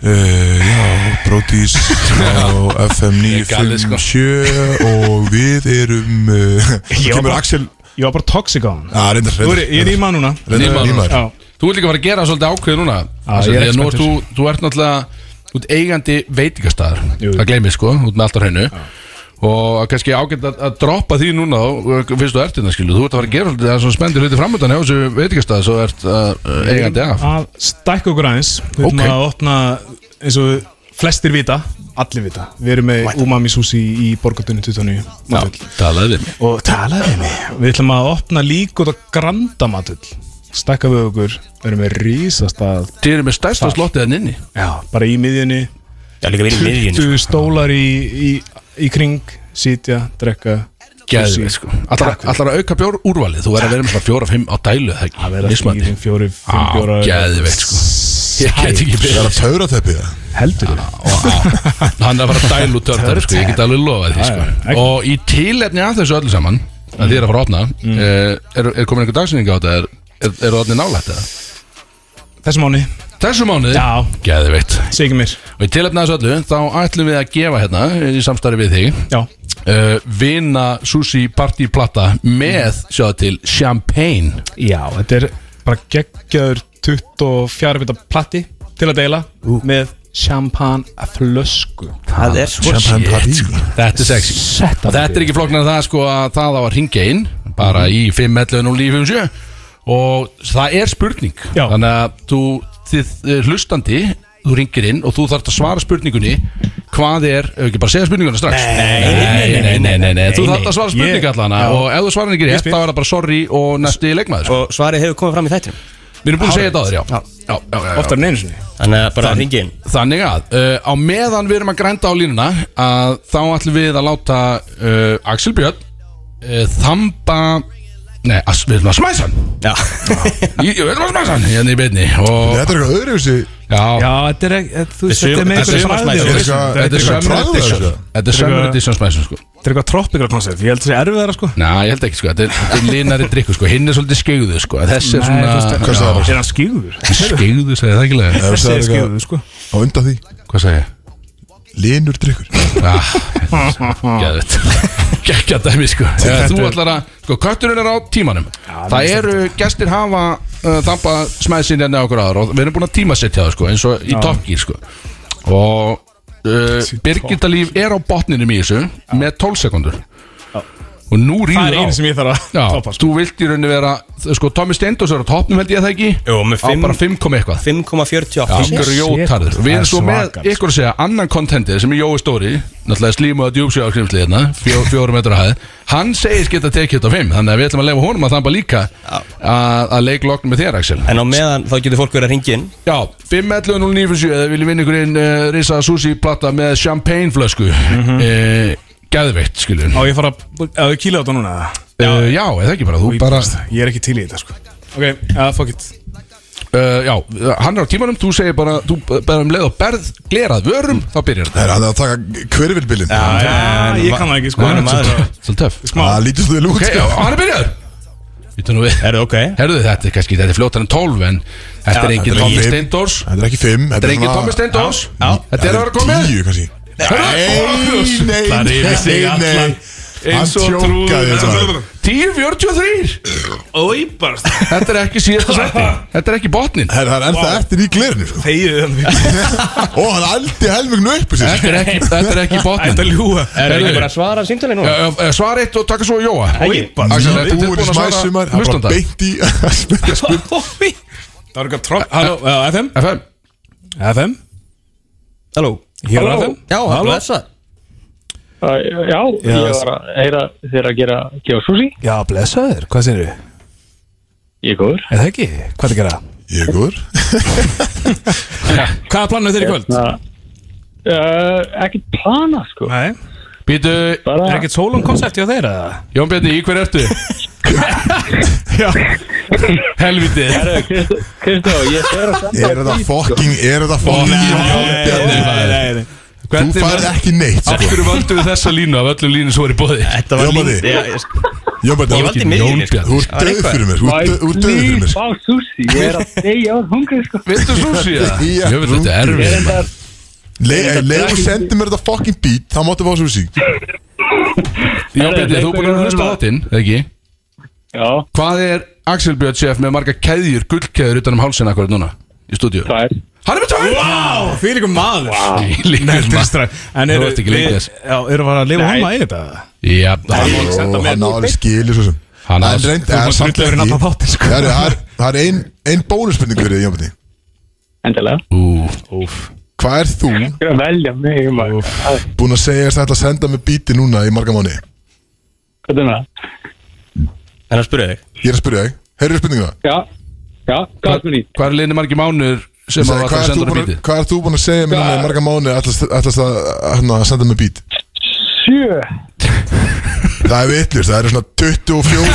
Speaker 2: Uh, já, Brótis á FM
Speaker 3: Ég er galið, sko.
Speaker 2: 957 og við erum uh,
Speaker 5: Ég var
Speaker 2: kemur
Speaker 5: bara-
Speaker 2: Axel
Speaker 5: Ég var bara toxic á hann
Speaker 2: Já, reyndar,
Speaker 5: Þú er- ég er í maður núna.
Speaker 2: Reyndar,
Speaker 3: Nýmaður.
Speaker 2: nýmaður.
Speaker 5: Já.
Speaker 3: Þú ert líka að fara að gera svolítið ákveð núna
Speaker 5: ég er
Speaker 3: Þegar nú ert
Speaker 5: expertur.
Speaker 3: þú, þú ert náttúrulega Þú ert eigandi veitingastæður Það gleymið sko, út með allt á hreinu Og kannski ágætt að, að droppa því núna og, Fyrst þú ert þetta skilu Þú ert að fara að gera svolítið Það er svona spendur hluti framöndan hjá þessu veitingastæð Svo ert uh, eigandi af
Speaker 5: að stækka okkur aðeins Við erum
Speaker 3: Ok.
Speaker 5: að opna eins og flestir vita Allir vita Við erum með umami sushi í borgatunni 29 Matull.
Speaker 3: talaði við mig
Speaker 5: Og talaði við mig Við ætlum að opna líka út á granda matull Stækka við okkur Við erum með rísastað
Speaker 3: Þið eru með stærsta
Speaker 5: Það.
Speaker 3: slottið en inni
Speaker 5: Já, bara í miðjunni
Speaker 4: Já, líka verið í miðjunni, sko.
Speaker 5: 20 stólar í, í, í kring Sitja, drekka
Speaker 3: Gæðið
Speaker 5: sushi.
Speaker 3: sko Allar
Speaker 5: Takk fyrir.
Speaker 3: allar að auka bjór úrvalið Þú verður að vera með svona fjóra, fimm á dælu Það
Speaker 5: Það
Speaker 3: er
Speaker 5: verða
Speaker 3: ekki mismandi
Speaker 5: skýrin fjóri,
Speaker 3: Á,
Speaker 5: fimm fjóra
Speaker 3: geðveikt, sko. Ég get
Speaker 2: Það
Speaker 3: ekki beðið.
Speaker 2: er að taura teppi það
Speaker 5: Heldur þið?
Speaker 3: hann er að fara að dælu törtar sko, ég get alveg lofað því
Speaker 5: Já, já,
Speaker 3: sko.
Speaker 5: ekki.
Speaker 3: og í tilefni af þessu öllu saman að þið er að fara að opna
Speaker 5: Mm.
Speaker 3: eh, er, er komin einhver dagsynning á þetta er, er, er það nálægt eða?
Speaker 5: Þessum áni
Speaker 3: þessu mánuði,
Speaker 5: Já,
Speaker 3: geði veitt
Speaker 5: segi mér
Speaker 3: og í tilefni af þessu öllu þá ætlum við að gefa hérna í samstarfi við þig
Speaker 5: Já,
Speaker 3: Uh, vina sushi partyplata með, sjáðu til, champagne
Speaker 5: Já, þetta er bara geggjaður 24 vita platti til að deila með champagne flösku
Speaker 4: Það er svo
Speaker 2: Champagne party sko.
Speaker 3: þetta er sexy
Speaker 5: Sett
Speaker 3: og þetta er ekki flokknar það sko að það á að ringa inn bara í 5, 11 og 57 og það er spurning
Speaker 5: Já.
Speaker 3: þannig að þú þið, eh, hlustandi þú ringir inn og þú þarft að svara spurningunni hvað er, ef ekki bara segja spurninguna strax nei, nei, nei, nei, nei, nei. þú þarft að svara spurningu
Speaker 5: Ég-
Speaker 3: allana
Speaker 5: Já.
Speaker 3: og ef þú svarar ekki rétt
Speaker 5: spyr.
Speaker 3: þá er það bara sorry og næsti leikmaður sko.
Speaker 4: Og svarið hefur komið fram í þættinum
Speaker 3: við erum búin að segja þetta á þér, já, já, já, já, já.
Speaker 5: Oftar en einu sinni
Speaker 4: Þannig að bara ringi inn
Speaker 3: Þannig að uh, á meðan við erum að grænda á línuna að þá ætlum við að láta uh, Axel Björn uh, þamba Nei, að, við erum að smæsa hann
Speaker 4: Já
Speaker 3: Ég ég- við erum að smæsa hann hérna í beinni og
Speaker 2: Þetta er eitthvað öðruvísi
Speaker 3: já,
Speaker 5: Já, þetta er ekki, þú veist,
Speaker 4: Þetta er
Speaker 5: þetta er með
Speaker 4: þetta er
Speaker 5: einhverju
Speaker 4: sumarsmæði.
Speaker 5: bragði og
Speaker 2: Þetta er
Speaker 5: þessu.
Speaker 2: eitthvað- eitthvað
Speaker 3: þetta er summer
Speaker 5: Þetta er
Speaker 2: travel
Speaker 3: edition
Speaker 2: edition.
Speaker 3: Þetta er summer edition smæsa sko
Speaker 5: þetta er eitthvað tropical concept, ég held að það sé erfiðara sko
Speaker 3: Næ, ég held ekki sko, þetta er, þetta er linari drikku sko Hinn er svolítið skeigðu sko, þessi er
Speaker 5: Nei, þú veist,
Speaker 3: svona
Speaker 2: Hvað sagði það?
Speaker 5: Er hann skýður?
Speaker 3: Skeigðu, segði það ekki lega
Speaker 5: Þessi er
Speaker 2: sagði eitthvað-
Speaker 5: skýður sko
Speaker 2: Á undan því
Speaker 3: Hvað segja ég?
Speaker 2: Linur drikkur
Speaker 3: Ah, Gæðut Gækja Ah, dæmi sko Eh, Þú ætlar að Sko kötturinn er á tímanum Það eru Gestir hafa uh, Þampa smæðsinn Enni á okkur aðra Og við erum búin að tímasetja það sko Eins og í topgýr sko Og uh, Birgitta Líf er á botninum í þessu Með 12 sekundur Og nú
Speaker 5: Það
Speaker 3: rýður
Speaker 5: er
Speaker 3: á
Speaker 5: einu sem ég þarf að
Speaker 3: Já,
Speaker 5: toppa sko
Speaker 3: þú vilt í rauninni vera Sko Tommy Steindós er á topnum held ég það ekki
Speaker 4: Jú,
Speaker 3: Á
Speaker 4: með fimm-
Speaker 3: bara 5 kom eitthvað Já,
Speaker 4: 5,48
Speaker 3: grjótarður Við erum svo
Speaker 5: Það er sko.
Speaker 3: með
Speaker 5: svakalegt.
Speaker 3: ykkur að segja annan kontentið sem er Jói Stóri Náttúrulega slímuða djúpsjáðskrimsli hérna fjó, Fjórum metra hæð Hann segist geta tekið þetta á fimm Þannig að við ætlum að lefa honum að þamba líka Að að leik loknum með þér Axel
Speaker 4: En á meðan þá getur fólk verið að ringi inn
Speaker 3: Já, 5.11.09.7 Eða viljum vinna ykkur inn uh, Risa Susi platta með champagne flösku mm
Speaker 4: Mhm.
Speaker 3: Gæðveitt skiljum
Speaker 5: Á ég fara að, að þú kýla á þetta núna eða?
Speaker 3: Já, uh, já eða ekki bara, þú bara
Speaker 5: Ég er ekki til í þetta sko Ok, ja, fuck it
Speaker 3: uh, Já, hann er á tímanum, þú segir bara Þú bara um leið og berð, glerað vörum Þá byrjar
Speaker 2: Það er hann er að taka hverfilbillin
Speaker 5: Já, ég kann það ekki sko
Speaker 4: maður.
Speaker 3: þetta Svolítið töff
Speaker 5: Má.
Speaker 2: Það lítist þú í lúk
Speaker 3: Ok, og hann er byrjaður Býtu nú við
Speaker 4: Herðu, ok
Speaker 3: Herðu, þetta er kannski, þetta er fljótar en 12 En þetta er engin Tommy Steindors
Speaker 2: Þetta er ekki 5
Speaker 3: Þetta er engin Tommy Steindors Þetta er að vera komið
Speaker 2: 10 kannski Nei, nei,
Speaker 3: Það er yfir
Speaker 2: nei,
Speaker 3: sig
Speaker 2: nei.
Speaker 3: allan
Speaker 2: Hann
Speaker 3: Eins og
Speaker 2: tjókaði þetta.
Speaker 3: trúður 10.43
Speaker 5: Óibast
Speaker 3: Þetta er ekki síðasta sæti Þetta er ekki botnin
Speaker 2: Það er ennþá eftir í glerinu sko. Ó, hann aldi helmingnu upp úr sér.
Speaker 3: Þetta er ekki, þetta er ekki botnin
Speaker 5: Þetta er ljúa
Speaker 4: Er ekki bara að svara símtali nú?
Speaker 3: Eh, eh, Svara eitt og taka svo Jóa
Speaker 5: Óibast
Speaker 3: Axel,
Speaker 2: Þú
Speaker 3: ertu
Speaker 2: er
Speaker 3: tilbúin að svara
Speaker 2: smæsumar Hann bara
Speaker 3: hlustanda?
Speaker 2: beint í að spyrja spurning
Speaker 5: Það var eitthvað trótt Halló, eh, FM
Speaker 3: FM
Speaker 5: FM
Speaker 4: Halló
Speaker 5: Hér er FM
Speaker 4: Já,
Speaker 5: Halló.
Speaker 4: blessa
Speaker 12: Já, ég
Speaker 5: Já.
Speaker 12: var að heyra þeir að gera gefa sushi,
Speaker 5: Já, blessaður, hvað segir þið?
Speaker 12: ég er góður
Speaker 5: Er það ekki? Hvað er að gera?
Speaker 2: Ég er góður
Speaker 5: Hvað er planuð þeir í kvöld?
Speaker 12: uh, Ekkert plana sko
Speaker 5: Nei
Speaker 3: Býtu,
Speaker 12: Bara,
Speaker 5: Er ekkert sólum koncept hjá þeir eða?
Speaker 3: Jón Bjarni, í hver ertu?
Speaker 5: Já
Speaker 3: Helviti
Speaker 12: Herra, Kristó- Kristó, ég fer að senda
Speaker 2: Er þetta fucking Er þetta fucking Jón Bjarni, maður?
Speaker 5: nei, nei
Speaker 2: Þú færð ekki neitt
Speaker 3: Af
Speaker 2: sko.
Speaker 3: hverju völdu við þessa línu af öllum línu sem voru í bóði?
Speaker 4: Þetta var
Speaker 2: Jómaði.
Speaker 4: líf- Já,
Speaker 2: Jón
Speaker 4: ég- Ég
Speaker 2: Bjarni
Speaker 4: valdi
Speaker 3: Jón
Speaker 4: miðjunni sko.
Speaker 2: Þú ert
Speaker 4: Það var
Speaker 2: döð
Speaker 4: eitthvað.
Speaker 2: fyrir mér Þú ert döð- þú ert döð fyrir mér
Speaker 12: Líf á sushi, ég er að deyja á hungri sko
Speaker 3: Viltu sushi það?
Speaker 2: Já,
Speaker 3: Ég veit þetta er erfið maður.
Speaker 2: Le- Leif og sendi mér þetta fucking beat Það máttu fá svo við sík
Speaker 3: Jón Bjarni, þú er búin að hlusta á þáttinn, eða ekki?
Speaker 12: Já,
Speaker 3: Hvað er Axel Björn chef með marga keðjur, gullkeðjur utan um hálsina akkurat núna? Í stúdíu
Speaker 12: tvær
Speaker 3: Hann er með tvær!
Speaker 5: Á, fyrir ykkur maður
Speaker 3: Þvílíkur
Speaker 5: Nei,
Speaker 3: maður.
Speaker 5: þetta er strax En
Speaker 3: Þú
Speaker 5: eru
Speaker 3: ert ekki lengi
Speaker 5: við-
Speaker 3: þess.
Speaker 5: Já, eru við að
Speaker 12: Nei.
Speaker 5: lifa hana í þetta?
Speaker 3: Já, hann
Speaker 2: Og hann áður skilið svo sem
Speaker 3: Hann á-
Speaker 2: En reynd-
Speaker 5: Þú
Speaker 2: en
Speaker 5: mátt
Speaker 2: samt
Speaker 5: drulla yfir
Speaker 2: ekki.
Speaker 5: nafn á þáttinn, sko.
Speaker 2: Það er- það er- það er ein, ein bónusspurning fyrir þig, Jón Bjarni
Speaker 12: Endilega
Speaker 3: Ú, úf
Speaker 2: Hvað er þú
Speaker 12: Ég er að velja mig maður Æ,
Speaker 2: búin að segja að þetta að senda mig bíti núna í marga mánu?
Speaker 12: Hvað er það?
Speaker 4: En að spyrja þig
Speaker 2: Ég er að spyrja þig, heyrðu spurninguna
Speaker 12: Já, já, hvað er spurning?
Speaker 3: Hvað er liðni margi mánur sem
Speaker 2: Ég sagði,
Speaker 3: að var að
Speaker 2: Hvað ert
Speaker 3: senda
Speaker 2: þú
Speaker 3: hann
Speaker 2: búin að-
Speaker 3: bítið?
Speaker 2: hvað ert þú búin að segja mér núna í marga mánu ætlast ætlast að hérna, senda mig bít?
Speaker 12: Sjö
Speaker 2: Það er vitlust, það eru svona 24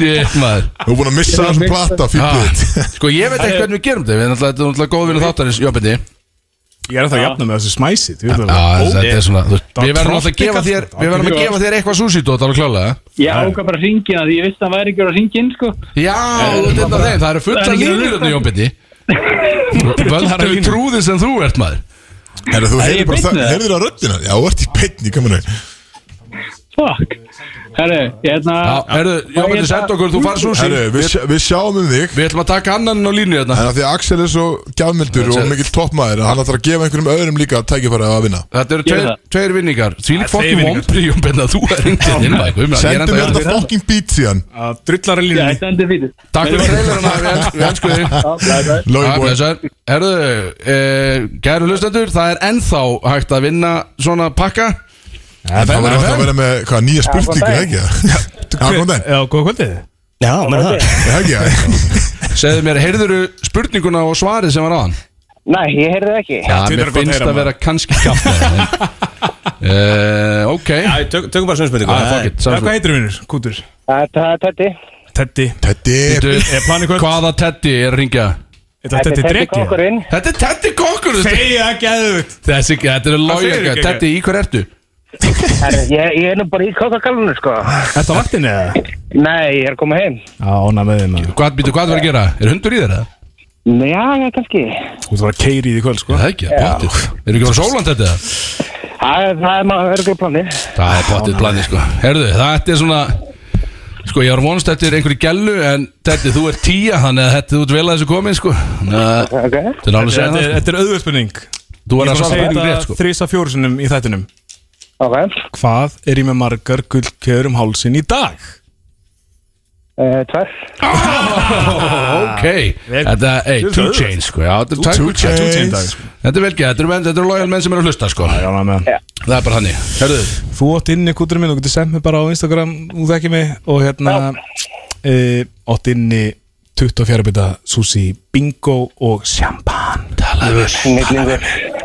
Speaker 3: Ég maður
Speaker 2: Þú er búin að missa þessum platta
Speaker 3: Ah,
Speaker 2: fyrir þitt
Speaker 3: Sko ég veit ekki hvernig við gerum þetta Við erum náttúrulega- þetta er náttúrulega góð vinna þáttarins Jón Bjarni
Speaker 5: Ég er alltaf að jafna með þessu smæsi Þú veit
Speaker 3: Já,
Speaker 5: alveg.
Speaker 3: þetta er svona þú veist,
Speaker 5: Það
Speaker 3: Við verðum alltaf að
Speaker 5: trompikar,
Speaker 3: gefa þér
Speaker 5: sko.
Speaker 3: Við verðum að gefa þér eitthvað sushi dót alveg klálega
Speaker 12: Ég ákvað bara að ringja því ég vissi að hann væri ekki að ringja inn sko
Speaker 3: Já, þú ert einn af þeim Það eru
Speaker 12: Það
Speaker 3: fullar
Speaker 12: er ekki
Speaker 3: línur
Speaker 12: auðvitað.
Speaker 3: þarna Jón Bindi Völdu við trúðið sem þú ert maður
Speaker 2: Herra,
Speaker 12: ég
Speaker 2: þú heyrður bara
Speaker 12: beinni
Speaker 2: það,
Speaker 12: það?
Speaker 2: heyrður á röddina Já, þú ert í beinni, kominu
Speaker 12: Fuck Herru, hérna
Speaker 3: Já, herðu, Jón Bindi senda okkur Þú far sushi
Speaker 2: Herru, við, sjá- við sjáum um þig
Speaker 3: Við ætlum að taka annan á línu hérna
Speaker 2: En af því að Axel er svo gjafmildur og mikill toppmaður Hann ætlar að gefa einhverjum öðrum líka tækifæri að vinna
Speaker 3: Þetta eru
Speaker 12: Gerðu
Speaker 3: tveir,
Speaker 12: það.
Speaker 3: tveir vinningar Því lík
Speaker 5: Það er tveir
Speaker 3: fokkin
Speaker 5: vinningar.
Speaker 3: vombri Jón Bindi að þú er reyndin inn maður, guð minn, ég er
Speaker 2: Sendu
Speaker 3: enda-
Speaker 2: mér þetta fucking beat síðan
Speaker 5: Að drullara
Speaker 12: Já,
Speaker 5: línunni
Speaker 12: þetta endur fyrir
Speaker 3: Takk fyrir trailerina við els- Við elskum þig
Speaker 2: Lói
Speaker 3: Já,
Speaker 2: búin
Speaker 3: blessaður. Herðu, eh, Gæru hlustendur, það er ennþá hægt að vinna svona pakka
Speaker 2: Það verður alltaf að vera með hvað, nýja spurningu,
Speaker 12: góðan
Speaker 2: ekki? Já, góðan daginn.
Speaker 5: Já, góða kvöldið
Speaker 4: Já, menn það
Speaker 2: Er það ekki?
Speaker 3: Segðu mér, heyrðuru spurninguna og svarið sem var aðan?
Speaker 12: Nei, ég heyrði það ekki
Speaker 3: Já,
Speaker 5: Twitter
Speaker 3: mér
Speaker 5: er gott að
Speaker 3: finnst
Speaker 5: heyra,
Speaker 3: að
Speaker 5: maður.
Speaker 3: vera kannski kjátt uh, Ok
Speaker 4: Já, ég tök- Tökum bara svona spurningu
Speaker 3: Ah, fuck it,
Speaker 5: Já,
Speaker 3: sagði
Speaker 5: Hvað heitir vinnur? Kútur
Speaker 12: Þetta er Teddy
Speaker 5: Teddy
Speaker 2: Þetta er
Speaker 3: þú.
Speaker 5: Er planið kvöld?
Speaker 3: Hvaða Teddy er að ringja?
Speaker 5: Þetta er Teddy Dreki
Speaker 12: kokkurinn
Speaker 3: Þetta er Teddy Kokkur þú veist.
Speaker 5: Segja geðut
Speaker 3: Þessi, þetta er
Speaker 5: segir
Speaker 3: lója
Speaker 5: ekki, ekki?
Speaker 3: Teddy, í hver ertu?
Speaker 12: Herru, ég, ég er nú bara í kokkakalunum sko
Speaker 5: Þetta vaktin eða?
Speaker 12: Nei, ég er að koma heim
Speaker 5: Já, óna með þeim
Speaker 3: Hvað, býtu, hvað var að gera? Er hundur í þér? eða?
Speaker 12: Nei, Já, já, kannski
Speaker 5: Þú þarf að keiri í því kvöld sko
Speaker 3: Það er ekki, það er potið Eru ekki að vera sóland þetta?
Speaker 12: Það er, það er maður örgur planið
Speaker 3: Það er potið planið, sko Herðu, þetta er svona Sko, ég var vonast eftir einhverju gellu En Teddy, þú ert tíja Þannig að þetta þú ert vel að þessu komin, sko Þannig að-
Speaker 12: Ok
Speaker 3: Þetta er alveg að segja
Speaker 5: Þetta
Speaker 3: það,
Speaker 5: er-
Speaker 3: sko.
Speaker 5: þetta er auðvöld spurning
Speaker 3: Þú er að
Speaker 5: Ég var að
Speaker 3: svara
Speaker 5: segja
Speaker 3: spurningu rétt,
Speaker 5: þetta
Speaker 3: sko
Speaker 5: þrís að fjóru sinnum í þættinum
Speaker 12: Ok
Speaker 5: Hvað er ég með margar gullkeður um hálsin í dag?
Speaker 12: uh, Tvær
Speaker 3: Ah, Ok,
Speaker 5: Vel-
Speaker 3: þetta, ey,
Speaker 5: Þetta er
Speaker 3: two
Speaker 5: auðvelt.
Speaker 3: chains sko Já, þetta er tvær
Speaker 2: Two
Speaker 3: gull-
Speaker 2: Chainz.
Speaker 3: two chains. Þetta er vel gæt, þetta eru menn- þetta eru lojal menn sem eru að hlusta sko
Speaker 5: Já, óna með þeim
Speaker 3: Það er bara þannig, herðu
Speaker 5: Þú átt inni kúturinn minn, þú getur sendt mér bara á Instagram Þú þekkir mig og hérna e, átt inni 24 bita sushi bingo og sjampan
Speaker 3: Talaðu
Speaker 12: Snillingur Ah,
Speaker 3: Gekkjaður,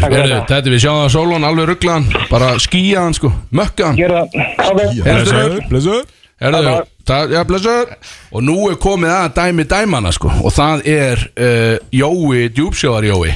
Speaker 12: takk fyrir
Speaker 3: herðu,
Speaker 12: þetta.
Speaker 3: þetta við sjáum það Solon alveg rugglaðan, bara skýjaðan sko Mökkaðan,
Speaker 12: Gjör það Ok
Speaker 3: Blessaður.
Speaker 5: blessaður
Speaker 3: herðu
Speaker 12: Bye-bye.
Speaker 3: það- Já, blessaður Og nú er komið að dæmi dæmana sko Og það er uh, eh, Jói, djúpsjóðar Jói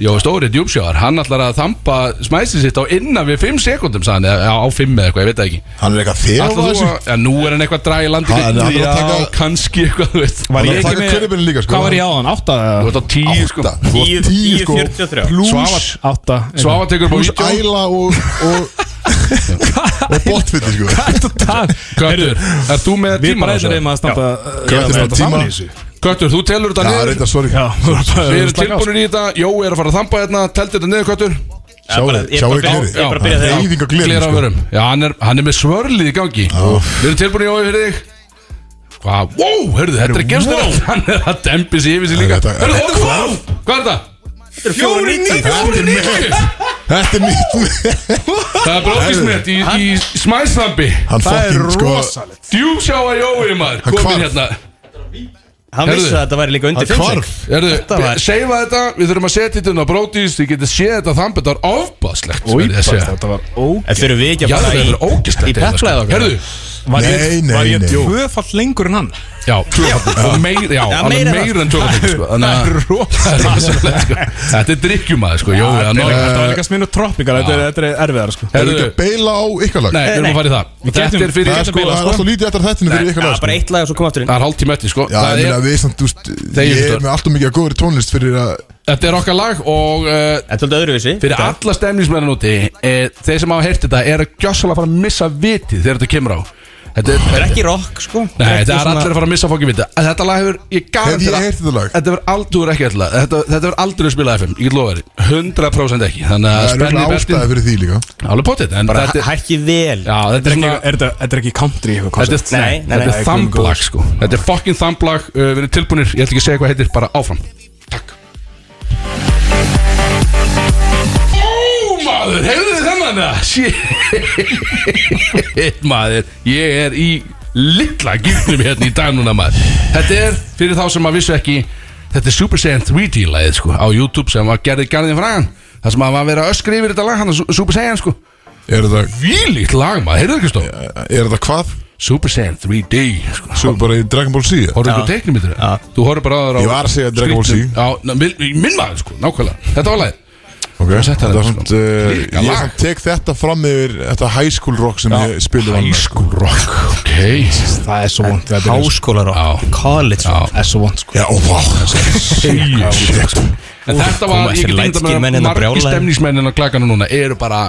Speaker 3: Jó, stóri djúpsjáðar, hann ætlar að þampa smæsið sitt á innan við 5 sekundum sagði hann, eða á 5 eða eitthvað, ég veit það ekki
Speaker 2: Hann er eitthvað þefað
Speaker 3: Ætlar þú
Speaker 2: þessu?
Speaker 3: að, já, nú er hann eitthvað að draga í landi
Speaker 2: Hann- hann er að
Speaker 3: Já,
Speaker 2: taka-
Speaker 3: kannski eitthvað, þú veist
Speaker 2: Var ég ekki með- hvað var ég
Speaker 5: áðan, 8?
Speaker 3: Þú ert á 10, sko
Speaker 2: sko. Átta. Þú ert 10, sko. Plús-
Speaker 5: Átta
Speaker 3: Svava tekur
Speaker 2: Plús
Speaker 3: bara vídeo.
Speaker 2: æla og Og, og botfyllir sko
Speaker 3: Köttur, er þú með
Speaker 5: Við
Speaker 3: tíma
Speaker 5: bara reynum að standa-
Speaker 2: Köttur er með tíma.
Speaker 3: Köttur, þú telur þetta
Speaker 2: Já,
Speaker 3: niður
Speaker 2: reyndar, sorry. Já,
Speaker 5: við erum bara-
Speaker 3: Við erum
Speaker 5: slaka á, sko.
Speaker 3: tilbúinir í þetta, Jói er að fara að þampa hérna Teldi þetta niður, Köttur
Speaker 2: Sjáu- bara- ég er sjáu bara að byrja- glerið. ég er bara að byrja þeirra. Reyðing á glerinu,
Speaker 3: Gler á
Speaker 2: sko.
Speaker 3: vörum. Já, hann er, hann er með svörlið í gangi Við erum tilbúinir Jói fyrir þig Hvað, wow, hörðu, þetta er
Speaker 2: Herru,
Speaker 3: að gerast
Speaker 2: wow.
Speaker 3: þér Hann er að dempi sig yfir sig líka Hörðu, þetta, wow, hvað er þetta? Þetta er 4.90 Þetta er mitt
Speaker 2: Þetta er mitt
Speaker 3: Það er brókisnett í, í smæstambi
Speaker 2: Hann fucking, sko-
Speaker 3: Djúsjáa Jói maður Komin hérna
Speaker 4: Hann
Speaker 3: Heyrðu.
Speaker 4: vissi að þetta væri líka
Speaker 3: Hann
Speaker 4: undir fimm
Speaker 3: hvarf.
Speaker 4: sek.
Speaker 3: Heyrðu,
Speaker 4: Þetta var-
Speaker 3: Seifa þetta, við þurfum að setja þetta inn á brótis Þið getið séð þetta þambi, þetta var ofbáslegt
Speaker 5: var ógæst
Speaker 4: En þurfum við ekki að fara í-
Speaker 3: Þetta var ógæst
Speaker 4: í pepplaðið okkar?
Speaker 3: Herðu
Speaker 5: Var ég, var ég tvöfall lengur en hann?
Speaker 3: Já, tvöfall Og meir, já,
Speaker 5: Já,
Speaker 3: hann er
Speaker 5: meira en
Speaker 3: meira
Speaker 5: það.
Speaker 3: en tvöfall sko. Þannig
Speaker 5: Það
Speaker 3: að-
Speaker 5: er
Speaker 3: Það er rosalegt, sko. Þetta er drikkjumæð sko, Jói hann
Speaker 5: Þetta
Speaker 3: var-
Speaker 5: er- þetta var líka sminu troppingar, þetta er- þetta er erfiðar sko
Speaker 3: Heyrðu, Erum við ekki að
Speaker 2: beila á ykkur lag?
Speaker 3: Nei, við erum að fara í það.
Speaker 5: Við
Speaker 3: Þetta
Speaker 5: getum-
Speaker 3: er fyrir-
Speaker 5: Það
Speaker 3: sko, það er alltaf
Speaker 2: lítið eftir þættinu fyrir ykkur lag, sko.
Speaker 4: eitt lag og svo kom aftur inn
Speaker 3: Það er hálftíma eftir sko
Speaker 2: Já, ég
Speaker 3: Það er-
Speaker 2: meina, við samt, þú veist
Speaker 3: Þegjum
Speaker 2: Ég
Speaker 3: störf.
Speaker 2: er með allt og mikið að góður tónlist fyrir að
Speaker 3: Þetta er okkar lag og eh,
Speaker 4: Þetta er öðruvísi
Speaker 3: Fyrir alla stemningsmennin úti e, Þeir sem hafa heyrt þetta er að gjössalega fara að missa vitið þegar þetta kemur á Þetta er,
Speaker 4: Þetta er ekki rock sko
Speaker 3: Nei, þetta er allir að fara að missa fokki vitið Þetta lag hefur, ég gaf
Speaker 2: Hef ég heyrt þetta lag?
Speaker 3: Þetta verður aldrei ekki ætla Þetta, þetta verður aldrei spilað FM, ég get lofa þér 100% ekki, þannig
Speaker 2: Það
Speaker 3: að
Speaker 2: er
Speaker 3: spenni
Speaker 2: auðvitað ástæði fyrir því líka
Speaker 3: Alveg potið, en
Speaker 4: Bara
Speaker 3: þetta er
Speaker 4: hækki vel
Speaker 3: Já, þetta er svona
Speaker 5: Er þetta- þetta er ekki country eitthvað
Speaker 3: Þetta er,
Speaker 5: koncept?
Speaker 3: nei, þetta er
Speaker 5: gummigúll.
Speaker 3: þamblag sko Þetta er fucking þamblag, uh, við erum tilbúinir Ég ætla ekki að segja hvað heitir, bara áfram Ó, maður, hefur þið þennan það? Shit, maður Ég er í litla gildnum hérna í dag núna maður Þetta er, fyrir þá sem maður vissu ekki Þetta er Super Saiyan 3D lagið sko Á YouTube sem var gerðið garðin frægan Það sem að var verið að öskra yfir þetta lag Hann að Super Saiyan sko
Speaker 2: Er þetta
Speaker 3: Vílíkt lag maður, heyrðu ekki stóð
Speaker 2: Er þetta hvað?
Speaker 3: Super Saiyan 3D sko.
Speaker 2: Svo bara í Dragon Ball Z
Speaker 3: Horfðu ykkur teiknumyndir eða? Þú horfðu bara aðra á
Speaker 2: Ég var að segja Dragon Ball Z.
Speaker 3: skrýtnum- Já, na- minn minn maður sko, nákvæmlega Þetta var lagið
Speaker 2: Ok,
Speaker 3: sett
Speaker 2: þetta er
Speaker 3: það sko.
Speaker 2: samt uh,
Speaker 3: Líka
Speaker 2: Ég
Speaker 3: lag.
Speaker 2: samt tek þetta fram yfir Þetta high school rock sem ég sko. spilum
Speaker 3: High school rock, ok
Speaker 5: Það er svo vond þegar byrjar, sko.
Speaker 4: Háskólarokk College rock
Speaker 5: Það er svo vond sko
Speaker 2: Já, og vá sko.
Speaker 3: En þetta var, ég
Speaker 4: koma
Speaker 3: get
Speaker 4: þessir lætskir
Speaker 3: ímyndað
Speaker 4: menn
Speaker 3: mér að
Speaker 4: inn á
Speaker 3: margi
Speaker 4: brjálæðið.
Speaker 3: stemningsmennin á klakana núna eru bara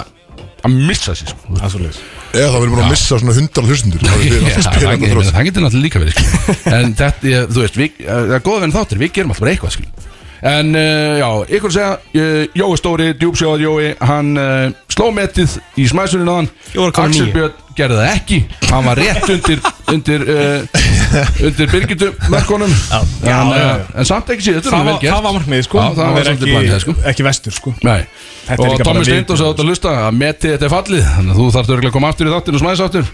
Speaker 3: að missa sér sko.
Speaker 5: Það er svo leiðis
Speaker 2: Eða það verður búin að missa svona hundra hlustundur Það verður
Speaker 3: Já,
Speaker 2: alltaf
Speaker 3: Það
Speaker 2: spila þetta
Speaker 3: getur-
Speaker 2: þrótt
Speaker 3: það getur náttúrulega líka verið sko. En þetta, ég, þú veist, við, eh, það er góða venn þáttir Við gerum alltaf bara eitthvað skil. En uh, já, ykkur að segja uh, Jói Stóri, djúpsjóðar Jói Hann uh, sló metið í smæsunni náðan
Speaker 4: Fjóra komma
Speaker 3: Axel
Speaker 4: níu.
Speaker 3: Björn gerði það ekki Hann var rétt undir Undir, uh, undir Birgitu Mörkunum
Speaker 5: Já,
Speaker 3: en,
Speaker 5: já,
Speaker 3: eh, en samt ekki síðan, þetta
Speaker 5: Það
Speaker 3: er vel
Speaker 5: var-
Speaker 3: gert
Speaker 5: það var markmiðið sko
Speaker 3: Já, það
Speaker 5: Að
Speaker 3: var
Speaker 5: vera
Speaker 3: svolítið
Speaker 5: ekki-
Speaker 3: planið, sko.
Speaker 5: Ekki vestur sko
Speaker 3: Nei
Speaker 5: Þetta er
Speaker 3: Og
Speaker 5: líka bara
Speaker 3: Tommi
Speaker 5: vikur.
Speaker 3: Steindós átt að hlusta að meti þetta er fallið Þannig að þú þarft örgulega að koma aftur í þáttin og smæðis aftur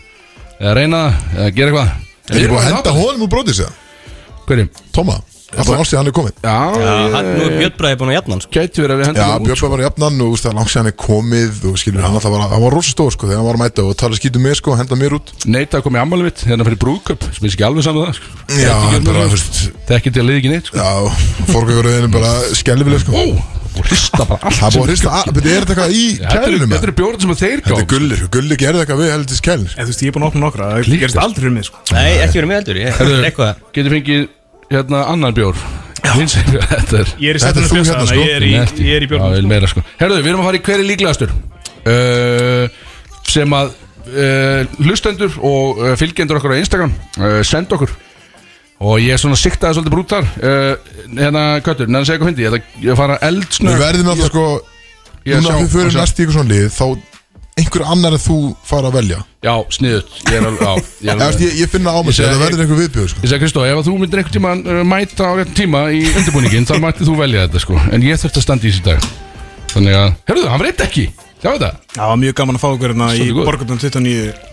Speaker 3: Eða reyna það, eða gera eitthvað
Speaker 2: Er þetta búin að henda honum úr brótið sig?
Speaker 3: Hverjum?
Speaker 2: Tóma, alltaf ásið hann er komin
Speaker 3: Já,
Speaker 4: Já,
Speaker 3: ég-
Speaker 4: hann- Nú er Björn Bræði búin að jafna hann sko
Speaker 3: Gæti verið að við
Speaker 2: Já,
Speaker 3: hendum
Speaker 2: Björn var bara jafnan og þú veist, það er langt sér hann er komið og skilur hann alltaf var, hann var rosa stór sko þegar hann var að mæta og tala skítum með sko, henda mér út
Speaker 3: Neita að koma í ammali mitt Hérna fyrir brúðköp Sem ég sé ekki alveg saman það sko.
Speaker 2: Já, hann bara, þú veist,
Speaker 3: Þekki til að liði ekki neitt sko.
Speaker 2: já, fórgönguröðinu bara skelvileg sko
Speaker 3: Ó, og hrista bara allt
Speaker 2: Það er búið að
Speaker 3: sem-
Speaker 2: hrista, að- betur, er þetta eitthvað í
Speaker 3: Já, Þetta eru-
Speaker 2: kælunum?
Speaker 3: þetta sko. eru bjórn sem að þeir
Speaker 2: Þetta er
Speaker 3: gáð
Speaker 2: gullir, gullir gerði eitthvað við heldur til skælin
Speaker 5: En þú veist, ég er búin að opna nokkra Það
Speaker 3: Líka.
Speaker 5: gerist aldrei um mig sko
Speaker 4: Nei, ekki verið með heldur Ég
Speaker 3: Heyrðu.
Speaker 4: er eitthvað
Speaker 3: Geti fengið hérna annan bjór Hins- Þetta er
Speaker 5: Ég er í
Speaker 2: Þetta er
Speaker 5: setjunum
Speaker 2: þú hérna,
Speaker 5: fjösa þannig
Speaker 2: sko.
Speaker 5: að ég er í- ég er í
Speaker 3: Já,
Speaker 5: björnum
Speaker 3: vel meira sko Herðu, við erum að fara í hverju líklegastur uh, Sem að uh, hlustendur og uh, fylgjendur okkur á Instagram uh, Senda okkur Og ég er svona siktaði svolítið brútar uh, Hérna, Köttur, neðan segja hvað fyndi Ég ætla ég að fara
Speaker 2: Við
Speaker 3: eldsnöð
Speaker 2: verðum alltaf sko,
Speaker 3: Ég
Speaker 2: núna
Speaker 3: sjá-
Speaker 2: við
Speaker 3: sjá.
Speaker 2: förum næst í ykkur svona lið þá einhver annar en þú fara að velja
Speaker 3: Já, sniðut Ég er alveg, já, ég er
Speaker 2: Ég,
Speaker 3: alveg
Speaker 2: ég, ég finna á mig
Speaker 3: Ég segi-
Speaker 2: sér, það verður einhver viðbjöð sko
Speaker 3: Ég sagði Kristó, ef að þú myndir einhvern tíma uh, mæta á réttum tíma í undirbúningin þá mættið þú velja þetta sko En ég þurfti að standa í þessi dag Þannig að, herruðu, hann var eitt ekki Sjá þetta?
Speaker 5: Það var mjög gaman að fá ykkur hérna í
Speaker 3: Svolítið góður.
Speaker 5: borgarnum 29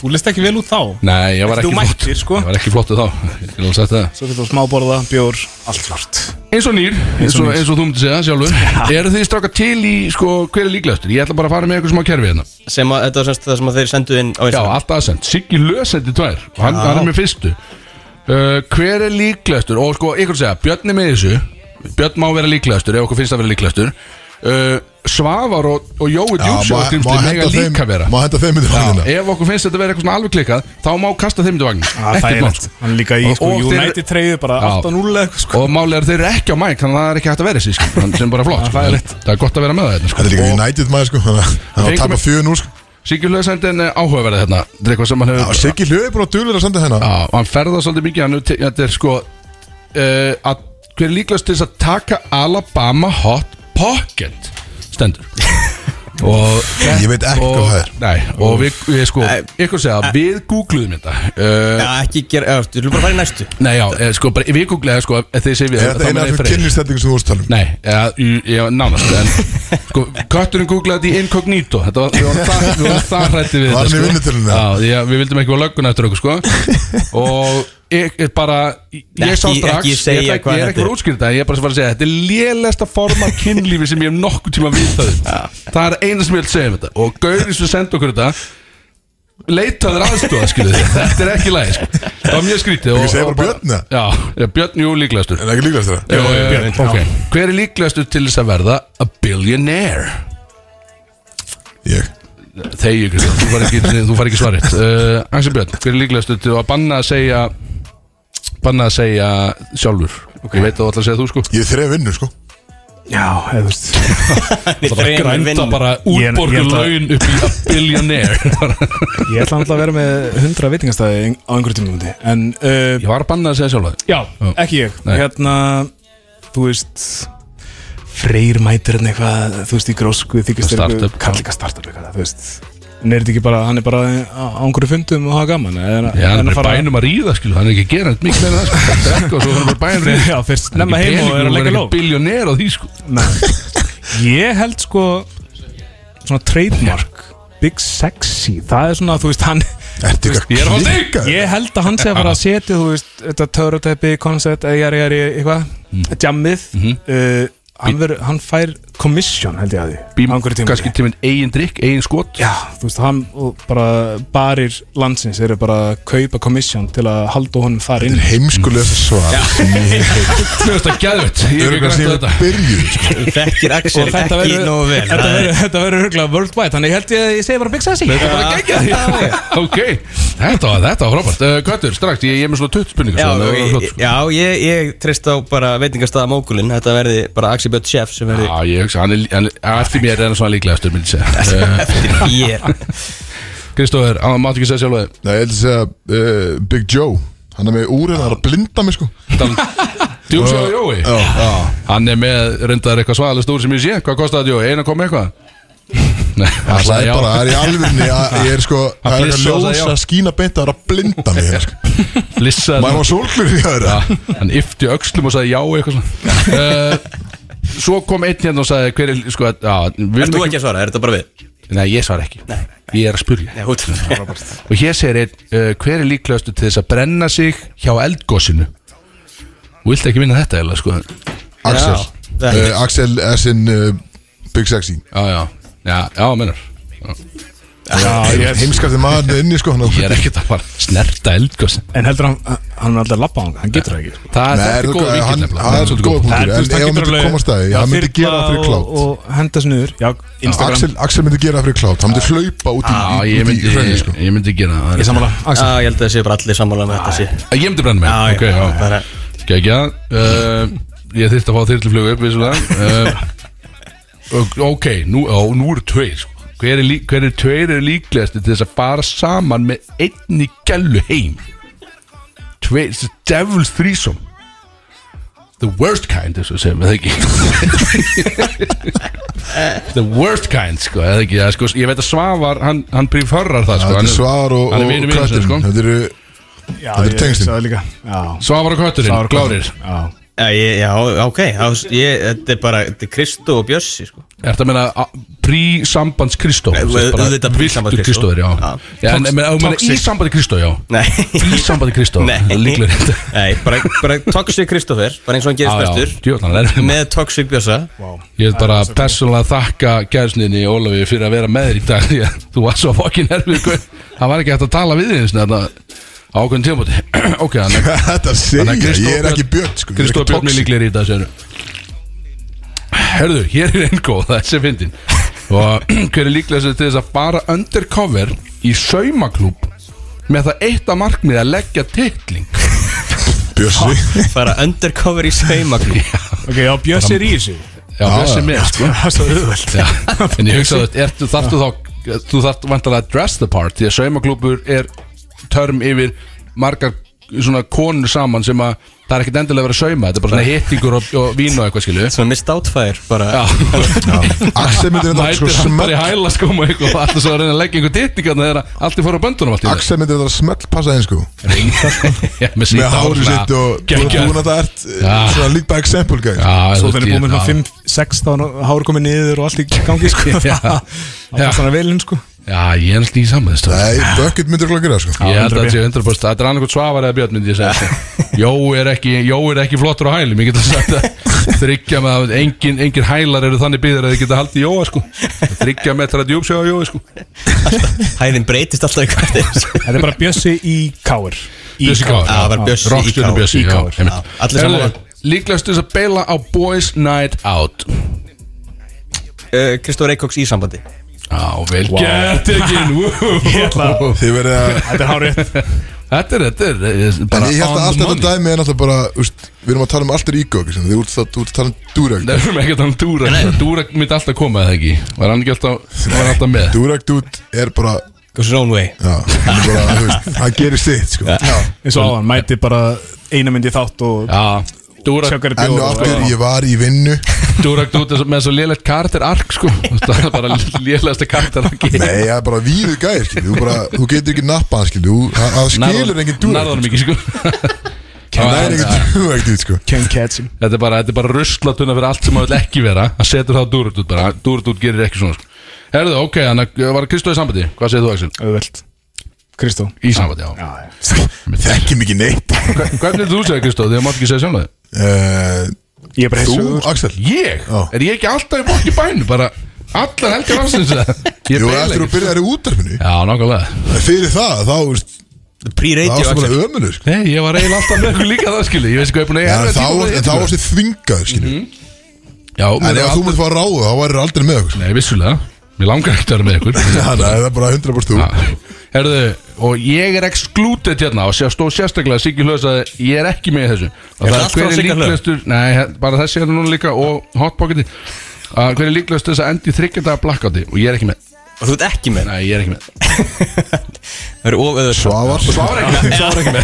Speaker 5: Þú list ekki vel út þá
Speaker 3: Nei, ég var
Speaker 5: Þú
Speaker 3: ekki flott
Speaker 5: mættir, sko.
Speaker 3: Ég var ekki flottu þá Ég vil alveg sagt það
Speaker 5: Svo fyrir þú smáborða, bjór, allt svart
Speaker 3: Eins og nýr, eins og,
Speaker 5: nýr.
Speaker 3: eins og þú myndir segja sjálfur Eru þið stráka til í, sko, hver er líklegastur? Ég ætla bara að fara með eitthvað smá kerfi hérna
Speaker 4: Sem að þetta var semst það sem að þeir sendu inn á
Speaker 3: Já,
Speaker 4: Instagram
Speaker 3: alltaf aðsend Siggi lösendi tvær Og hann, hann er með fyrstu uh, Hver er líklegastur? Og sko, ykkur segja, Björn er með í þessu Björn má vera líklegastur ef okkur finnst að vera líklegastur uh, Svavar og, og Jói
Speaker 2: Já, má-
Speaker 3: Djúpsjóðskrymsli
Speaker 2: má
Speaker 3: mega
Speaker 2: henda þeim-
Speaker 3: líka vera
Speaker 2: má Hérna. henda þeim undir vagninn.
Speaker 3: Já, Ef okkur finnst þetta vera eitthvað svona alveg klikkað þá má kasta þeim til vagnin
Speaker 5: Ah, þægilegt. Hann er líka í, sko, United treyju, bara 8-0
Speaker 3: eitthvað sko. Og málið er að þeir eru ekki á mæk þannig að það er ekki hægt að vera sér sko. Þannig sem bara flott sko. En Það er gott að vera með það hérna, sko.
Speaker 2: Þetta er líka United maður sko Þannig að það
Speaker 3: Fengum
Speaker 2: tapar
Speaker 3: við-
Speaker 2: fjögur nú sko
Speaker 3: Siggi Hlöð sendi henni áhugaverðið hérna Þetta er eitthvað sem hann hefur
Speaker 2: Siggi Hlöð er búin að duðlega að senda hérna
Speaker 3: Já, hann ferðar svolítið mikið hann hefur te- Þetta er sko uh, að, Hver er líklegast til þess að taka Alabama Hot Pocket Stendur og,
Speaker 2: Ég veit ekki
Speaker 3: og,
Speaker 2: hvað það er.
Speaker 3: Nei, og við, við sko, ykkur segja að við googluðum þetta uh, Já, ekki gera, já, við viljum bara fara í næstu Nei, já, eh, sko, bara, við googluðum, sko, ef þið segir við
Speaker 2: Er þetta eina af
Speaker 3: af
Speaker 2: þessum kynlýstendingum sem þú vorst að tala um?
Speaker 3: Nei, eða, í- já, nánast en, sko, Kötturinn googlaði þetta í incognito Þetta var, við vorum það, við vorum það hrætti við sko.
Speaker 2: Var hann í vinnutölunni?
Speaker 3: Já, því að við vildum ekki vera löggun eftir okkur, sko Og ég, ég bara, ég
Speaker 4: Ekki-
Speaker 3: sá strax
Speaker 4: ekki segja
Speaker 3: Ég, ætla
Speaker 4: hvað
Speaker 3: ég er
Speaker 4: þetta
Speaker 3: ekki
Speaker 4: er.
Speaker 3: bara útskýrta Ég er bara sem var að segja, þetta er lélegasta form af kynlífi sem ég hef nokkuð tíma vitað um. Það er eina sem ég vil segja um þetta Og Gauri sem sendi okkur þetta Leitaður aðstofa, skilu Þetta er ekki læg, sko Það var mjög skrítið
Speaker 2: Ég
Speaker 3: og-
Speaker 2: segi
Speaker 3: og
Speaker 2: bara Björn eða?
Speaker 3: Já, já, Björn, jú, líklegastur
Speaker 2: En ekki líklegast það?
Speaker 3: Jú,
Speaker 5: Eh,
Speaker 3: jú, Björn, ok. Hver er líklegastur til þess að verða a billionaire?
Speaker 2: Ég
Speaker 3: Þegi, Kristján, þú fari ekki, þú fari ekki svarið uh, Axel Björn, hver er líklegastur til að banna að segja banna að segja sjálfur Ég veit að þú ætlar að segja þú sko
Speaker 2: Ég þreif vinnur sko
Speaker 5: Já, eða þú veist
Speaker 3: Það var
Speaker 5: þreif
Speaker 3: grænta
Speaker 5: vinnur.
Speaker 3: bara
Speaker 5: Ég- ég
Speaker 3: útborgu
Speaker 5: ætla-
Speaker 3: laun upp í a billionaire
Speaker 5: Ég ætla alltaf að vera með 100 veitingastæði ein- á einhverjum tímum en, uh,
Speaker 3: Ég var að banna að segja sjálfa
Speaker 5: Já, ekki ég
Speaker 3: Nei.
Speaker 5: Hérna, þú veist Freyr mætir en eitthvað Þú veist, í grósku, þykist þér
Speaker 3: Startup.
Speaker 5: Kall ekki startup eitthvað, þú veist En er þetta ekki bara, hann er bara á á einhverju fundum og hafa gaman en,
Speaker 3: Já, hann er bara í bænum að ríða skilu, hann er ekki gerand mikið meina það sko Drekka og svo hann er bara í bænum að ríða
Speaker 5: Já, fyrst
Speaker 3: Hann er
Speaker 5: nefna
Speaker 3: ekki
Speaker 5: heim og
Speaker 3: peningur,
Speaker 5: er að
Speaker 3: hann
Speaker 5: leika
Speaker 3: ekki
Speaker 5: lóg
Speaker 3: billionaire á því sko
Speaker 5: Ég held sko Svona trademark Big Sexy, það er svona, þú veist, hann Ertu
Speaker 2: eitthvað
Speaker 3: Ég er að fá þig!
Speaker 5: Ég held að hann sé að fara að setja, þú veist, þetta törutæpi, koncept, eða jari, jari, eitthvað Jammið uh, hann, verður- hann fær commission, held ég að því
Speaker 3: Bím,
Speaker 5: á einhverju tímabili.
Speaker 3: kannski tíminn eigin drikk, eigin skot
Speaker 5: Já, þú veist, hann og bara barir landsins eru bara að kaupa commission til að halda honum þar inn
Speaker 2: Heimskulegast svar
Speaker 3: Mér finnst það gæðvett Ég er ekki
Speaker 2: Örgulega
Speaker 3: grænt
Speaker 2: sem sko.
Speaker 3: á
Speaker 2: ég
Speaker 3: þetta
Speaker 2: byrjuð
Speaker 4: Þekkir Axel
Speaker 5: Og þetta
Speaker 4: ekki
Speaker 5: verður-
Speaker 4: nógu vel
Speaker 5: Þetta verður- Þetta verður huglega worldwide, þannig held ég að ég segi bara Big Sassy
Speaker 3: Þetta er bara geggjað Ok, þetta var, þetta var frábært uh, Köttur, strax, ég, ég er með svona tutt spurningar
Speaker 4: Já,
Speaker 3: svona, það var
Speaker 4: ég,
Speaker 3: flott, sko.
Speaker 4: ég- já ég, ég treyst á bara veitingastæða mókulinn Þetta verði bara Axel Björn Chef sem verði
Speaker 3: Já, Ah, ég hugsa, hann er, hann er eftir mér er hann svona líklegastur, myndi ég segja Eftir
Speaker 4: mér
Speaker 3: Kristóður, hann máttu ekki segja sjálf að
Speaker 2: Nei, ég held að segja uh, Big Joe Hann er með úr hérna, hann er að blinda mig sko
Speaker 3: Djúmsjóður Jói
Speaker 2: Já, já.
Speaker 3: Hann er með, reyndar eitthvað svaðalist úr sem ég sé Hvað kostaði þetta Jói, eina kom eitthvað? Nei,
Speaker 2: Hann
Speaker 3: sagði
Speaker 2: slæði
Speaker 3: já.
Speaker 2: bara, það er í alvörni Ég er sko,
Speaker 3: Hann
Speaker 2: það er eitthvað
Speaker 3: flissaði og sagði
Speaker 2: ljós
Speaker 3: já.
Speaker 2: að skína beint Það er að blinda mig hérna, sko.
Speaker 3: Lissaði
Speaker 2: Maður var sólglur í aðra
Speaker 3: Já, hann yfti öxlum og sagði já eitthvað svona uh, Svo kom einn hérna og sagði hver er, sko, já
Speaker 4: Ert þú ekki að svara, er þetta bara við?
Speaker 3: Nei, ég svara ekki Nei. Ég er að spurja
Speaker 4: Nei, út
Speaker 3: Og hér segir einn, uh, hver er líklegastu til þess að brenna sig hjá eldgósinu? Þú vilt ekki vinna þetta eða, sko
Speaker 2: Axel uh, Axel S in uh, Big Sexy
Speaker 3: Já, já, já, já, mennar
Speaker 2: Heimskasti maður inni sko hann á-
Speaker 3: Ah, Ég er ekkert að fara að snerta eldgósin
Speaker 5: En heldur hann, hann er alltaf labbað hann, hann getur það ekki sko.
Speaker 2: Nei,
Speaker 3: Það þetta
Speaker 2: er
Speaker 3: er
Speaker 2: þú-
Speaker 3: góð
Speaker 2: hann-
Speaker 3: vikið
Speaker 2: hann
Speaker 3: nefnilega Það
Speaker 2: er
Speaker 3: er
Speaker 2: góður
Speaker 3: svolítið góð
Speaker 2: punktur. en
Speaker 5: En,
Speaker 2: ef
Speaker 5: þú veist, hann
Speaker 2: hann
Speaker 5: getur
Speaker 2: myndi
Speaker 5: alveg-
Speaker 2: komast að því,
Speaker 5: Já,
Speaker 2: hann myndi
Speaker 5: þyrla
Speaker 2: gera það fyrir
Speaker 5: og-
Speaker 2: klátt.
Speaker 5: Og hendast niður, já, Instagram
Speaker 2: Axel, Axel myndi gera það fyrir klátt Hann myndi hlaupa út í,
Speaker 3: Já,
Speaker 2: í,
Speaker 3: ég
Speaker 2: út í
Speaker 3: myndi,
Speaker 2: hraunni sko
Speaker 3: ég myndi gera það
Speaker 5: Ég sammála,
Speaker 4: Já,
Speaker 5: Axel
Speaker 4: ég held að það sé bara allir sammála með þetta sé
Speaker 3: Ég myndi brenna mig,
Speaker 4: Já,
Speaker 3: ok,
Speaker 4: já,
Speaker 3: já
Speaker 4: bara-
Speaker 3: Gækja uh, Ég þyrfti að fá þyrluflögu upp vissulega uh, Ok, nú, á, nú eru tveir sko. hver, er lí, hver er tveir er líklegast til þess að fara saman með einni gælu heim Tveir, þessi devil's threesome The worst kind, þess að segja mig það ekki The worst kind, sko, eða ekki ja, sko, Ég veit að Svavar, hann, hann preferrar það sko,
Speaker 2: Þetta
Speaker 3: hann
Speaker 2: er Svar og,
Speaker 3: hann er vinur
Speaker 2: og
Speaker 3: minn, sko.
Speaker 2: Kötturinn Þetta eru
Speaker 5: Já,
Speaker 2: Þetta eru
Speaker 5: ég
Speaker 2: tengslin.
Speaker 5: sagði það líka Já,
Speaker 3: Svavar og
Speaker 5: Svavar og
Speaker 3: kötturinn,
Speaker 5: kötturinn.
Speaker 3: glárir
Speaker 5: já
Speaker 4: Já, ég, já ok, já, ég, þetta er bara Þetta er Kristó og Bjössi sko.
Speaker 3: Er þetta að meina prí-sambands Kristó?
Speaker 4: Nei,
Speaker 3: Sem sagt bara
Speaker 4: auðvitað
Speaker 3: villtur
Speaker 4: pre-sambands Kristó.
Speaker 3: Kristóður, já
Speaker 4: Já.
Speaker 3: Já, en en meina, þú meina í
Speaker 4: Toxic.
Speaker 3: sambandi Kristó, já
Speaker 4: Nei,
Speaker 3: Í sambandi Kristó,
Speaker 4: Nei.
Speaker 3: líklega rétt
Speaker 4: Nei bara, bara Toxic Kristófer Bara eins og hann hérna.
Speaker 3: Já,
Speaker 4: gerist
Speaker 3: já, djöfull, hann er
Speaker 4: bestur
Speaker 3: erfiður.
Speaker 4: Með Toxic Bjössa
Speaker 3: Ég vil bara persónulega þakka gæðsninni Ólafi fyrir að vera með þér í dag Því að þú var svo fokkin erfið gaur. Það var ekki hægt að tala við þér Þannig að ákveðin tímabóti Ok, þannig
Speaker 2: Þetta segja,
Speaker 3: Kristó
Speaker 2: ég er
Speaker 3: Björn-
Speaker 2: ekki björn sko
Speaker 3: Kristóður Björn
Speaker 2: tóxík.
Speaker 3: mér líklega í dag, segir Hörðu, hér er einn góð, þessi er fyndin Og hver er líklega til þess að fara undercover í saumaklúb Með það eitt að markmið að leggja titling
Speaker 2: Bjössi
Speaker 4: Fara undercover í saumaklúb
Speaker 5: Ok, já, Bjössi er í þessu
Speaker 3: Já, Bjössi er með sko.
Speaker 5: Það er svo auðvöld
Speaker 3: Já, En ég hugsa að ertu, þarftu þá Þú þarft vantilega að dress the part Því að saumaklúpur er törm yfir Margar svona konur saman Sem að það er ekkert endilega að vera að sauma Þetta er bara svona hittingur og, og vín og eitthvað skilju
Speaker 4: Svona mist átfæðir bara
Speaker 2: Axel myndir þetta sko
Speaker 3: Mætir hann bara
Speaker 2: smelt
Speaker 3: í hæla sko og eitthvað, og alltaf svo að reyna að leggja einhver tittingarna þegar að allt er fór á böndunum allt í einu.
Speaker 2: Axel myndir þetta smelt passa einn sko
Speaker 3: Já, með
Speaker 2: Með hárið sitt og Þú ert búin að það ert eh, Svona lík bara example guy
Speaker 5: Svo þegar ég búið með svona 5-6 þá er hár komið niður og allt í gangi sko
Speaker 3: Já.
Speaker 5: Það er svona velinn sko
Speaker 3: Já, ég er alltaf í saman þessu
Speaker 2: Nei, Bucket myndir glöggir það sko
Speaker 3: Ég held að það sé 100% Þetta er annarkot svavar eða björn myndi ég segja sko. Jó er ekki, jó er ekki flottur á hælum Ég geta sagt að þryggja með að engin, engin hælar eru þannig byggðar að þið geta haldið jóa sko Þryggja metra að djúpsjá á jói sko
Speaker 4: Hæðin breytist alltaf eitthvað
Speaker 5: Þetta er bara Bjössi í káir
Speaker 3: Bjössi Káur
Speaker 4: Já, það var Bjössi í
Speaker 3: Rockstjörnu
Speaker 4: KR.
Speaker 3: Bjössi
Speaker 4: Í
Speaker 3: já,
Speaker 4: KR.
Speaker 3: einmitt.
Speaker 4: Já, allir
Speaker 3: Herðu,
Speaker 4: sammála.
Speaker 3: Líklegast til þess að beila á Boys Night Out
Speaker 4: Kristóf Reykjóks Eh, í sambandi
Speaker 3: Já, vel gert ekki
Speaker 5: Ég ætla að-
Speaker 2: Þið verið að
Speaker 5: Þetta er hárið
Speaker 3: Þetta er, þetta er, er
Speaker 2: En
Speaker 3: bara
Speaker 2: ég held
Speaker 3: on
Speaker 2: að allt
Speaker 3: the
Speaker 2: þetta
Speaker 3: money.
Speaker 2: dæmi er náttúrulega bara úst, Við erum að tala um alltaf ígó Þið ert að þú ert að tala um
Speaker 3: Nei,
Speaker 2: Durag
Speaker 3: við erum ekki að tala um Dúrak Dúrak myndi alltaf koma eða ekki Var hann ekki alltaf, var hann alltaf með
Speaker 2: Durag dude er bara
Speaker 4: Goes your own way
Speaker 2: Já, hann er bara, þú veist, hann gerir sitt sko
Speaker 5: Eins og áðan, mæti bara eina mynd í þátt og
Speaker 3: Já Dúrak
Speaker 5: sjökkar í
Speaker 2: Enn og
Speaker 5: bjóð
Speaker 2: aftur, ég var í vinnu
Speaker 3: Durag Dút er svo- með svo lélegt karakterark sko Það er bara lélegasta karakterarki
Speaker 2: Nei, það er bara víðu gæði, skilju Þú bara, þú getur ekki nappa hann, skilju Þú- Það það skilur engin Durag
Speaker 3: Narðanum ekki sko
Speaker 2: Það er engin Durag dude, sko
Speaker 5: Ken Ketchum
Speaker 3: Þetta er bara, þetta er bara ruslatuna fyrir allt sem það vil ekki vera Það setur það Durag Dút bara Durag Dút gerir ekki svona sko Herðu, ok, hann var Kristóð í sambandi Hvað segir þú Axel?
Speaker 5: Auðvöld Kristó
Speaker 3: Í sambandi, já
Speaker 2: Þekkjum ekki neitt
Speaker 3: Hver- Hvernig er þú segir Kristóð? Þegar mátt ekki segja sjálf það
Speaker 2: Eh,
Speaker 5: Ég er bara heið
Speaker 2: Þú,
Speaker 5: sögur
Speaker 2: Axel
Speaker 3: Ég?
Speaker 2: Já.
Speaker 3: Er ég ekki alltaf í bótt í bænu? Bara allar helgar afsins eða? Ég
Speaker 2: Jú,
Speaker 3: beila
Speaker 2: eftir
Speaker 3: ekki.
Speaker 2: þú byrjar í útarpinu
Speaker 3: Já, nákvæmlega
Speaker 2: Fyrir það, þá, þú veist, þá
Speaker 4: Pre-radio
Speaker 2: varstu
Speaker 4: Axel
Speaker 2: bara ömulur sko.
Speaker 3: Nei, ég var eiginlega alltaf með ykkur líka það skilji Ég veist ekki hvað ég er búin
Speaker 2: Já, en Þá
Speaker 3: að eiga erfiða tíma
Speaker 2: varstu- en þá
Speaker 3: með
Speaker 2: varstu þvingað, skilju
Speaker 3: Já,
Speaker 2: En
Speaker 3: mér
Speaker 2: ef
Speaker 3: var
Speaker 2: þú myndir fara Mhm. að ráða, þá værir aldrei með okkur
Speaker 3: Nei, vissulega Mér langar ekkert að vera með ykkur
Speaker 2: Þannig að það er bara 100% þú
Speaker 3: Já. Herðu, og ég er excluded hérna og sér stóð sérstaklega Siggi Hlöðs að ég er ekki með í þessu og það
Speaker 4: Er það
Speaker 3: er
Speaker 4: allt
Speaker 3: hver
Speaker 4: frá
Speaker 3: er
Speaker 4: Sigga Hlöð?
Speaker 3: líklegastur Nei, he- bara þessi hérna núna líka og hotpocketi að hver er líklegastur þess að endi þryggjanda blackouti og ég er ekki með
Speaker 4: Og þú ert ekki með
Speaker 3: Nei, ég er ekki með
Speaker 4: Það eru of öður
Speaker 2: Svavar
Speaker 3: Svavar ekki með Svavar ekki með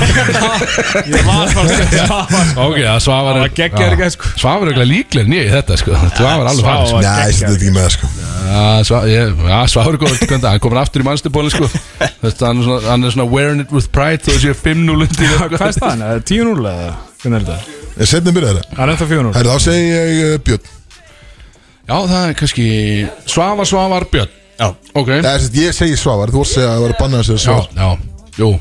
Speaker 5: Ég var svona
Speaker 3: Ok, það Svavar
Speaker 5: Það var geggjaður í gær, sko.
Speaker 3: Svavar er ekki líklegur nýja í þetta sko Svavar er alveg farið sko.
Speaker 5: Svavar.
Speaker 2: Nei, ég setið ekki með sko
Speaker 3: Já, Sva- ég- já, Svavar er góður kvönda, hann komur aftur í mannstibóli sko Þetta, hann, er svona- hann er svona wearing it with pride þó þessi 5-0 undir
Speaker 5: Hvað er staðan? Er það 10-0 eða? Hvernig er þetta?
Speaker 2: Ég setið mér þetta
Speaker 5: Það er ennþá 4-0
Speaker 2: Herri, þá segi ég uh, Björn
Speaker 3: Já, það er kannski Svavar, Svavar, Björn
Speaker 4: Já
Speaker 3: Ok
Speaker 2: Nei, sem sagt, ég segi Svavar, þú vorst segja að það var að banna þessu
Speaker 3: Já,
Speaker 2: Svavar
Speaker 3: já, jú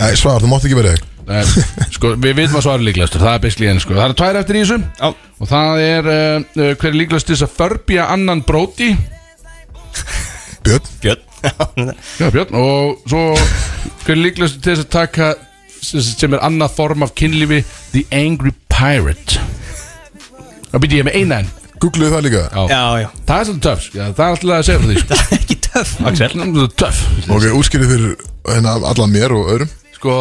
Speaker 2: Nei, Svavar, þú mátt ekki verið
Speaker 3: Nei, Sko, við vitum að Svavar er líklegastur, það er basically henni sko Það er tvær eftir í þessu
Speaker 4: Já.
Speaker 3: Og það er, uh, uh, hver er líklegastur þess að förbja annan bróti
Speaker 2: Björn,
Speaker 4: Björn
Speaker 3: Já, Björn Og svo, hver er líklegastur þess að taka sem- sem er annað form af kynlífi The Angry Pirate Það byrja ég með eina enn
Speaker 2: googluðu það líka
Speaker 4: Já, já
Speaker 3: Það er svolítið töff, sko. það er alltaf að segja frá því sko.
Speaker 4: Ekki töff
Speaker 3: Axel, það er töff
Speaker 2: Ok, útskýrið fyrir hérna, allan mér og öðrum
Speaker 3: Sko,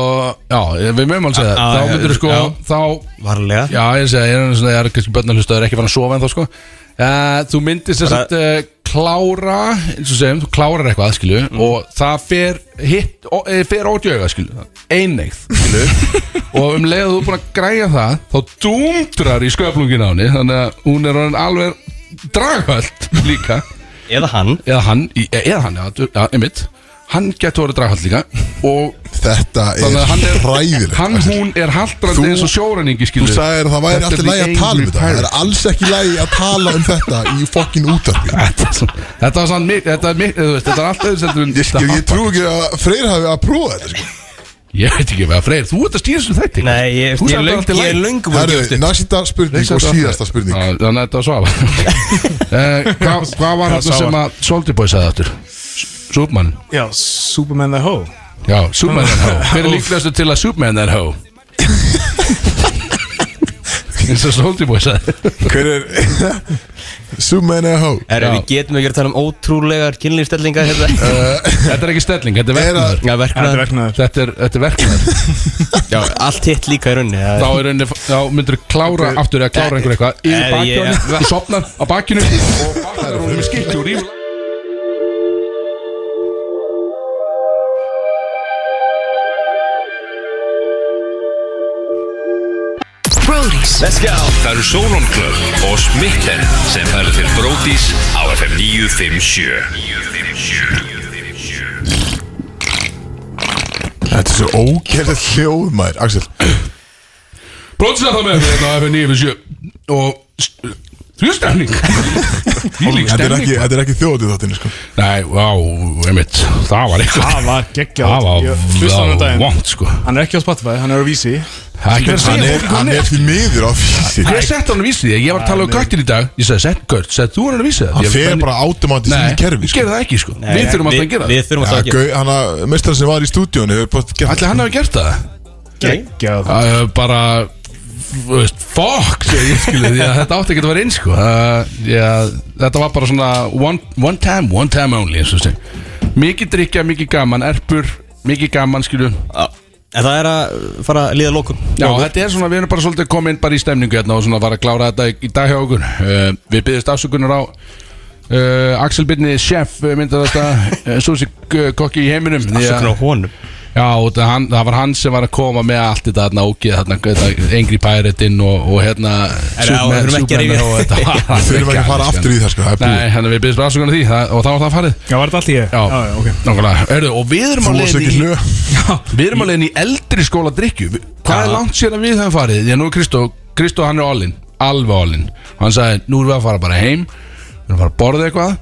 Speaker 3: já, við mögum alveg segja
Speaker 4: Já,
Speaker 3: það. Þá
Speaker 4: já,
Speaker 3: myndir sko,
Speaker 4: já.
Speaker 3: þá
Speaker 4: Varlega
Speaker 3: Já, ég segja, ég er svona, ég er kannski börnarlustu Það er ekki fann að sofa en þá sko uh, Þú myndir þess að uh, klára eins og segjum, þú klárar eitthvað, skilju og það fer hitt ó, eh, fer ódjöga, skilju, einneigð skilju, og um leið að þú er búin að græja það, þá dúndrar í sköflungin á henni, þannig að hún er orðin alveg draghöld líka
Speaker 4: Eða hann
Speaker 3: eða hann, í- e- eða hann, já, du- já, einmitt hann getur orðið draghald líka og
Speaker 2: Þetta
Speaker 3: þannig að hann
Speaker 2: er
Speaker 3: er
Speaker 2: hræðilegt
Speaker 3: hann,
Speaker 2: Axel.
Speaker 3: hún er haldrandi
Speaker 2: Þú-
Speaker 3: eins og sjóræningi
Speaker 2: Þú
Speaker 3: skilur
Speaker 2: sagðir að það væri
Speaker 3: Þetta er
Speaker 2: alltaf lægi að tala um þetta
Speaker 3: the angry
Speaker 2: Það er
Speaker 3: pirate.
Speaker 2: alls ekki lægi að tala um þetta í fokkin útarpi
Speaker 3: Þetta er svona- þetta var sann mikið þetta er mikið, þú veist, þetta er allt öðru sem
Speaker 2: Ég, ég, ég trú ekki að Freyr hafi að prófa þetta sko.
Speaker 3: ég veit ekki hvað, Freyr, þú ert að stýra þessu þætti
Speaker 4: Nei, ég,
Speaker 3: Þú
Speaker 4: ég,
Speaker 3: sagði
Speaker 4: löng,
Speaker 3: allt í
Speaker 4: ég
Speaker 3: lagi.
Speaker 4: er löngum að gefast
Speaker 2: Herru,
Speaker 4: upp
Speaker 2: næsta spurning og síðasta spurning
Speaker 3: Já, þannig að þetta var svafa Eh, hvað, hvað var þetta sem að Soldier Boy sagði aftur Superman
Speaker 5: Já, Superman the Ho
Speaker 3: já, Superman er hó hver er líklegastu til að Superman er hó eins og Soldier Boy sagði
Speaker 2: Hver er Summena Hó
Speaker 4: Er, við getum ekki verið að tala um ótrúlegar kynlýfstellinga hérna.
Speaker 3: Þetta er ekki stelling, þetta er verknaður
Speaker 4: Já, verknaður.
Speaker 3: Þetta er verknaður Þetta er, þetta er verknaður
Speaker 4: Já, allt hitt líka í rauninni
Speaker 3: Þá er rauninni, þá myndur þú klára aftur eða klára einhver eitthvað Í
Speaker 4: Eh, ég-
Speaker 3: bakjónu, þú sopnar á bakjónu Og bakar hún með skilti úr í
Speaker 10: Brodís Let's go Það eru Solon Club og Smitten sem færa til Brodís á FM 957
Speaker 2: Þetta er svo ógerðið hljóð maður Axel
Speaker 3: Brótslega það með hérna, þetta á FM 957 Og þrjústæmning Þvílík
Speaker 2: Þetta er
Speaker 3: stemning
Speaker 2: ekki, þetta er ekki þjóðið þáttinn sko.
Speaker 3: Nei, vá, einmitt Það var eitthvað
Speaker 5: Það var geggjað.
Speaker 3: Það var-
Speaker 5: Ég hlustaði á hann um daginn.
Speaker 3: var vont sko
Speaker 5: Hann er ekki á Spotify, hann er á Vísi
Speaker 3: Ekki- hann er- hann er
Speaker 2: því miður á Vísi
Speaker 3: Hver sett hann að vísi því? Ég var að tala um göttin í dag Ég sagði, sett gött, sett þú hann að vísi það
Speaker 2: Hann
Speaker 3: Ég-
Speaker 2: fer
Speaker 3: menn-
Speaker 2: bara automatist í
Speaker 3: Nei,
Speaker 2: kerfi
Speaker 3: ég gerði það ekki sko
Speaker 2: Nei,
Speaker 3: Við þurfum alltaf að
Speaker 2: við-
Speaker 3: gera það
Speaker 2: við þurfum alltaf að gera það. Hann að mestar sem var í stúdíónu
Speaker 3: Ætli hann hafi gert það?
Speaker 5: Geggjað
Speaker 3: uh, Bara þú veist, Fuck segi ég skilu því að Þetta átti ekki að vera eins sko uh, já, Þetta var bara svona one, one time, one time only eins og sem Mikið drikja, mikið gaman Erpur, mikið gaman skilu
Speaker 4: En það er að fara að líða lokum
Speaker 3: Já, þetta er svona, við erum bara svolítið komin bara í stemningu hérna og svona að fara að klára þetta í- í dag hjá okkur uh, Við byggjast afsökunar á uh, Axel Byrni, chef eh, myndað þetta uh, Susi kokki í heiminum því að-
Speaker 4: Afsökunar á honum?
Speaker 3: Já, og það, hann, það var hann sem var að koma með allt þetta hérna ógið þarna, þetta Angry Pirateinn og, og hérna
Speaker 4: já, við þurfum ekki að rifja-
Speaker 2: Við þurfum ekki að fara aftur í það, sko, það er búið.
Speaker 3: Nei, hérna við byggjast afsökunar á því það, og þá var það farið
Speaker 5: Já, var þetta allt ég?
Speaker 3: Já,
Speaker 5: Já, já, ok.
Speaker 3: nákvæmlega Heyrðu, Og við erum
Speaker 5: Þú
Speaker 3: á
Speaker 5: varst
Speaker 3: leiðinni
Speaker 5: ekki
Speaker 3: í- Já, Við erum alveg inn í eldri skóla drikju Hvað er langt sér að við höfum farið? Því að nú er Kristó, Kristó hann er allin Alveg allin Og hann sagði, nú erum við að fara bara heim Við erum að fara að borða eitthvað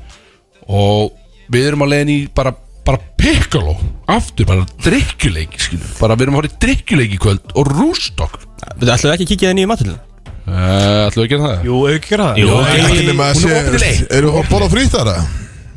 Speaker 3: Og við erum alveg inn í bara, bara piccolo Aftur bara drikkjuleik skilu. Bara við erum að fara í drikkjuleik í kvöld Og rúst okkur
Speaker 4: Þú ætlum ekki að kíkja þenni í matilina?
Speaker 3: Uh, ætlum við að gera það?
Speaker 5: Jú, ekki gera það
Speaker 4: Jú,
Speaker 2: Ekki nema að
Speaker 4: hún er opið
Speaker 2: sé
Speaker 4: leik
Speaker 2: Eru að borða frýtt þar?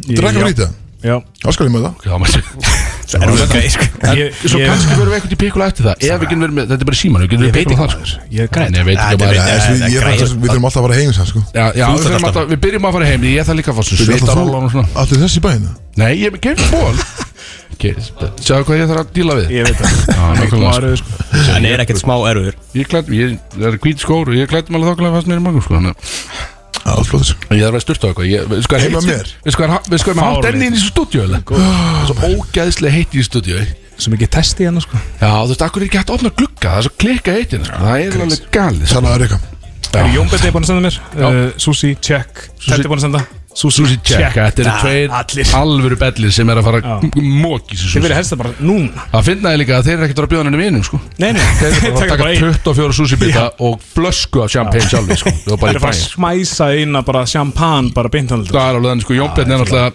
Speaker 2: Drekka
Speaker 5: Já.
Speaker 2: frýtt það?
Speaker 5: Já
Speaker 2: Það skal ég með það
Speaker 3: Já, maður Það
Speaker 2: er
Speaker 3: ok,
Speaker 2: sko
Speaker 3: En, svo kannski verðum við eitthvað í piccolo eftir það Ef við getum verið með, þetta er bara síman Við getum verið piccolo þar sko.
Speaker 5: Ég er
Speaker 3: Nei, ég veit ekki bara
Speaker 2: Við þurfum alltaf að fara heim sko.
Speaker 3: Já, já við, þurfum alltaf, við byrjum að fara heim Ég ætla líka að fá svo svita rólan og svona
Speaker 2: Allir þessi bæðina
Speaker 3: Nei, ég er kemur ból Sjáðu hvað ég þarf að díla við
Speaker 5: Ég veit það sko.
Speaker 3: það
Speaker 4: Hann er ekkert smá erfiður
Speaker 3: Ég klætt, ég það er hvít skór og Ég klætt mér alveg þokkulega fast mér í magnum sko þannig að-
Speaker 2: Já, flott sko.
Speaker 3: Ég þarf að styrta á eitthvað Ég- veistu hvað er
Speaker 2: Heima
Speaker 3: heitt-
Speaker 2: mér.
Speaker 3: Veistu hvað er- veistu hvað er með hálft enni inn í þessu stúdíu eða? Svo ógæðslega heitt í stúdíu
Speaker 5: Svo mikið testi hérna sko
Speaker 3: Já, þú veist, akkur er ekki hægt að opna glugga Það er svo klikka heitt hérna, sko. Það er alveg galið sko.
Speaker 2: Sannaður eitthvað
Speaker 5: Það er Jón Betti búin að senda mér
Speaker 3: Já.
Speaker 5: uh, Susi, check Teddi búin að senda
Speaker 3: Susi Check, Ah, þetta eru tveir alvöru bellir sem er að fara
Speaker 5: Já.
Speaker 3: að móki þessu
Speaker 5: Þið verið
Speaker 3: Susi
Speaker 5: helst það bara núna
Speaker 3: Það finnaði líka að þeir eru ekkert að bjóða henni vinum sko
Speaker 5: Nei, nei
Speaker 3: Þeir eru bara að taka 24 sushi bita og flösku af champagne sjálfi sko Það var
Speaker 5: Það
Speaker 3: bara
Speaker 5: er
Speaker 3: í
Speaker 5: bara að
Speaker 3: bæn
Speaker 5: smæsa inn að bara champagne bara beint hann
Speaker 3: Það er alveg þannig sko, Jónbjörn er náttúrulega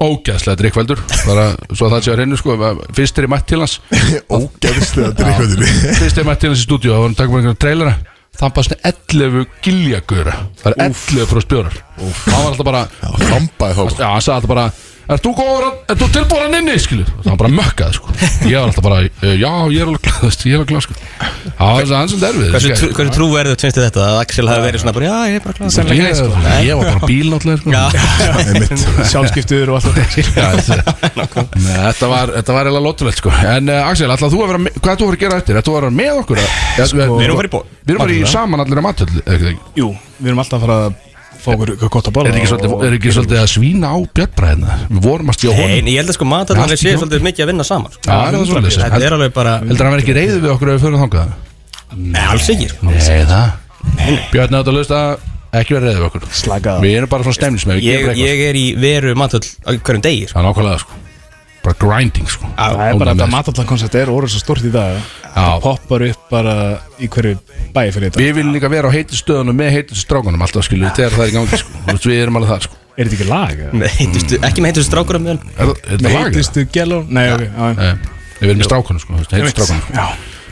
Speaker 3: ógæðslega drikkveldur bara svo að það sé að reynu sko að fyrst er ég mætt til hans
Speaker 2: Ógæðslega drikkveldur
Speaker 3: fyrst er ég mætt til hans í stúdíu og hann takk bara einhverja trailera það bara svona 11 giljagöra það er 11 frá spjórar hann var alltaf bara
Speaker 2: Þambaði þá
Speaker 3: já, hann sagði alltaf bara er þú, góður, að- er þú tilbúin að nynni skilu og það var bara mökkaði sko ég var alltaf bara "Eh, já ég er alveg glað veist, ég er alveg glað sko það var þess að hann sem derfið
Speaker 4: Hversu, trú, hversu trú verður tveimst þið þetta að Axel hafi verið svona bara Já, ég er bara kláð
Speaker 3: Ég,
Speaker 5: sko.
Speaker 3: ég var bara bíl náttúrulega sko.
Speaker 5: Sjálfskiptur og allt þetta sko.
Speaker 3: Já, þetta- Nei, þetta var þetta var eiginlega lótulegt sko en uh, Axel, ætlaðu þú að vera með, hvað ætlaðu þú að fara að gera eftir? ætlaðu að vera með
Speaker 5: Eh,
Speaker 3: okkur? Sko,
Speaker 4: Við erum að fara í bó-
Speaker 3: við erum að fara í
Speaker 5: matvölu.
Speaker 3: saman allir að matöld er
Speaker 5: Jú, við erum alltaf að fara að fá okkur eitthvað gott að borða
Speaker 3: ekki svolítið, er ekki svolítið að svína á björnbræðina við vorum að stjá
Speaker 4: Nei,
Speaker 3: honum
Speaker 4: en ég held að sko matarnar
Speaker 3: Allt í
Speaker 4: sé
Speaker 3: gangi.
Speaker 4: svolítið mikið að vinna saman sko.
Speaker 3: Já, það er það svolítið.
Speaker 4: Þetta er alveg bara
Speaker 3: heldur hann verið ekki reyðið við okkur ef við förum þangað?
Speaker 4: Nei, alls ekki sko.
Speaker 3: Nei, það Björn átt að lusta ekki verið reyðið við okkur
Speaker 5: Slaka
Speaker 3: við erum bara svona stemnismið við
Speaker 4: ég,
Speaker 3: gerum eitthvað
Speaker 4: ég er í veru matöll á hverjum degi sko.
Speaker 3: það er nákvæmlega sko bara grinding sko
Speaker 5: Það er bara
Speaker 3: Ónæmi.
Speaker 5: þetta matallankoncept er orðið svo stórt í dag
Speaker 3: Já.
Speaker 5: Það poppar upp bara í hverju bæi fyrir þetta
Speaker 3: við viljum líka vera á heitistöðunum með heitistrákunum alltaf skilju þegar það er í gangi sko Þú veist, við erum alveg það sko
Speaker 5: Er þetta ekki lag? eða?
Speaker 4: Með heitustu- Ekki með heitustu strákur um meðan
Speaker 3: Er það- er
Speaker 5: Með
Speaker 3: þetta lag? eða?
Speaker 5: heitistu gæló? Nei, ok já.
Speaker 3: Nei, Við erum með strákunum sko, heitir strákunum
Speaker 5: Já,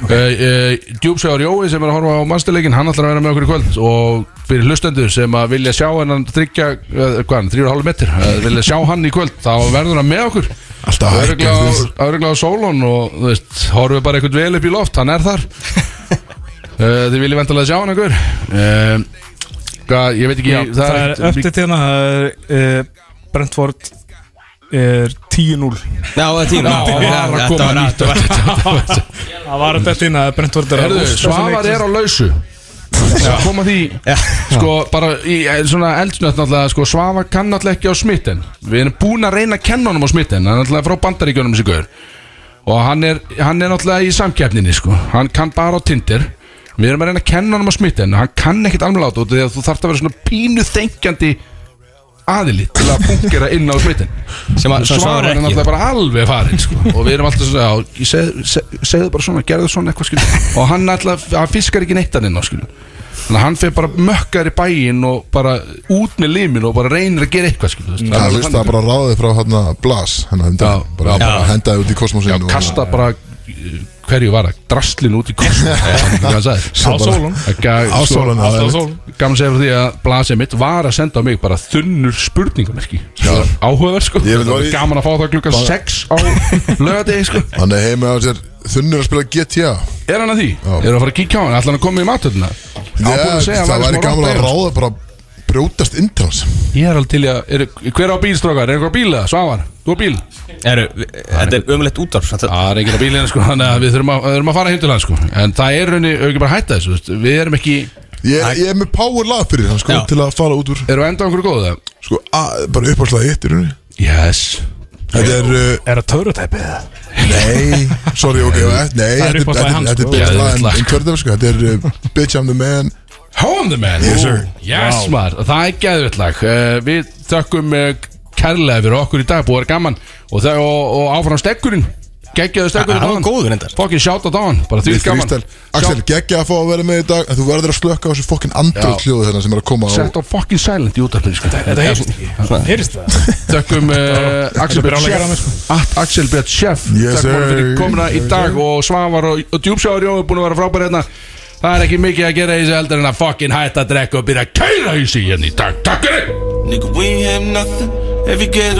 Speaker 3: okay. uh, Djúpsjáður Jói sem er að horfa á masterleikin Hann ætlar að vera með okkur í kvöld Og fyrir hlustendur sem að vilja sjá hennan Tryggja, uh, hvað hann, 3,5 metr uh, Vilja sjá hann í kvöld, þá verður hann með okkur
Speaker 2: Alltaf
Speaker 3: Örugglega
Speaker 2: hækkar
Speaker 3: á- Örugglega á sólun Og þú veist, horfum bara eitthvað vel upp í loft Hann er þar Uh, þið viljið vantilega sjá hana, Guður uh, Hvað, ég veit ekki
Speaker 5: Já, það, er
Speaker 3: ekkert-
Speaker 5: uppdætt hérna það er, uh, Brentford er 10-0
Speaker 4: Já, það er 10-0.
Speaker 5: Það
Speaker 4: Já,
Speaker 5: var að
Speaker 4: þetta
Speaker 5: koma
Speaker 4: var-
Speaker 5: nýtt
Speaker 4: þetta var-
Speaker 5: Það var uppdætt hérna að Brentford er að
Speaker 3: Herðu,
Speaker 5: rústa þessum
Speaker 3: Svavar
Speaker 5: leik.
Speaker 3: er á lausu Það koma því Sko, bara í eh, svona eldsnött náttúrulega Sko, Svavar kann náttúrulega ekki á smitten Við erum búin að reyna að kenna honum á smitten Hann er náttúrulega frá bandaríkjunum þessi gaur Og hann er, hann er náttúrulega í samkeppninni sko. Hann kann bara á tindir Við erum að reyna að kenna honum á smitten Hann kann ekkit alveg átt út af Því að þú þarft að vera svona pínu þengjandi aðili til að fungera inn á smittin
Speaker 4: Sem að- sem Svavar
Speaker 3: Svavar
Speaker 4: er
Speaker 3: er
Speaker 4: ekki.
Speaker 3: náttúrulega bara alveg farinn sko. og við erum alltaf svona já, ég seg- seg- segðu bara svona, gerðu svona eitthvað skil og hann alltaf, hann fiskar ekki neitt hann inn á skil þannig að hann fer bara mökkar í bæinn og bara út með limin og bara reynir að gera eitthvað skil
Speaker 2: Það er veist, það er bara ráðið frá hérna Blas, hérna hendur bara,
Speaker 3: Já.
Speaker 2: bara hendaði út í kosmosinu og-
Speaker 3: kasta bara eh, hverju var það, drastlin út í kostum
Speaker 2: Svo
Speaker 3: á
Speaker 2: bara- Á sólun, já, einmitt.
Speaker 3: gaman að segja fyrir því að blasið mitt var að senda á mig bara þunnur spurningamerki áhugaverð sko,
Speaker 2: Ég veit
Speaker 3: Þetta
Speaker 2: var
Speaker 3: var
Speaker 2: í-
Speaker 3: gaman að fá það klukkan
Speaker 2: Bara-
Speaker 3: 6 á lögadegi sko
Speaker 2: Hann er heima á sér þunnur að spila GTA
Speaker 3: Er hann að því? Já. Er að fara að kíkja á hann? Ætla hann að koma í matöldina?
Speaker 2: Það væri gaman að ráða bara brjótast intrans
Speaker 3: Ég er alveg til í að, er, hver á bílstrókar? Er eitthvað bíl það? Svavar, þú á bíl?
Speaker 4: Eru, þetta er umlegt útvarf
Speaker 3: Það er enginn á bílina sko, þannig að við þurfum að, þurfum að fara heim til hann sko En það er raunni, auðvitað bara að hætta þessu, veist, við erum ekki
Speaker 2: Ég er, ég er með power lag fyrir hann sko
Speaker 3: Já.
Speaker 2: til að fara út úr
Speaker 3: Erum við enda okkur góða?
Speaker 2: Sko, a, bara uppáslaði eitt í rauninni
Speaker 3: Yes
Speaker 2: Þetta er uh,
Speaker 5: Er það törutæpið eða?
Speaker 2: Nei, sorry, ok, eh, nei
Speaker 5: Það er
Speaker 2: Þetta
Speaker 5: uppáslagið
Speaker 2: þetta-
Speaker 5: hans,
Speaker 2: þetta er
Speaker 5: sko.
Speaker 2: betra
Speaker 5: Geðveikt
Speaker 2: lag en-
Speaker 5: lag.
Speaker 2: en kjörðar sko Þetta er uh, Bitch I'm the man
Speaker 3: How I'm the man
Speaker 2: Yes, sir.
Speaker 3: Yes,
Speaker 2: Wow.
Speaker 3: maður, það er geðvill lag uh, Við þökkum uh, kærlega fyrir okkur í dag Búið að vera gaman Og, það, og, og áfram stekkurinn Geggjaðu stekkurinn
Speaker 2: Hann var
Speaker 3: góður endar Fokkin sjátt á dáan Bara því
Speaker 2: Við freestyle.
Speaker 3: gaman
Speaker 2: Axel, geggja að fá að vera með í dag en Þú verður að slökka á þessu fokkin andrót hljóðu hérna sem er að koma á
Speaker 3: Sett á fokkin silent í útarpinu sko.
Speaker 2: Þetta heyrist
Speaker 3: ekki Heyrist það? Þökkum uh, Axel
Speaker 2: Þetta
Speaker 3: Björn
Speaker 2: er brjálæði að mér,
Speaker 3: Sjeff At Axel Björn Sjeff
Speaker 2: Yes,
Speaker 3: Þökkum honum fyrir
Speaker 2: sir.
Speaker 3: komuna í
Speaker 2: Yes,
Speaker 3: dag
Speaker 2: sir.
Speaker 3: Og Svavar og, og Djúpsjáður Jó er búin að vera frábæri hérna Það er ekki mikið að gera í þessu heldur en að fokkin hætta að drekka og byrja að kæra í sig hérna í dag Takk fyrir
Speaker 13: Nigga, we ain't have nothing. Every ghetto